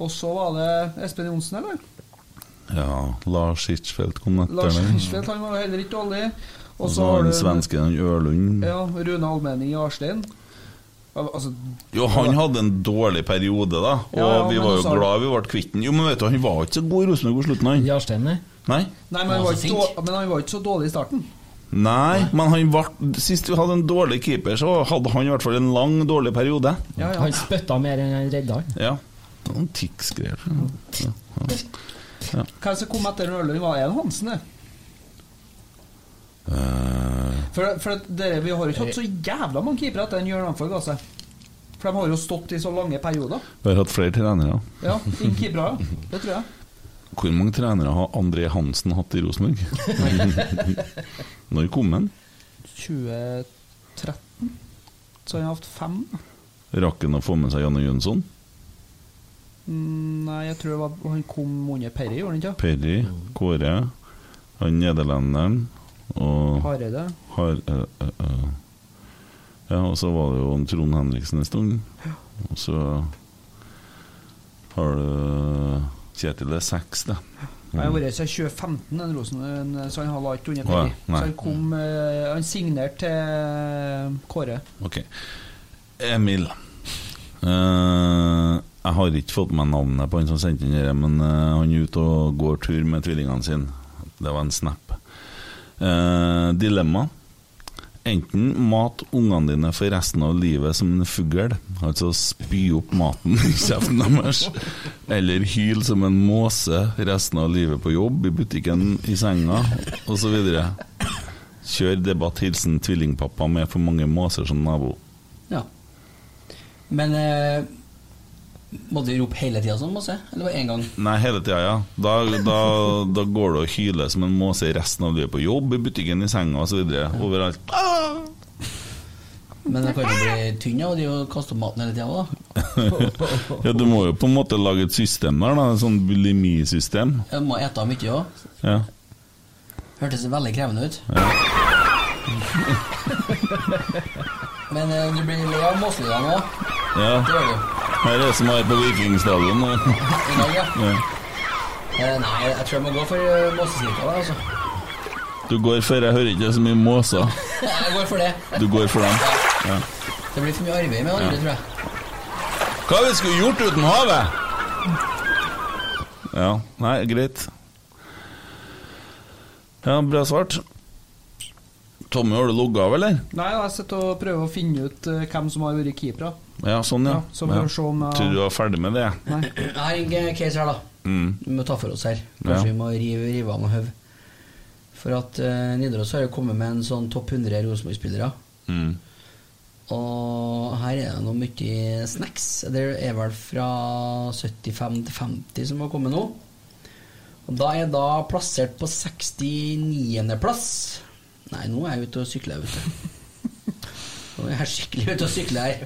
Speaker 6: Og så var det Espen Johnsen, eller?
Speaker 4: Ja, Lars Hirschfeldt kom etter
Speaker 6: Lars
Speaker 4: den.
Speaker 6: Hirschfeldt, han var jo heller ikke dårlig.
Speaker 4: Og så var den svenske den Ørlund.
Speaker 6: Ja, Rune Almenning i Arstein. Al- Altså,
Speaker 4: Jo, han hadde en dårlig periode, da. Og
Speaker 6: Ja, ja,
Speaker 4: vi
Speaker 6: men
Speaker 4: var jo
Speaker 6: også-
Speaker 4: glad vi ble kvitt den. Jo, men vet du, han var ikke så god i Rosenborg på slutten, han.
Speaker 7: Jarstein, nei?
Speaker 4: Nei?
Speaker 6: Nei, men han, var ikke dårlig, men han var ikke så dårlig i starten.
Speaker 4: Nei, men han ble, sist vi hadde en dårlig keeper, så hadde han i hvert fall en lang, dårlig periode.
Speaker 7: Han spytta mer enn han redda han.
Speaker 4: Ja. Det var noen tics-greier. Ja.
Speaker 6: Hvem som kom etter Ørlund, var en Hansen, det.
Speaker 4: Eh.
Speaker 6: For, for at dere, vi har ikke hatt så jævla mange keepere etter en Jørn Amford ga seg. For de har jo stått i så lange perioder.
Speaker 4: Vi har hatt flere trenere.
Speaker 6: Ja, ingen keepere, ja. Det tror jeg.
Speaker 4: Hvor mange trenere har André Hansen hatt i Rosenborg? Når kom han?
Speaker 6: 2013 så har jeg hatt fem.
Speaker 4: Rakk han å få med seg Janne Jønsson?
Speaker 6: Mm, Nei, jeg tror det var han kom under Perry, gjorde han ikke?
Speaker 4: Perry, Kåre, han nederlenderen og
Speaker 6: Hareide.
Speaker 4: Har, eh, eh, eh. Ja, og så var det jo en Trond Henriksen en stund. Og så har du Kjetil det er seks, da.
Speaker 6: Han har vært siden 2015, den Rosen, en- så han har ikke under
Speaker 4: Å ja,
Speaker 6: Perry.
Speaker 4: nei.
Speaker 6: Så han kom eh, Han signerte til Kåre.
Speaker 4: Mm. Ok. Emil. Eh, jeg har ikke fått med navnet på han som sendte inn dette, men eh, han er ute og går tur med tvillingene sine. Det var en snap. Eh, dilemma. Enten mat ungene dine for resten av livet som en fugl, altså spy opp maten i kjeften deres, eller hyl som en måse resten av livet på jobb, i butikken, i senga, osv. Kjør debatt, hilsen tvillingpappa med for mange måser som nabo.
Speaker 5: Ja. Men eh, måtte vi rope hele tida sånn, måtte jeg? Eller var det én gang?
Speaker 4: Nei, hele tida, ja. Da, da, da går det og hyler som en måse i resten av livet på jobb, i butikken, i senga osv. Overalt.
Speaker 5: Men det kan jo bli tynn av å kaste opp maten hele tida òg, da.
Speaker 4: ja, du må jo på en måte lage et system der, da. Et sånn bulimisystem.
Speaker 5: Jeg må ete mye òg.
Speaker 4: Ja.
Speaker 5: Hørtes veldig krevende ut. Men eh, du blir le av måselydene òg.
Speaker 4: ja.
Speaker 5: Det gjør du.
Speaker 4: Her er det som er på Vikingstadion.
Speaker 5: I dag, ja.
Speaker 4: Ja.
Speaker 5: Eh, Nei, jeg tror jeg må gå for eh, måsesnippa, da, altså.
Speaker 4: Du går for Jeg hører ikke så mye måser.
Speaker 5: Jeg går for det.
Speaker 4: Du går for dem. Ja.
Speaker 5: Det blir for mye arbeid med
Speaker 4: Ja.
Speaker 5: andre, tror jeg.
Speaker 4: Hva vi skulle gjort uten havet? Ja, nei, greit. Ja, bra svart. Tommy, har du logga av, eller?
Speaker 6: Nei, jeg sitter og prøver å finne ut eh, hvem som har vært keepere.
Speaker 4: Ja, sånn, ja.
Speaker 6: Ja, så får vi se om jeg-
Speaker 4: Tror du var ferdig med det?
Speaker 5: Jeg har en case her, da.
Speaker 4: Mm.
Speaker 5: Vi må ta for oss her. Kanskje
Speaker 4: Ja.
Speaker 5: vi må rive, rive av noe høv. For at eh, Nidaros har jo kommet med en sånn topp 100 Rosenborg-spillere.
Speaker 4: Mm.
Speaker 5: Og her er det noe mye snacks. Det er vel fra 75 til 50 som har kommet nå. Og da er jeg da plassert på 69.-plass. Nei, nå er jeg ute og sykler, vet du. Nå er jeg skikkelig ute og sykler her.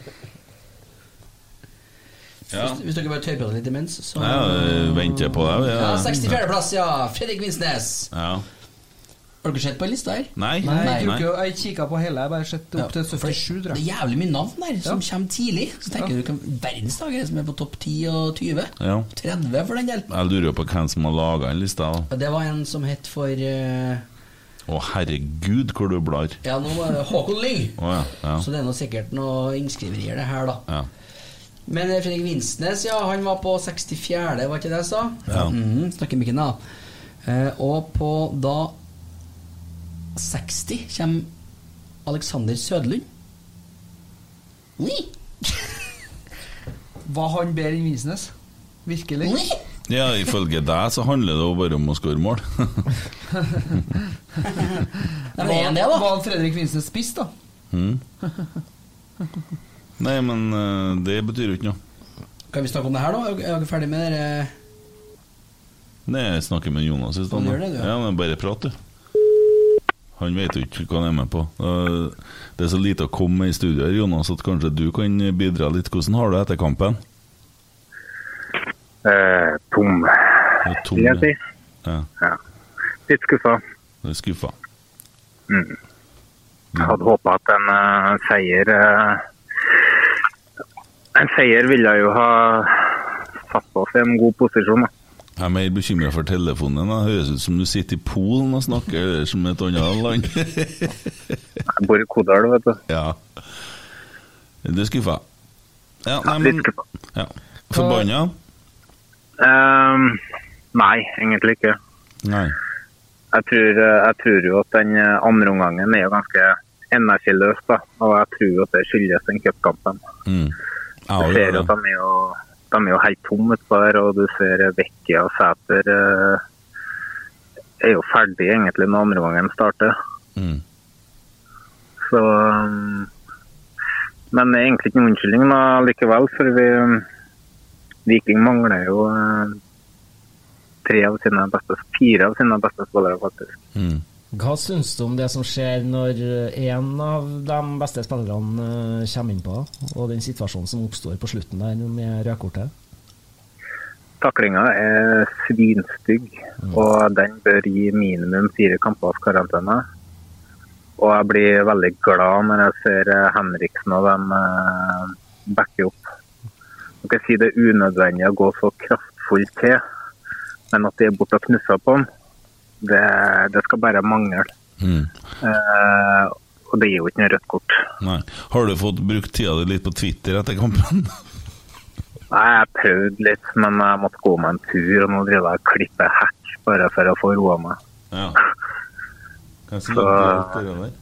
Speaker 4: Ja.
Speaker 5: Hvis, hvis dere bare tørrprater litt imens, så
Speaker 4: Ja, vi venter på deg. vi.
Speaker 5: ja, 64.-plass, ja. Fredrik Vinsnes.
Speaker 4: Ja.
Speaker 5: Har dere sett på lista her?
Speaker 4: Nei.
Speaker 6: Nei, jeg, tror ikke- jeg kikka på hele, jeg bare sett opp til 77, tror
Speaker 5: Det er
Speaker 6: jeg.
Speaker 5: jævlig mye navn der som
Speaker 6: Ja.
Speaker 5: kommer tidlig. Så tenker
Speaker 6: Ja.
Speaker 5: du hvem verdens dag er det som er på topp 10 og 20?
Speaker 4: Ja.
Speaker 5: 30 for den del.
Speaker 4: Jeg lurer jo på hvem som har laga den lista. da.
Speaker 5: Og Det var en som het for eh,
Speaker 4: Å, herregud, hvor du blar.
Speaker 5: Ja, nå var det Håkon Lyng.
Speaker 4: Å ja. ja.
Speaker 5: Så det er nå sikkert noe innskriverier, det her, da.
Speaker 4: ja.
Speaker 5: Men eh, Fredrik Vinsnes, ja, han var på 64., var ikke det jeg sa?
Speaker 4: Ja.
Speaker 5: Mhm, snakker mikken, da. Eh, og på da 60 kommer Alexander Sødlund. Oi!
Speaker 6: Var han bedre enn Vinsnes? Virkelig?
Speaker 4: ja, ifølge deg så handler det jo bare om å skåre mål.
Speaker 6: Var,
Speaker 5: er han det, da?
Speaker 6: var han Fredrik Vinsnes spiss, da?
Speaker 4: Mm. Nei, men eh, det betyr jo ikke noe.
Speaker 5: Kan vi snakke om det her, da? Er dere ferdig med det? eh?
Speaker 4: Nei, jeg snakker med Jonas i
Speaker 5: Ja,
Speaker 4: stedet.
Speaker 5: du gjør det, du, ja.
Speaker 4: Ja, men bare prat, du. Han vet jo ikke hva han er med på. Eh, Det er så lite å komme med i studio her, Jonas, at kanskje du kan bidra litt. Hvordan har du det etter kampen?
Speaker 13: Eh, tom,
Speaker 4: tom,
Speaker 13: vil jeg si.
Speaker 4: Ja,
Speaker 13: Ja. Litt skuffa.
Speaker 4: du er skuffa.
Speaker 13: Mm. Jeg hadde håpa at en eh, seier eh, En seier ville jo ha satt oss i en god posisjon. Da.
Speaker 4: Jeg er mer bekymra for telefonen. din, da. Høres ut som du sitter i Polen og snakker eller som et annet land.
Speaker 13: Jeg bor i Kodal, vet du.
Speaker 4: Ja. Du er skuffa? Ja, nei, men ja. Forbanna?
Speaker 13: Ehm, nei, egentlig ikke.
Speaker 4: Nei.
Speaker 13: Jeg tror, eh, jeg tror jo at den eh, andre omgangen er jo ganske energiløs, da. Og jeg tror jo at det skyldes den cupkampen.
Speaker 4: Mm.
Speaker 13: Du ser jo at de er jo, de er jo helt tomme utpå der, og du ser Vekke og Sæter eh, er jo ferdig egentlig når andre gangen starter.
Speaker 4: Mm.
Speaker 13: Så um, Men det er egentlig ikke noen unnskyldning da, likevel, for vi mm, Viking mangler jo eh, tre av sine beste, fire av sine beste spillere, faktisk.
Speaker 7: Hva syns du om det som skjer når én av de beste spillerne eh, kommer innpå, og den situasjonen som oppstår på slutten der med rødkortet?
Speaker 13: Taklinga er svinstygg, og den bør gi minimum fire kampers karantene. Og jeg blir veldig glad når jeg ser eh, Henriksen og dem eh, backe opp. Man kan si det er unødvendig å gå så kraftfullt til, men at de er borte og knusser på den, det, det skal bare mangle.
Speaker 4: Mm.
Speaker 13: Eh, og det gir jo ikke noe rødt kort.
Speaker 4: nei. Har du fått brukt tida di litt på Twitter etter kampen?
Speaker 13: Nei, jeg prøvde litt, men jeg måtte gå meg en tur, og nå driver jeg og klipper hekk bare for å få roa meg.
Speaker 4: Ja. Hva
Speaker 13: Så-
Speaker 4: som ligger alt det der?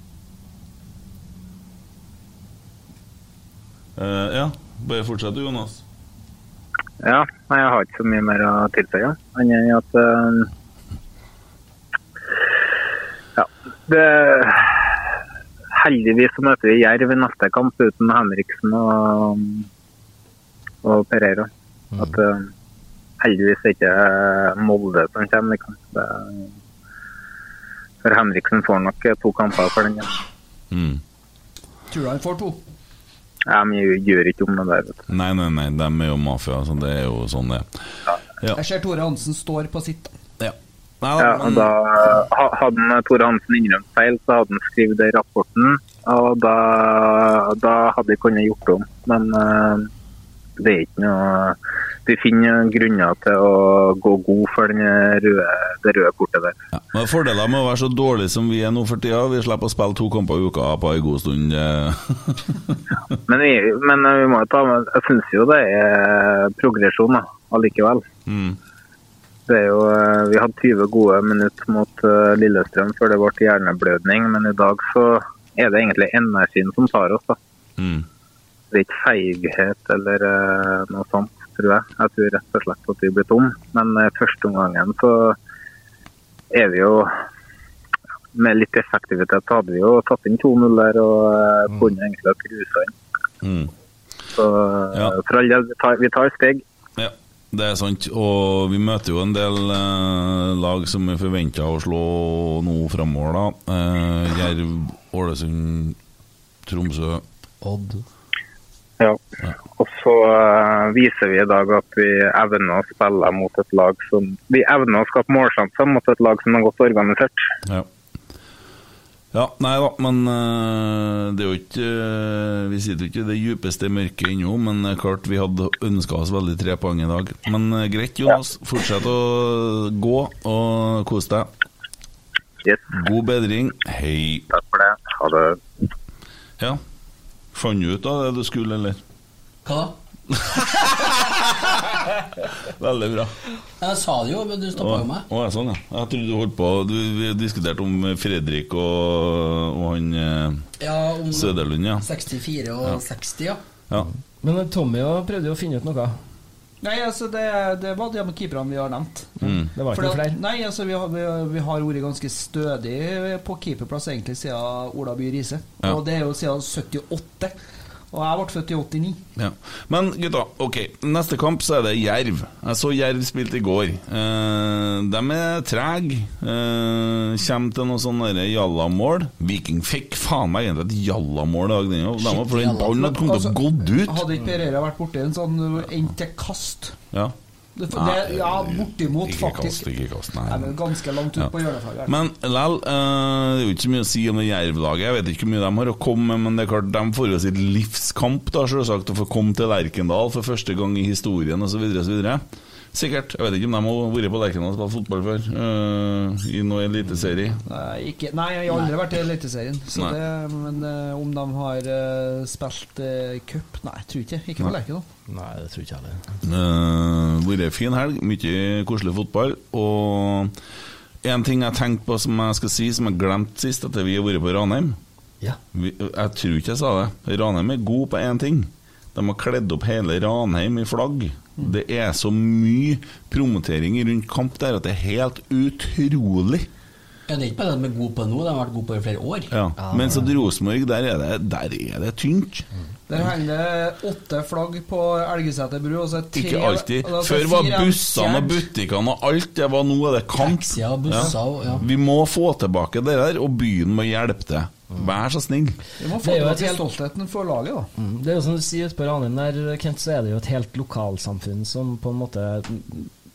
Speaker 4: Eh, ja, bare fortsett du, Jonas.
Speaker 13: Ja, nei, jeg har ikke så mye mer å tilføye. Annet enn at eh, Ja. Det, heldigvis så møter vi Jerv i neste kamp uten Henriksen og, og Pereira. At eh, heldigvis er ikke eh, Molde som kommer. Liksom. Det, for Henriksen får nok eh, to kamper for den. ja.
Speaker 4: Mm.
Speaker 6: Tror du han får to?
Speaker 13: Jeg gjør ikke om det der. vet du.
Speaker 4: Nei, nei, nei, de er jo mafia, så det er jo sånn det er. Ja.
Speaker 6: Jeg ser Tore Hansen står på sitt.
Speaker 13: Ja, og da ha- hadde han Tore Hansen innrømt feil, så hadde han skrevet det i rapporten. Og da, da hadde vi kunnet gjort det om. Men eh, det er ikke noe Vi finner grunner til å gå god for den røde, det røde kortet der.
Speaker 4: Men Fordelen med å være så dårlig som vi er nå for tida, vi slipper å spille to kamper i uka på en god stund. eh.
Speaker 13: Men vi, men vi må jo ta med Jeg syns jo det er progresjon da, allikevel.
Speaker 4: Mm.
Speaker 13: Det er jo, eh, vi hadde 20 gode minutter mot eh, Lillestrøm før det ble hjerneblødning, men i dag så er det egentlig energien som tar oss. da.
Speaker 4: Mm.
Speaker 13: Det er ikke feighet eller eh, noe sånt, tror jeg. Jeg tror rett og slett at vi blir tom. Men eh, første omgangen så er vi jo Med litt effektivitet så hadde vi jo satt inn 2-0 der og eh, kunne egentlig ha cruisa inn.
Speaker 4: Mm.
Speaker 13: Så eh, for all del, vi tar, vi tar steg.
Speaker 4: Ja, det er sant. Og vi møter jo en del eh, lag som vi forventer å slå nå framover, da. Eh, Jerv, Ålesund, Tromsø.
Speaker 7: Odd.
Speaker 13: Ja. Og så eh, viser vi i dag at vi evner å spille mot et lag som Vi evner å skape målsjanser mot et lag som er godt organisert.
Speaker 4: Ja. ja, nei da, men eh, det er jo ikke eh, Vi sitter jo ikke i det djupeste mørket ennå, men det er klart vi hadde ønska oss veldig tre poeng i dag. Men eh, greit, Jonas. Fortsett å gå og kos deg. God bedring. Hei.
Speaker 13: Takk for det. Ha det.
Speaker 4: Ja. Fant du ut av det du skulle, eller?
Speaker 5: Hva da?
Speaker 4: Veldig bra.
Speaker 5: Jeg sa det jo, men du stoppa jo meg.
Speaker 4: Å, ja, sånn, ja. Jeg trodde du holdt på Du vi diskuterte om Fredrik og, og han eh,
Speaker 5: Ja, om
Speaker 4: Søderlund, ja.
Speaker 5: 64 og
Speaker 4: Ja.
Speaker 5: 60, ja.
Speaker 4: ja.
Speaker 7: Men eh, Tommy jo prøvde jo å finne ut noe.
Speaker 6: Nei, altså det, det var de med keeperne vi har nevnt.
Speaker 7: Mm. Det var ikke
Speaker 6: Fordi at-
Speaker 7: noe flere.
Speaker 6: Nei, altså vi har, vi, vi har vært ganske stødig på keeperplass egentlig siden Ola By Riise.
Speaker 4: Ja.
Speaker 6: Og det er jo siden 78. Og jeg ble født i 89.
Speaker 4: Ja. Men gutta, ok, neste kamp så er det Jerv. Jeg så Jerv spilte i går. Eh, de er trege. Eh, Kjem til noe sånn derre jallamål. Viking fikk faen meg egentlig et jallamål i dag, den jo. De var for den ballen hadde kommet til å gått ut.
Speaker 6: Altså, Hadde ikke Pereira vært borti en sånn endt til kast
Speaker 4: Ja.
Speaker 6: det, det,
Speaker 4: Nei,
Speaker 6: Ja, bortimot,
Speaker 4: ikke
Speaker 6: faktisk.
Speaker 4: kast, ikke kast, nei.
Speaker 6: Nei, men ganske langt ut
Speaker 4: Ja.
Speaker 6: på hjørneflagget.
Speaker 4: Men lell, eh, det er jo ikke så mye å si om det Jerv-laget. Jeg vet ikke hvor mye de har å komme med, men det er klart, de får jo sitt livskamp, da, selvsagt, å få komme til Lerkendal for første gang i historien, osv., osv. Sikkert. Jeg vet ikke om de har vært på Lerkendal og spilt fotball før, eh, i noen eliteserie.
Speaker 6: Nei, ikke, nei, jeg har aldri vært i Eliteserien. Så
Speaker 4: Nei.
Speaker 6: det, men eh, om de har eh, spilt eh, cup Nei, jeg tror ikke. Ikke på
Speaker 4: Nei.
Speaker 6: Lerkendal.
Speaker 7: Nei, det tror ikke jeg heller.
Speaker 4: Uh, vært en fin helg, mye koselig fotball. Og en ting jeg tenkte på som jeg skal si, som jeg glemte sist, etter vi har vært på Ranheim.
Speaker 7: Ja.
Speaker 4: Vi, jeg tror ikke jeg sa det. Ranheim er god på én ting. De har kledd opp hele Ranheim i flagg. Det er så mye promotering rundt kamp der at det er helt utrolig.
Speaker 5: Ja, Det er ikke bare at de er gode på det nå, de har vært gode på det i flere år.
Speaker 4: Ja. Mens at Rosenborg, der er det, der er det tynt.
Speaker 6: Der henger det åtte flagg på Elgeseter bru. og så er tre-
Speaker 4: Ikke alltid.
Speaker 6: og
Speaker 5: altså,
Speaker 6: da er det
Speaker 4: Før var
Speaker 6: fire
Speaker 4: bussene og
Speaker 6: stjert.
Speaker 4: butikkene og alt det var nå er det kamp.
Speaker 5: busser
Speaker 4: Ja.
Speaker 5: og- ja.
Speaker 4: Vi må få tilbake det der, og byen må hjelpe til. Vær så snill.
Speaker 6: Vi må
Speaker 7: Det
Speaker 6: få
Speaker 7: er jo
Speaker 6: tilbake
Speaker 7: et-
Speaker 6: stoltheten for laget, da.
Speaker 7: Mm. Det er jo som du sier ute på Ranheim der, Kent, så er det jo et helt lokalsamfunn som på en måte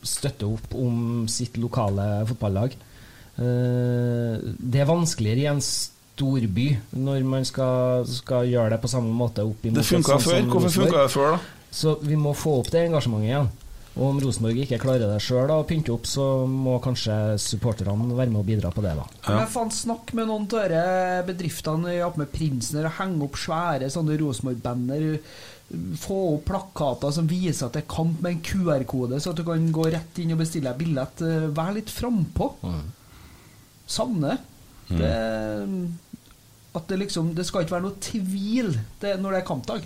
Speaker 7: støtter opp om sitt lokale fotballag. Eh, Det er vanskeligere i en storby når man skal, skal gjøre det på samme måte opp imot
Speaker 4: Det funka
Speaker 7: et sånt
Speaker 4: før.
Speaker 7: som
Speaker 4: Hvorfor
Speaker 7: Rosenborg.
Speaker 4: funka det før, da?
Speaker 7: Så vi må få opp det engasjementet igjen. Og om Rosenborg ikke klarer det sjøl og pynte opp, så må kanskje supporterne være med og bidra på det, da.
Speaker 6: Men faen, snakk med noen av disse bedriftene i Oppe med Prinsen og henge opp svære sånne Rosenborg-banner. Få opp plakater som viser at det er kamp med en QR-kode, så at du kan gå rett inn og bestille deg billett. Eh, Vær litt frampå. Savner
Speaker 4: Mm.
Speaker 6: det. det. At det liksom Det skal ikke være noe tvil det, når det er kampdag.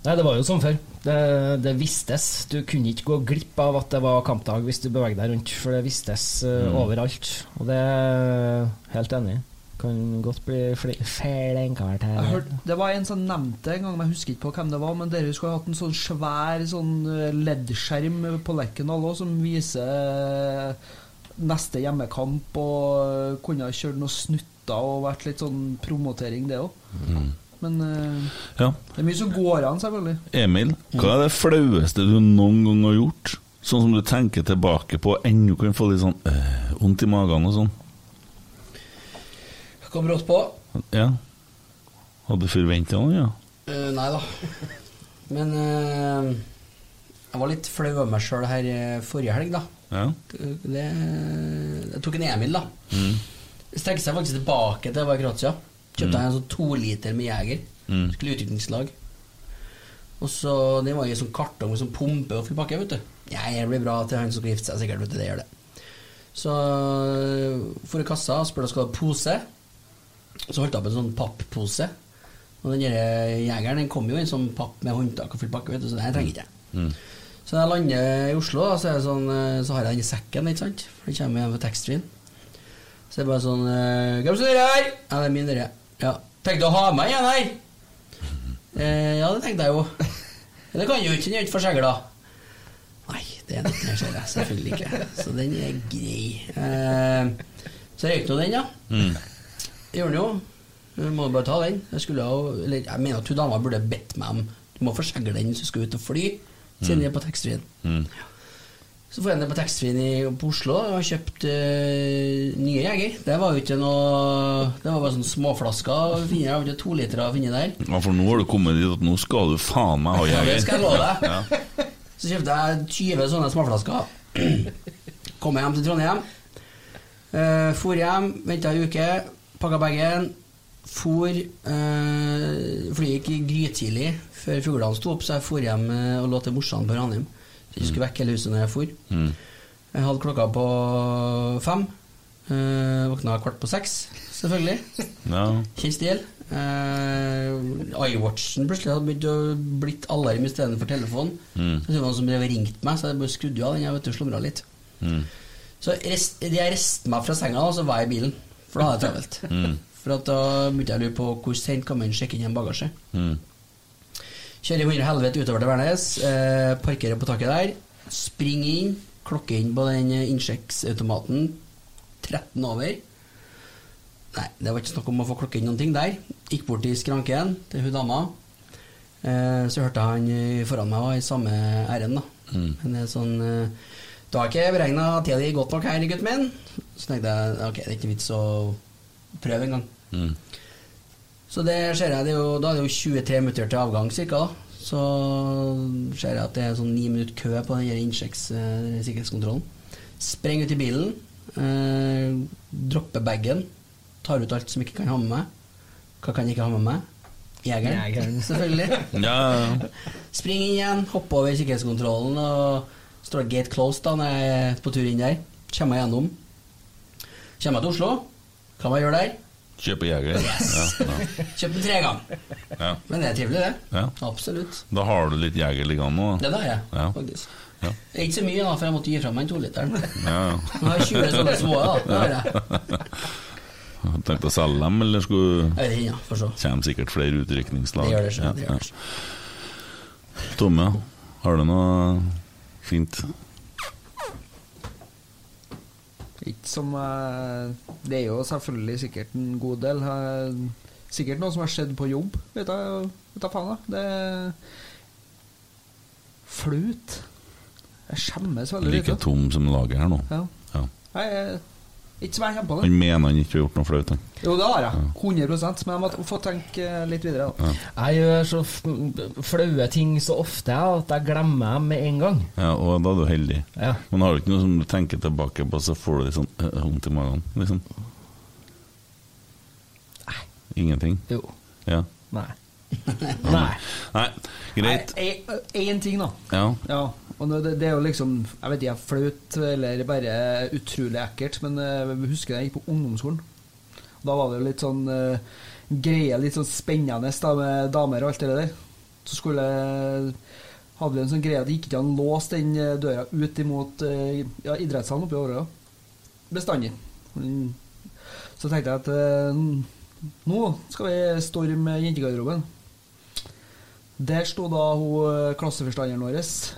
Speaker 7: Nei, det var jo sånn før. Det, det vistes. Du kunne ikke gå glipp av at det var kampdag hvis du beveget deg rundt, for det vistes eh,
Speaker 14: Mm.
Speaker 7: overalt. Og det er helt enig i. Kan godt bli fl- flenka her.
Speaker 6: Jeg hørte, det var en som nevnte en gang, men jeg husker ikke på hvem det var, men dere skulle ha hatt en sånn svær sånn eh, LED-skjerm på Lerkendal òg, som viser eh, neste hjemmekamp, og eh, kunne ha kjørt noen snutter og vært litt sånn promotering, det òg. Men eh,
Speaker 4: Ja.
Speaker 6: det er mye som går an, selvfølgelig.
Speaker 4: Emil,
Speaker 5: Mm.
Speaker 4: hva er det flaueste du noen gang har gjort? Sånn som du tenker tilbake på ennå kan få litt sånn øh, vondt i magen og sånn?
Speaker 5: Kom brått på.
Speaker 4: Ja. Hadde du forventa noe, ja?
Speaker 5: Eh, nei da. Men eh, jeg var litt flau over meg sjøl her eh, forrige helg, da.
Speaker 4: Ja.
Speaker 5: Det, jeg tok en Emil, da.
Speaker 4: Mm.
Speaker 5: Strekker seg faktisk tilbake til jeg var i Kroatia. Kjøpte jeg en sånn to liter med Jeger.
Speaker 4: Mm.
Speaker 5: Skulle i utviklingslag. Og så, Det var i en sånn kartong med sånn pumpe og full pakke. vet du. Ja, det blir bra til han som skal gifte seg, sikkert. vet du, det gjør det. Så eh, for i kassa og spurte om jeg skulle ha pose. Og så holdt jeg opp en sånn papppose. Og den der jegeren den kom jo i en sånn papp med håndtak og full pakke, vet du, så det her trenger ikke jeg.
Speaker 4: Mm.
Speaker 5: Så når jeg lander i Oslo, da, så, er det sånn, eh, så har jeg den i sekken, ikke sant? For det kommer igjen på taxfree-en. Så det er bare sånn eh, Hvem som er det her? Ja, det er min, dere. Ja. Tenkte å ha meg igjen her? Eh, ja, det tenkte jeg jo. Men det kan jo ikke, den er jo ikke forsegla. Nei, det er den ikke, ser jeg. Selvfølgelig ikke. Så den er grei. Eh, så røyk nå den, da.
Speaker 4: Mm.
Speaker 5: Det gjorde den jo. Du må bare ta den. Jeg, skulle jo, eller, jeg mener at hun dama burde bedt meg om Du må forsegle den hvis du skal ut og fly, siden
Speaker 4: Mm.
Speaker 5: vi er på taxfree-en.
Speaker 4: Mm.
Speaker 5: Så får jeg den på taxfree-en i- på Oslo og har kjøpt eh, nye Jeger. Det var jo ikke noe Det var bare sånne småflasker. å finne. Jeg har ikke to liter å finne der.
Speaker 4: Ja, for nå har du kommet dit at nå skal du faen meg ha
Speaker 5: Ja,
Speaker 4: jeger.
Speaker 5: det skal jeg love deg.
Speaker 4: Ja.
Speaker 5: Så kjøpte jeg 20 sånne småflasker. Kom hjem til Trondheim. Uh, for hjem, venta ei uke, pakka bagen. For eh, Flyet gikk grytidlig før fuglene sto opp, så jeg for hjem eh, og lå til morsan på Ranheim. Så jeg ikke skulle vekke hele huset når jeg for.
Speaker 4: Mm.
Speaker 5: Jeg hadde klokka på fem. Eh, våkna kvart på seks, selvfølgelig.
Speaker 4: Ja.
Speaker 5: Kjent stil. Eh, iWatchen plutselig hadde begynt å blitt alarm istedenfor telefon.
Speaker 4: Mm.
Speaker 5: Så det var noen som drev og ringte meg, så jeg bare skrudde jo av den. Jeg vet du, slumra litt.
Speaker 4: Mm.
Speaker 5: Så rest, jeg reiste meg fra senga, og så var jeg i bilen. For da hadde jeg travelt.
Speaker 4: Mm.
Speaker 5: For at da begynte jeg å lure på hvor sent kan man sjekke inn en bagasje.
Speaker 4: Mm.
Speaker 5: Kjører i hundre helvete utover til Værnes, eh, parkerer på taket der, springer inn, klokker inn på den eh, innsjekksautomaten 13 over. Nei, det var ikke snakk om å få klokke inn noen ting der. Gikk bort til skranken til hun dama. Eh, så hørte jeg han eh, foran meg var i samme ærend, da.
Speaker 4: Mm.
Speaker 5: Men det er sånn eh, Du har ikke beregna tida di godt nok her, gutten min. Så tenkte jeg ok, det er ikke vits å prøve engang.
Speaker 4: Mm.
Speaker 5: Så det ser jeg, det er jo, da er det jo 23 minutter til avgang cirka. da. Så ser jeg at det er sånn ni minutter kø på den her innsjekks- eh, sikkerhetskontrollen. Sprenger ut i bilen, eh, dropper bagen, tar ut alt som ikke kan ha med meg. Hva kan jeg ikke ha med meg? Jegeren,
Speaker 7: Jegeren.
Speaker 5: selvfølgelig.
Speaker 4: Ja, ja.
Speaker 5: Spring inn igjen, hoppe over sikkerhetskontrollen og står gate closed da når jeg er på tur inn der. Kommer meg gjennom. Kommer jeg til Oslo, hva må jeg gjøre der?
Speaker 4: Kjøpe jeger. Ja,
Speaker 5: Kjøpt den tre ganger.
Speaker 4: ja. Ja.
Speaker 5: Men det er trivelig, det.
Speaker 4: Ja.
Speaker 5: Absolutt.
Speaker 4: Da har du litt jeger liggende nå? da.
Speaker 5: Det har jeg,
Speaker 4: Ja.
Speaker 5: faktisk.
Speaker 4: Ja.
Speaker 5: Det er ikke så mye, da, for jeg måtte gi fra meg en toliteren.
Speaker 4: Ja, ja.
Speaker 5: Nå har jeg 20 sånne små, da. Det har jeg.
Speaker 4: Jeg Tenkte å selge dem, eller skulle
Speaker 5: Jeg vet ikke, ja, får se.
Speaker 4: Kommer sikkert flere utrykningslag.
Speaker 5: Det gjør det, sjø, det gjør
Speaker 4: ja. Tomme, har du noe fint?
Speaker 6: Ikke som jeg- Det er jo selvfølgelig sikkert en god del. Har- Sikkert noe som har skjedd på jobb. Vet jeg, vet jeg faen, da. Det er flaut. Jeg skjemmes veldig
Speaker 4: Like
Speaker 6: lite.
Speaker 4: tom som laget her nå.
Speaker 6: Ja.
Speaker 4: Ja.
Speaker 6: Nei, jeg- Ikke som jeg kommer på
Speaker 4: Han
Speaker 6: det.
Speaker 4: mener han ikke har gjort noe flaut, han.
Speaker 6: Jo, det har jeg. 100 Men jeg må få tenke eh, litt videre, da.
Speaker 7: Jeg gjør så f- flaue ting så ofte jeg, at jeg glemmer dem med en gang.
Speaker 4: Ja, og da er du heldig.
Speaker 7: Ja.
Speaker 4: Men har du ikke noe som du tenker tilbake på, så får du litt sånn øh, vondt i magen? Liksom. Ingenting?
Speaker 7: Jo.
Speaker 4: Ja.
Speaker 7: Nei.
Speaker 6: Nei.
Speaker 4: Nei, greit.
Speaker 6: Én ting, da.
Speaker 4: Ja.
Speaker 6: Ja, og nå, det, det er jo liksom Jeg vet ikke, jeg flaut eller bare utrolig ekkelt, men eh, jeg husker jeg gikk på ungdomsskolen. Da var det jo litt sånn eh, greie, litt sånn spennende da, med damer og alt det der. Så skulle hadde vi en sånn greie at det gikk ikke an å låse den eh, døra ut imot eh, ja, idrettshallen oppe i Årøya. Bestandig. Mm. Så tenkte jeg at eh, nå skal vi storme jentegarderoben. Der sto da hun eh, klasseforstanderen vår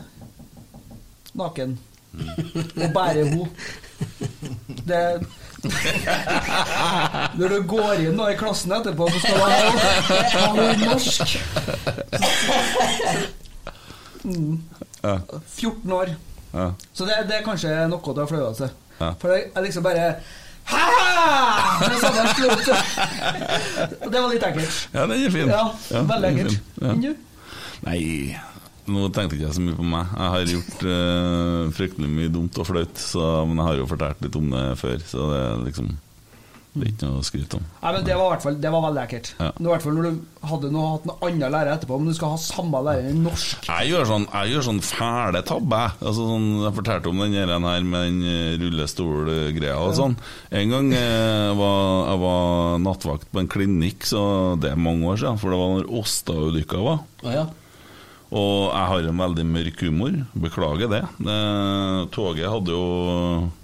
Speaker 6: naken. Og bærer hun. Det Når du går inn da i klassen etterpå, så skal du ha ha hun norsk. Mm.
Speaker 4: Ja.
Speaker 6: 14 år.
Speaker 4: Ja.
Speaker 6: Så det, det er kanskje noe til å flaue av seg.
Speaker 4: Ja.
Speaker 6: For det er liksom bare Ha-ha! Det, er sånn jeg slo ut. det var litt ekkelt.
Speaker 4: Ja, den er fin.
Speaker 6: Ja,
Speaker 4: Ja, den
Speaker 6: veldig
Speaker 4: er
Speaker 6: ekkelt.
Speaker 4: fin. Ja.
Speaker 6: Enn du?
Speaker 4: Nei, nå tenkte ikke jeg så mye på meg. Jeg har gjort eh, fryktelig mye dumt og flaut, så- men jeg har jo fortalt litt om det før, så det er liksom Det er ikke noe å skryte om.
Speaker 6: Nei, men Det var, i hvert fall, det var veldig ekkelt.
Speaker 4: Ja.
Speaker 6: Men I hvert fall når du hadde noe, hatt en annen lærer etterpå, men du skal ha samme lærer i norsk.
Speaker 4: Jeg gjør sånn, jeg gjør sånn fæle tabbe. jeg. Altså sånn, jeg fortalte om den her, den her med den eh, rullestolgreia og sånn. En gang eh, var, jeg var nattvakt på en klinikk, så det er mange år siden, for det var når Åsta-ulykka var. Og jeg har en veldig mørk humor. Beklager det. Eh, toget hadde jo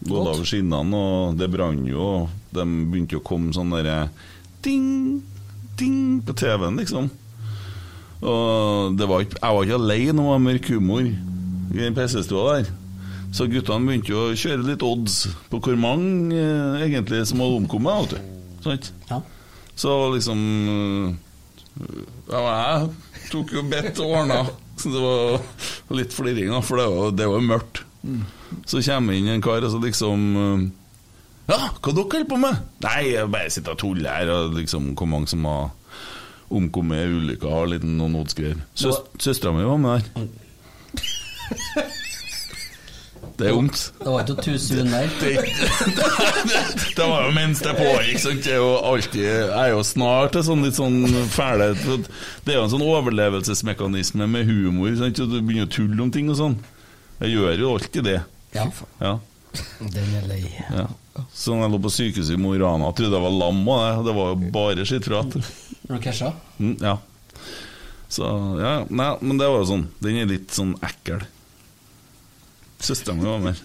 Speaker 4: gått
Speaker 12: Gått.
Speaker 4: over skinnene, og det brant jo. og De begynte jo å komme sånn derre Ding, ding på TV-en, liksom. Og det var ikke, jeg var ikke alene om å ha mørk humor i den PC-stua der. Så guttene begynte jo å kjøre litt odds på hvor mange eh, egentlig som hadde omkommet. Vet du. Sant? Så liksom eh, ja, men Jeg tok jo bedt og ordna. Så det var litt fliring, da, for det var, det var jo mørkt. Så kommer inn en kar og så liksom eh, Ja, hva dere holder på med? Nei, jeg bare sitter og tuller her, og liksom hvor mange som har omkommet i ulykka, har litt noen oddsgreier. Søs, Søstera mi var med der. Det er vondt.
Speaker 5: Det var ikke noe tusen der.
Speaker 4: Det var jo mens det pågikk. Sant? Jeg er jo alltid Jeg er jo snart en sånn litt sånn fæle Det er jo en sånn overlevelsesmekanisme med humor. Sant? Du begynner å tulle om ting og sånn. Jeg gjør jo alltid det.
Speaker 5: Ja.
Speaker 4: ja.
Speaker 7: Den er lei.
Speaker 4: Ja. Så når jeg lå på sykehuset i Mo i Rana, trodde jeg var lam og det. Det var jo bare skittprat.
Speaker 5: Når du casha?
Speaker 4: Mm, ja. Så ja, nei, men det var jo sånn. Den er litt sånn ekkel. Søsteren min var med.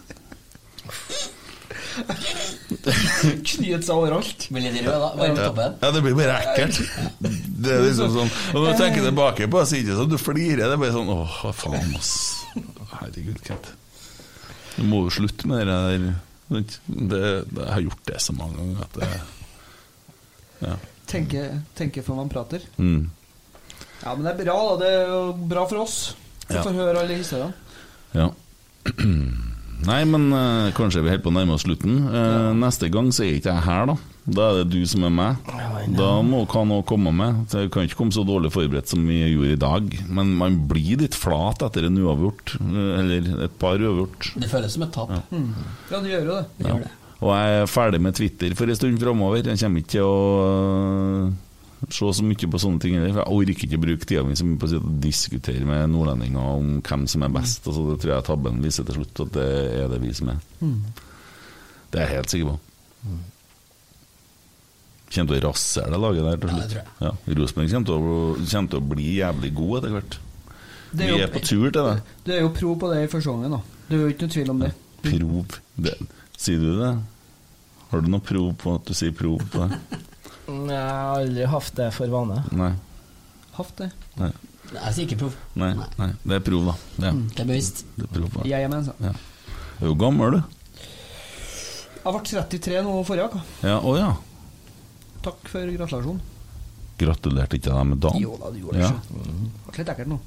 Speaker 6: Knyet seg overalt.
Speaker 5: Vil jeg rød, da? Varme
Speaker 4: Ja.
Speaker 5: toppen?
Speaker 4: Ja, det blir bare ekkelt. Det er liksom sånn Og når du tenker tilbake på det, så er det ikke sånn at du flirer. Det er bare sånn Åh, hva faen, ass. Herregud, Kent. Du må jo slutte med det der. sant? Det, det, jeg har gjort det så mange ganger at det Ja.
Speaker 6: Tenke, tenke før man prater.
Speaker 4: Mm.
Speaker 6: Ja, men det er bra, da. Det er jo bra for oss. Vi
Speaker 4: Ja.
Speaker 6: får høre alle historiene.
Speaker 4: ja. Nei, men eh, kanskje vi holder på å nærme oss slutten. Eh, Neste gang så er ikke jeg her, da. Da er det du som er meg. Da må kan noe komme med. Så jeg kan ikke komme så dårlig forberedt som vi gjorde i dag. Men man blir litt flat etter en uavgjort, eh, eller et par uavgjort.
Speaker 5: Det føles som et tap.
Speaker 4: Ja.
Speaker 6: Mm. Ja, du gjør jo det.
Speaker 4: Ja. Og jeg er ferdig med Twitter for en stund framover. Jeg kommer ikke til å øh, se så mye på sånne ting heller. For jeg orker ikke å bruke tida mi så mye på å sitte og diskutere med nordlendinger om hvem som er
Speaker 6: Mm.
Speaker 4: best. Altså, det tror jeg tabben viser til slutt, at det er det vi som er.
Speaker 6: Mm.
Speaker 4: Det er jeg helt sikker på. Kommer til å rasere det laget der til slutt. Ja, Rosenborg kommer til å- kommer til å bli jævlig god etter hvert.
Speaker 6: Det er
Speaker 4: Vi
Speaker 6: jo-
Speaker 4: er på tur til det.
Speaker 6: Du er jo pro på det i første gangen, da. Det er jo ikke noe tvil om det.
Speaker 4: Prov det. Sier du det? Har du noe prov på at du sier prov på det?
Speaker 7: Nei, Mm, Jeg har aldri hatt det for vane.
Speaker 4: Nei.
Speaker 6: Haft det.
Speaker 4: Nei.
Speaker 5: Jeg sier ikke proff.
Speaker 4: Nei. Nei. Det er prov, da. Det er,
Speaker 5: Det er bevisst.
Speaker 4: det er prov, da.
Speaker 6: Jeg er med, altså.
Speaker 4: Ja. Du er jo gammel, du.
Speaker 6: Jeg ble 33 nå forrige uke.
Speaker 4: Ja, Å ja.
Speaker 6: Takk for gratulasjonen.
Speaker 4: Gratulerte ikke jeg deg med dagen?
Speaker 6: Jo da, du gjorde det
Speaker 4: ja.
Speaker 6: ikke. Det ble litt ekkelt nå.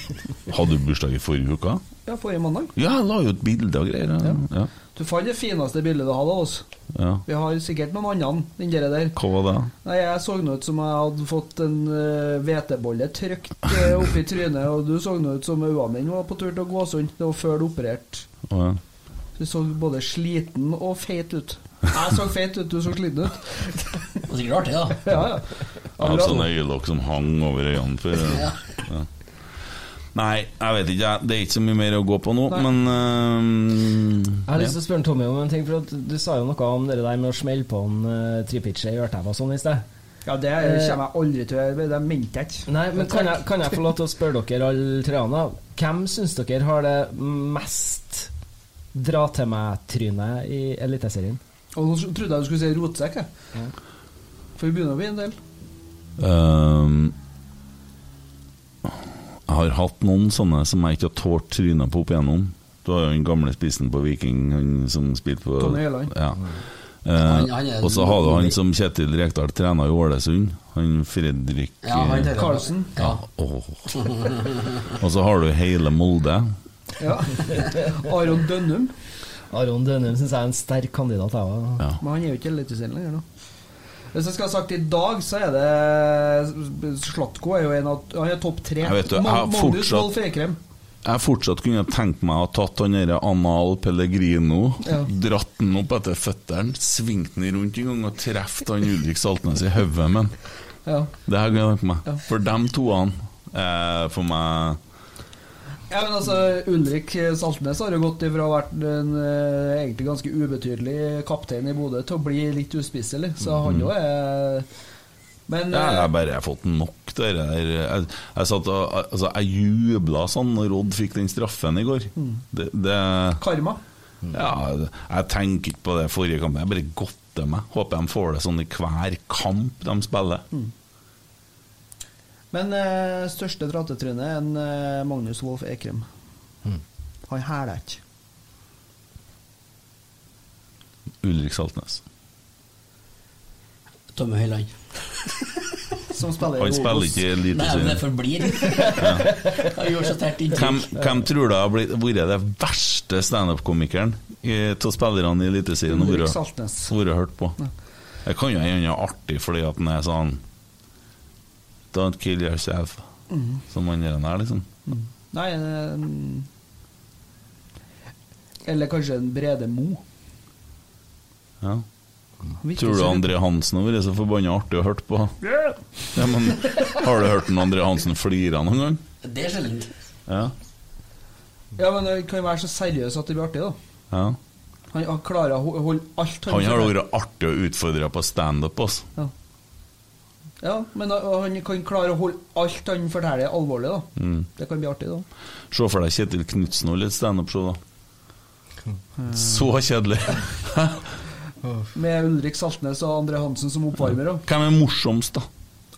Speaker 4: Hadde du bursdag i forrige uke?
Speaker 6: ja, forrige mandag.
Speaker 4: Ja, jeg la jo ut bilde og greier. Ja. Ja.
Speaker 6: Du fant det fineste bildet du hadde av oss.
Speaker 4: Ja.
Speaker 6: Vi har sikkert noen andre enn dere der.
Speaker 4: Hva var det?
Speaker 6: Nei, Jeg så nå ut som jeg hadde fått en eh, hvetebolle trykt eh, oppi trynet, og du så nå ut som øynene dine var på tur til å gå sund. Det var før du opererte.
Speaker 4: Å, ja.
Speaker 6: Du så både sliten og feit ut. Jeg så feit ut, du så sliten ut. Det
Speaker 5: var sikkert artig, da.
Speaker 6: Ja, ja.
Speaker 4: Jeg hadde sånne sånn øyelokk som hang over øynene før.
Speaker 6: Ja.
Speaker 4: Ja. Nei, jeg vet ikke. jeg. Det er ikke så mye mer å gå på nå, men ehm, øhm,
Speaker 7: Jeg har lyst
Speaker 4: ja.
Speaker 7: til å spørre Tommy om en ting, for at du sa jo noe om det der med å smelle på en uh, tripitcher i ørtæva og sånn i sted.
Speaker 6: Ja, det kommer jeg aldri til å gjøre. Det mente jeg ikke.
Speaker 7: Nei, Eh, men kan jeg, kan jeg få lov til å spørre dere alle treene? Hvem syns dere har det mest dra-til-meg-trynet i Eliteserien?
Speaker 6: Og Nå trodde jeg du skulle si rotsekk, jeg. For vi begynner å bli en del.
Speaker 4: Øhm, Ehm, Jeg har hatt noen sånne som jeg ikke har tålt trynet på opp igjennom. Du har jo den gamle spissen på Viking, han som spilte på
Speaker 6: Conny Øyland.
Speaker 4: Ja. Eh,
Speaker 6: Han- han er-
Speaker 4: og så har du han som Kjetil Rekdal trena i Ålesund. Han Fredrik
Speaker 6: Ja, han
Speaker 4: eh,
Speaker 6: der. Karlsen.
Speaker 4: Ja. åh. Og så har du hele Molde.
Speaker 6: Ja. Aron Dønnum.
Speaker 7: Aron Dønnum syns jeg er en sterk kandidat, jeg òg.
Speaker 6: Men han er jo ikke i Eliteserien lenger nå. Hvis jeg skal ha sagt i dag, så er det Slatko er jo en av Han er topp tre.
Speaker 4: Jeg vet du, jeg
Speaker 6: Ma-
Speaker 4: har
Speaker 6: Magnus
Speaker 4: fortsatt-
Speaker 6: Wolff Eikrem.
Speaker 4: Jeg fortsatt kunne tenkt meg å ha tatt han derre Anal Pellegrino,
Speaker 6: Ja.
Speaker 4: dratt den opp etter føttene, svingt den rundt en gang og treffet han Ulrik Saltnes i hodet med den.
Speaker 6: Ja.
Speaker 4: Det her kan jeg tenke meg. For dem toene, eh, for meg
Speaker 6: Ja, men altså, Ulrik Saltnes har jo gått ifra å ha vært en eh, egentlig ganske ubetydelig kaptein i Bodø til å bli litt uspisselig, så han jo er Men
Speaker 4: Mhm. Ja,
Speaker 6: eh,
Speaker 4: jeg har bare fått nok det der. Jeg, jeg, satt og, altså, jeg jubla sånn når Odd fikk den straffen i går.
Speaker 6: Mm.
Speaker 4: Det, det,
Speaker 6: Karma.
Speaker 4: Ja, jeg tenker ikke på det forrige kampen. Jeg bare godter meg. Håper de får det sånn i hver kamp de spiller.
Speaker 6: Men eh, største dratetrynet er en eh, Magnus Wolff Ekrem.
Speaker 4: Mhm.
Speaker 6: Han hæler ikke.
Speaker 4: Ulrik Saltnes.
Speaker 5: Tomme Høiland.
Speaker 6: Som spiller
Speaker 4: Han spiller ikke i Eliteserien.
Speaker 5: Nei, men det forblir. Han gjorde så tært
Speaker 4: Hvem,
Speaker 5: inntrykk.
Speaker 4: hvem tror du har blitt- vært det verste standup-komikeren i- til spillerne i Eliteserien og
Speaker 6: Ulrik
Speaker 4: vært
Speaker 6: Saltnes.
Speaker 4: vært hørt på? Det kan jo hende han er artig fordi at han er sånn Don't kill yourself,
Speaker 6: Mhm.
Speaker 4: som han der er, liksom.
Speaker 6: Nei eh, mm. Eller kanskje en Brede Mo.
Speaker 4: Ja.
Speaker 6: Virker
Speaker 4: Tror du
Speaker 6: så-
Speaker 4: André Hansen har vært så forbanna artig å høre på?
Speaker 6: Ja.
Speaker 4: Ja, men, har du hørt den André Hansen flire noen gang?
Speaker 5: Det er sjeldent.
Speaker 4: Ja.
Speaker 6: Ja, men det kan jo være så seriøs at det blir artig, da.
Speaker 4: ja.
Speaker 6: Han, han klarer å ho- holde alt
Speaker 4: Han har
Speaker 6: kjører.
Speaker 4: vært artig å utfordre på standup, altså.
Speaker 6: Ja, men han han kan klare å holde alt han forteller, alvorlig, da.
Speaker 4: Mm.
Speaker 6: Det kan bli artig, da.
Speaker 4: Se for deg Kjetil Knutsen holde et standup-show, da. Så kjedelig.
Speaker 6: Med Ulrik Saltnes og André Hansen som oppvarmere.
Speaker 4: Hvem er morsomst, da?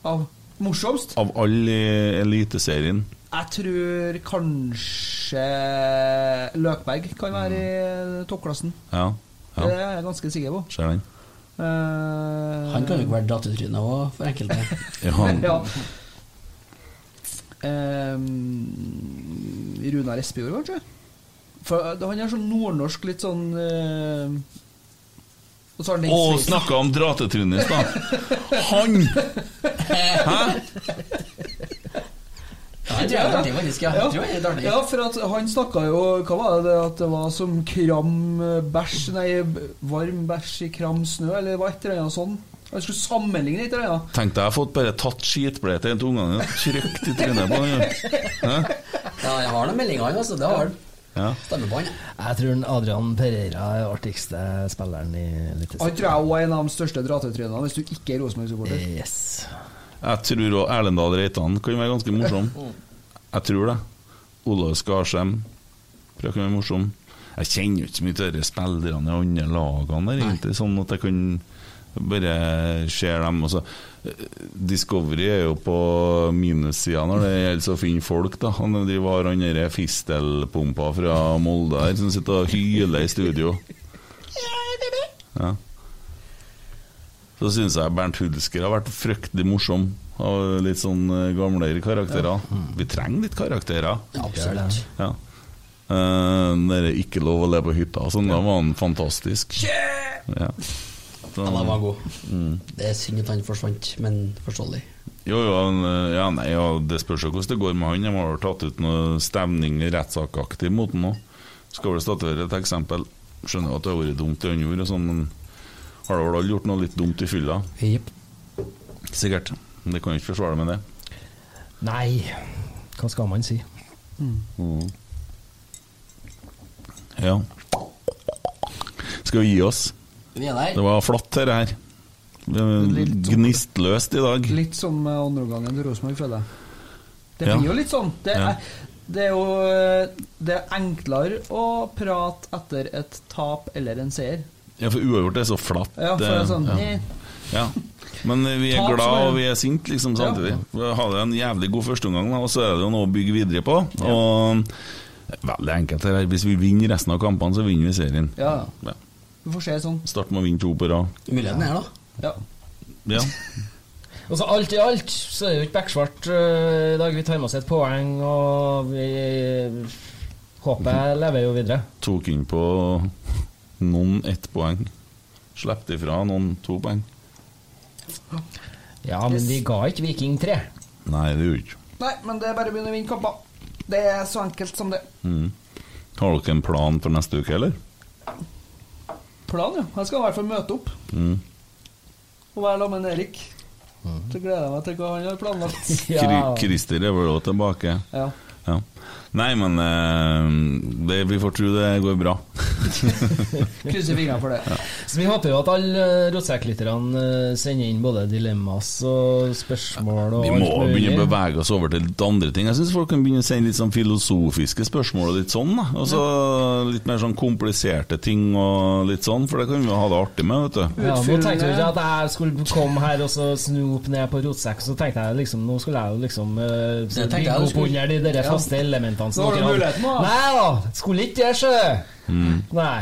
Speaker 6: Av morsomst?
Speaker 4: Av alle i Eliteserien?
Speaker 6: Jeg tror kanskje Løkberg kan være i toppklassen.
Speaker 4: Ja. ja.
Speaker 6: Det er jeg ganske sikker på.
Speaker 4: Ser den.
Speaker 6: Han
Speaker 5: Han kan jo ikke være datetryne òg, for enkelte.
Speaker 4: Ja, han-
Speaker 6: ja. Ehm, Runar Espejord, kanskje? For eh, han er sånn nordnorsk, litt sånn eh, Og så har han den
Speaker 4: Å,
Speaker 6: sveisen.
Speaker 4: snakka om dratetrynet i stad! Han! Hæ?
Speaker 5: Jeg tror jeg er artig, faktisk. Ja. Jeg tror jeg er litt artig.
Speaker 6: Ja, for at han snakka jo Hva var det at det var som kram eh, bæsj Nei, b- varm bæsj i kram snø, eller det var et eller annet sånn. Han skulle sammenligne et eller annet.
Speaker 4: Tenkte jeg fått bare tatt skitbleie til en til ungene og trykt i trynet på den. Hæ?
Speaker 5: Ja, jeg har noen meldinger, han, altså. Det har han.
Speaker 4: Ja.
Speaker 5: Stemmer på han.
Speaker 7: Jeg tror den Adrian Pereira er den artigste spilleren i
Speaker 6: Han
Speaker 7: Eliteserien.
Speaker 6: tror jeg også er en av de største dratetrynene, hvis du ikke er Rosenborg-supporter.
Speaker 4: Jeg tror òg Erlendal Reitan kan være ganske morsom. Jeg tror det. Olav Skarsheim tror jeg kan være morsom. Jeg kjenner jo ikke så mye til de spillerne i andre lagene der, egentlig, sånn at jeg kan bare se dem. Og så, eh, Discovery er jo på minussida når det gjelder å finne folk, da. Han driver og har han derre fistelpumpa fra Molde her som sitter og hyler i studio. Ja. Så syns jeg Bernt Hulsker har vært fryktelig morsom. Av litt sånn eh, gamlere karakterer. Vi trenger litt karakterer.
Speaker 5: Ja, absolutt.
Speaker 4: Ja. Eh, den derre 'ikke lov å le på hytta' og sånn, da var han fantastisk. Ja. Så-
Speaker 5: Han var god.
Speaker 4: Mm.
Speaker 5: Det er synd at han forsvant, men forståelig.
Speaker 4: Jo, jo, han, eh, ja, nei, ja, det spørs jo hvordan det går med han. De har jo tatt ut noe stevning rettssakaktig mot han òg. Skal vel statuere et eksempel. Skjønner jo at det har vært dumt i han gjorde, og sånn, men har da vel alle gjort noe litt dumt i fylla? Sikkert. Men det kan jo ikke forsvare med det.
Speaker 7: Nei, hva skal man si?
Speaker 6: Mm.
Speaker 4: Ja. Skal vi gi oss?
Speaker 5: Vi er der.
Speaker 4: Det var flatt, dette her. Det var Gnistløst i dag.
Speaker 6: sånn- Litt som eh, andreomgangen til Rosenborg, føler jeg. Det
Speaker 4: Ja.
Speaker 6: blir jo litt sånn. Det
Speaker 4: Ja.
Speaker 6: er, det er jo eh, Det er enklere å prate etter et tap eller en seier.
Speaker 4: Ja, for uavgjort er så flatt.
Speaker 6: Ja, for det er sånn,
Speaker 4: ja.
Speaker 6: eh.
Speaker 4: ja. Men eh, vi er
Speaker 6: Tap som
Speaker 4: glad
Speaker 6: er-
Speaker 4: og vi er sint liksom samtidig. Ha det en jævlig god førsteomgang, da, og så er det jo noe å bygge videre på. Og eh, veldig enkelt her. Hvis vi vinner resten av kampene, så vinner vi serien.
Speaker 6: Ja,
Speaker 4: Ja.
Speaker 6: vi får se sånn.
Speaker 4: Start med å vinne to på rad.
Speaker 5: Muligheten er da.
Speaker 6: Ja.
Speaker 4: Ja.
Speaker 7: Altså, alt i alt så er det jo ikke beksvart øh, i dag. Vi tar med oss et poeng, og vi håper lever jo videre.
Speaker 4: Tok inn på noen ett poeng. Slapp ifra noen to poeng.
Speaker 7: Ja, men vi ga ikke Viking 3.
Speaker 4: Nei, det gjorde ikke
Speaker 6: Nei, men det er bare å begynne å vinne kamper. Det er så enkelt som det.
Speaker 4: Mm. Har dere en plan for neste uke, eller?
Speaker 6: Plan, ja. Jeg skal i hvert fall møte opp
Speaker 4: Mm.
Speaker 6: og være sammen med Erik.
Speaker 7: Mm.
Speaker 6: Så gleder jeg meg til hva han har planlagt.
Speaker 4: Kri- Christer er vel også tilbake.
Speaker 6: Ja.
Speaker 4: Ja. Nei, men eh, det, vi får tro det går bra.
Speaker 6: Krysser fingrene for det.
Speaker 7: Så vi håper jo at alle eh, rotsekklytterne eh, sender inn både dilemmas og spørsmål og
Speaker 4: Vi må
Speaker 7: alt mulig.
Speaker 4: begynne å bevege oss over til litt andre ting. Jeg syns folk kan begynne å sende litt sånn filosofiske spørsmål og litt sånn. da Og så litt mer sånn kompliserte ting og litt sånn, for det kan vi jo ha det artig med, vet du.
Speaker 7: Ja, nå tenkte jeg ikke at jeg skulle komme her og så snope ned på rotsekk, så tenkte jeg liksom Nå skulle jeg jo liksom uh,
Speaker 5: Det tenkte jeg
Speaker 7: bygge
Speaker 5: du
Speaker 7: opp
Speaker 5: skulle-
Speaker 7: under de der
Speaker 5: Ja.
Speaker 7: faste elementene
Speaker 5: Nå
Speaker 7: som
Speaker 5: har
Speaker 7: dere
Speaker 5: du
Speaker 7: hadde.
Speaker 5: muligheten, da.
Speaker 7: Sånn, Nei da, skulle ikke det skje!
Speaker 4: Mm.
Speaker 7: Nei.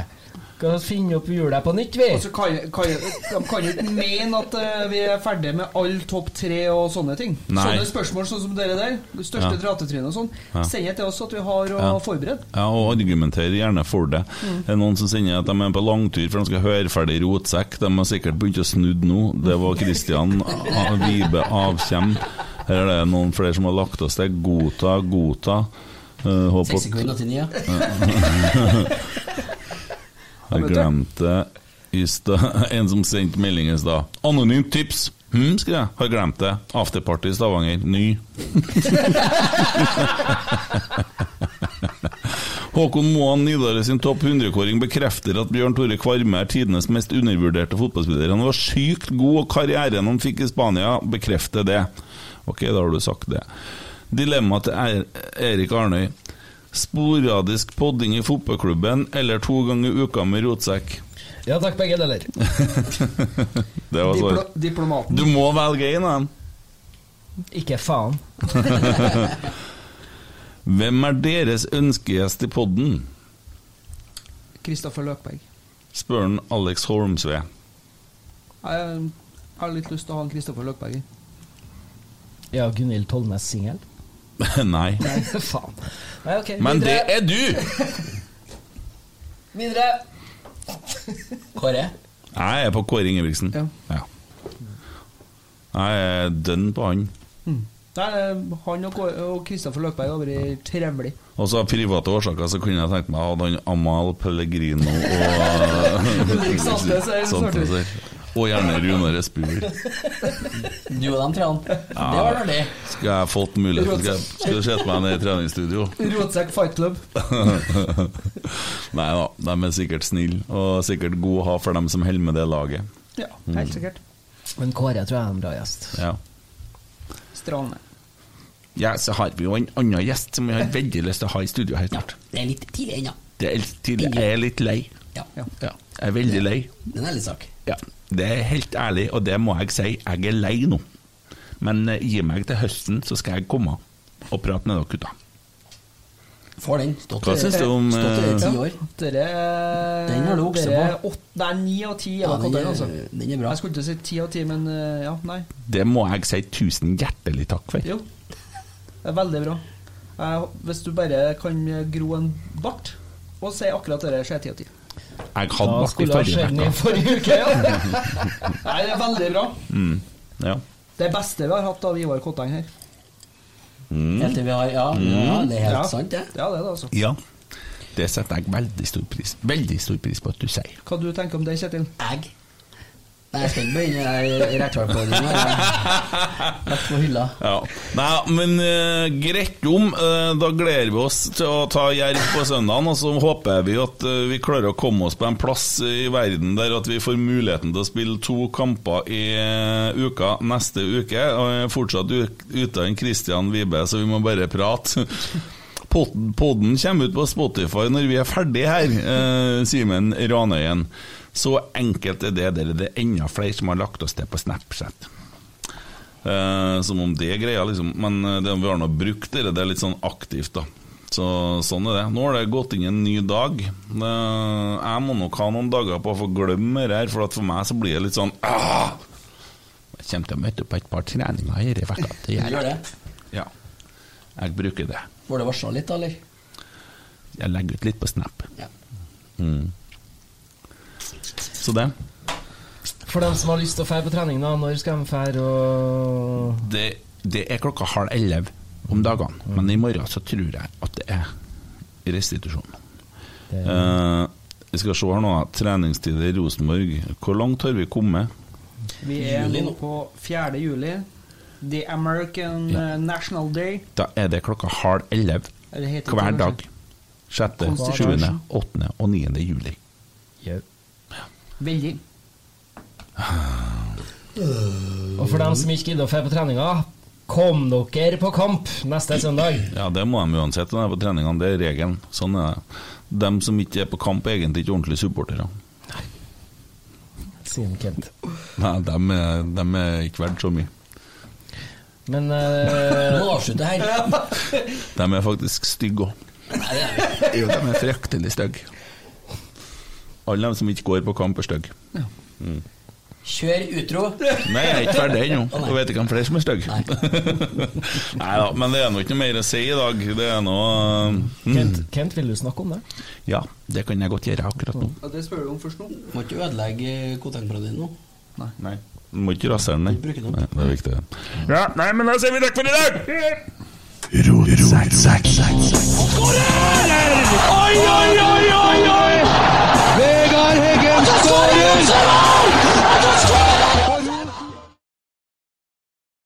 Speaker 7: Skal finne opp hjulet på nytt, vi.
Speaker 6: Og så kan, kan, de kan ikke mene at eh, vi er ferdige med all topp tre og sånne ting.
Speaker 4: Nei.
Speaker 6: Sånne spørsmål sånn som dere der, det største
Speaker 4: Ja.
Speaker 6: dratetrynet og sånn,
Speaker 4: Ja.
Speaker 6: send det til oss at vi har å
Speaker 4: Ja.
Speaker 6: forberede.
Speaker 4: Ja, og argumentere gjerne for det.
Speaker 6: Mm.
Speaker 4: Det er noen som sender at de er på langtur for de skal høre ferdig Rotsekk. De har sikkert begynt å snudd nå. Det var Kristian A- Vibe Avkjem. Her er det noen flere som har lagt oss til. Godta, godta. Uh, håper
Speaker 5: Seks sekunder til ni, ja.
Speaker 4: Jeg glemte i stad En som sendte melding i stad. Anonymt tips! Hm, skrev jeg. Har glemt det. Afterparty i Stavanger. Ny. Håkon Moan Nidare sin topp 100-kåring bekrefter at Bjørn Tore Kvarme er tidenes mest undervurderte fotballspiller. Han var sykt god, og karrieren han fikk i Spania, bekrefter det. Ok, da har du sagt det. Dilemma til er Erik Arnøy. Sporadisk podding i fotballklubben eller to ganger i uka med rotsekk?
Speaker 7: Ja takk, begge deler.
Speaker 4: Det var svaret.
Speaker 6: Diplo- diplomaten.
Speaker 4: Du må velge en av dem.
Speaker 7: Ikke faen.
Speaker 4: Hvem er deres ønskegjest i podden?
Speaker 6: Kristoffer Løkberg.
Speaker 4: Spør han Alex Holmsve.
Speaker 6: Jeg jeg har litt lyst til å ha en Kristoffer Løkberg i.
Speaker 7: Ja, Gunhild Tolmes singel.
Speaker 4: Nei.
Speaker 7: faen. Nei, ok.
Speaker 4: Men det
Speaker 7: videre.
Speaker 4: er du!
Speaker 7: Videre.
Speaker 5: Kåre?
Speaker 4: Jeg er på Kåre Ingebrigtsen. Ja. Jeg er dønn på han.
Speaker 6: Der, eh, han og Kå- og Kristoffer Løkberg har vært trevlig.
Speaker 4: Og så av private årsaker så kunne jeg tenkt meg å ha han Amal Pellegrino Sånn og
Speaker 6: Ulrik Saltnes er en
Speaker 4: Saltnes
Speaker 6: fordel.
Speaker 4: her. Og gjerne Runar Espejord.
Speaker 5: Du og de trærne. Det var artig.
Speaker 4: Skal jeg fått muligheten, skal jeg, skal jeg sette meg ned i treningsstudio.
Speaker 6: Rotsekk Fight Club.
Speaker 4: Nei da, de er sikkert snille, og sikkert gode å ha for dem som holder med det laget.
Speaker 6: Ja,
Speaker 4: Mm.
Speaker 6: helt sikkert.
Speaker 7: Men Kåre tror jeg er en bra gjest.
Speaker 4: Ja.
Speaker 6: Strålende.
Speaker 4: ja, så har vi jo en annen gjest som vi har veldig lyst til å ha i studio helt snart.
Speaker 5: Det er litt tidlig ennå.
Speaker 4: Det er litt tidlig. Jeg er litt lei. Ja. Jeg er veldig lei.
Speaker 5: Det er en ærlig sak.
Speaker 4: Ja, det er helt ærlig, og det må jeg si. Jeg er lei nå. Men eh, gi meg til høsten, så skal jeg komme og prate med dere gutta.
Speaker 5: Får den. Stått
Speaker 4: Hva
Speaker 5: i-
Speaker 4: syns du om,
Speaker 5: Stått i det i ti
Speaker 4: eh,
Speaker 5: år.
Speaker 6: Dere eh,
Speaker 5: Den har du okse
Speaker 6: dere åt- Det er ni av ti.
Speaker 5: Ja,
Speaker 6: Ja,
Speaker 5: den er-
Speaker 6: altså.
Speaker 5: den er bra.
Speaker 6: Jeg skulle ikke si ti av ti, men eh, ja, nei.
Speaker 4: Det må jeg si tusen hjertelig takk for.
Speaker 6: Jo. Det er veldig bra. Jeg- Hvis du bare kan gro en bart og si akkurat det der, så er ti av ti.
Speaker 4: Jeg hadde vært i
Speaker 7: skulle jeg
Speaker 4: forrige
Speaker 7: skjønne i forrige
Speaker 6: uke, ja. Nei, det er veldig bra.
Speaker 4: Mm. Ja.
Speaker 6: Det beste vi har hatt av Ivar Kotteng her.
Speaker 4: Mm.
Speaker 5: Helt til vi har Ja, ja det er helt sant, det.
Speaker 6: Ja, det er det, altså.
Speaker 4: Ja. Det setter jeg veldig stor pris Veldig stor pris på at du sier.
Speaker 6: Hva du tenker om det, Kjetil?
Speaker 5: Jeg? Nei, jeg skal ikke begynne i rettvarpåringen. Lagt på hylla.
Speaker 4: Ja. Nei, men eh, greit om. eh, da gleder vi oss til å ta jerv på søndagen, og så håper vi at eh, vi klarer å komme oss på en plass i verden der at vi får muligheten til å spille to kamper i eh, uka neste uke. Og jeg er fortsatt u- uten Christian Vibe, så vi må bare prate. Pod- Podden kommer ut på Spotify når vi er ferdig her, eh, Simen Ranøyen. Så enkelt er det. Det er det enda flere som har lagt oss til på Snapchat. Eh, som om det er greia, liksom. Men eh, det, vi har nå brukt det, det er litt sånn aktivt, da. Så sånn er det. Nå har det gått inn en ny dag. Eh, jeg må nok ha noen dager på å få glemme det her, for at for meg så blir det litt sånn «Ah!» Jeg kommer til å møte opp på et par treninger her i vekka. til
Speaker 5: Du gjør
Speaker 4: jeg.
Speaker 5: det.
Speaker 4: Ja. Jeg bruker det.
Speaker 5: Får det varsla litt, da, eller?
Speaker 4: Jeg legger ut litt på Snap. Mm. Så det.
Speaker 7: For dem som har lyst til å fære på trening, da, når skal de fære og
Speaker 6: Mm.
Speaker 4: det, det er klokka halv elleve om dagene, men i morgen så tror jeg det er restitusjon. Eh, Vi skal se her nå. Treningstid i Rosenborg. Hvor langt har vi kommet?
Speaker 6: Vi er nå på 4. juli. The American eh, National Day.
Speaker 4: Da er det klokka halv elleve
Speaker 6: Ja, det heter
Speaker 4: hver
Speaker 6: ikke
Speaker 4: dag. 6.,
Speaker 6: Konstitusjon.
Speaker 4: 7., 8. og 9. juli.
Speaker 6: Veldig.
Speaker 7: Og for dem som ikke gidder å dra på treninga, kom dere på kamp neste søndag.
Speaker 4: Ja, det må de uansett når de er på treningene. Det er regelen. Sånn er det. De som ikke er på kamp, er egentlig ikke ordentlige supportere.
Speaker 7: Sier han Kent.
Speaker 4: Nei, de er, de er ikke verdt så mye.
Speaker 7: Men
Speaker 5: Nå
Speaker 7: eh,
Speaker 5: avslutter jeg her.
Speaker 4: De er faktisk stygge òg. Jo, de er fryktelig stygge. Alle de som ikke går på kamp, er stygge. Mm.
Speaker 5: Kjør utro.
Speaker 4: Nei, jeg er ikke ferdig ennå. Jeg vet ikke om flere som er stygge. Nei da, men det er nå ikke noe mer å si i dag. Det er nå
Speaker 7: Kent,
Speaker 4: mm.
Speaker 7: Kent, vil du snakke om det?
Speaker 4: Ja, det kan jeg godt gjøre akkurat
Speaker 5: Mm.
Speaker 4: nå.
Speaker 6: Ja, det spør du om først nå.
Speaker 5: Må ikke ødelegge kotengbraden din nå.
Speaker 4: Nei. Du må ikke rasere den, nei.
Speaker 5: Bruke den opp.
Speaker 4: nei. Det er viktig. Ja, nei, men da sier vi takk for i dag!
Speaker 12: Rotsekk.
Speaker 3: Oi, oi, oi, oi, oi!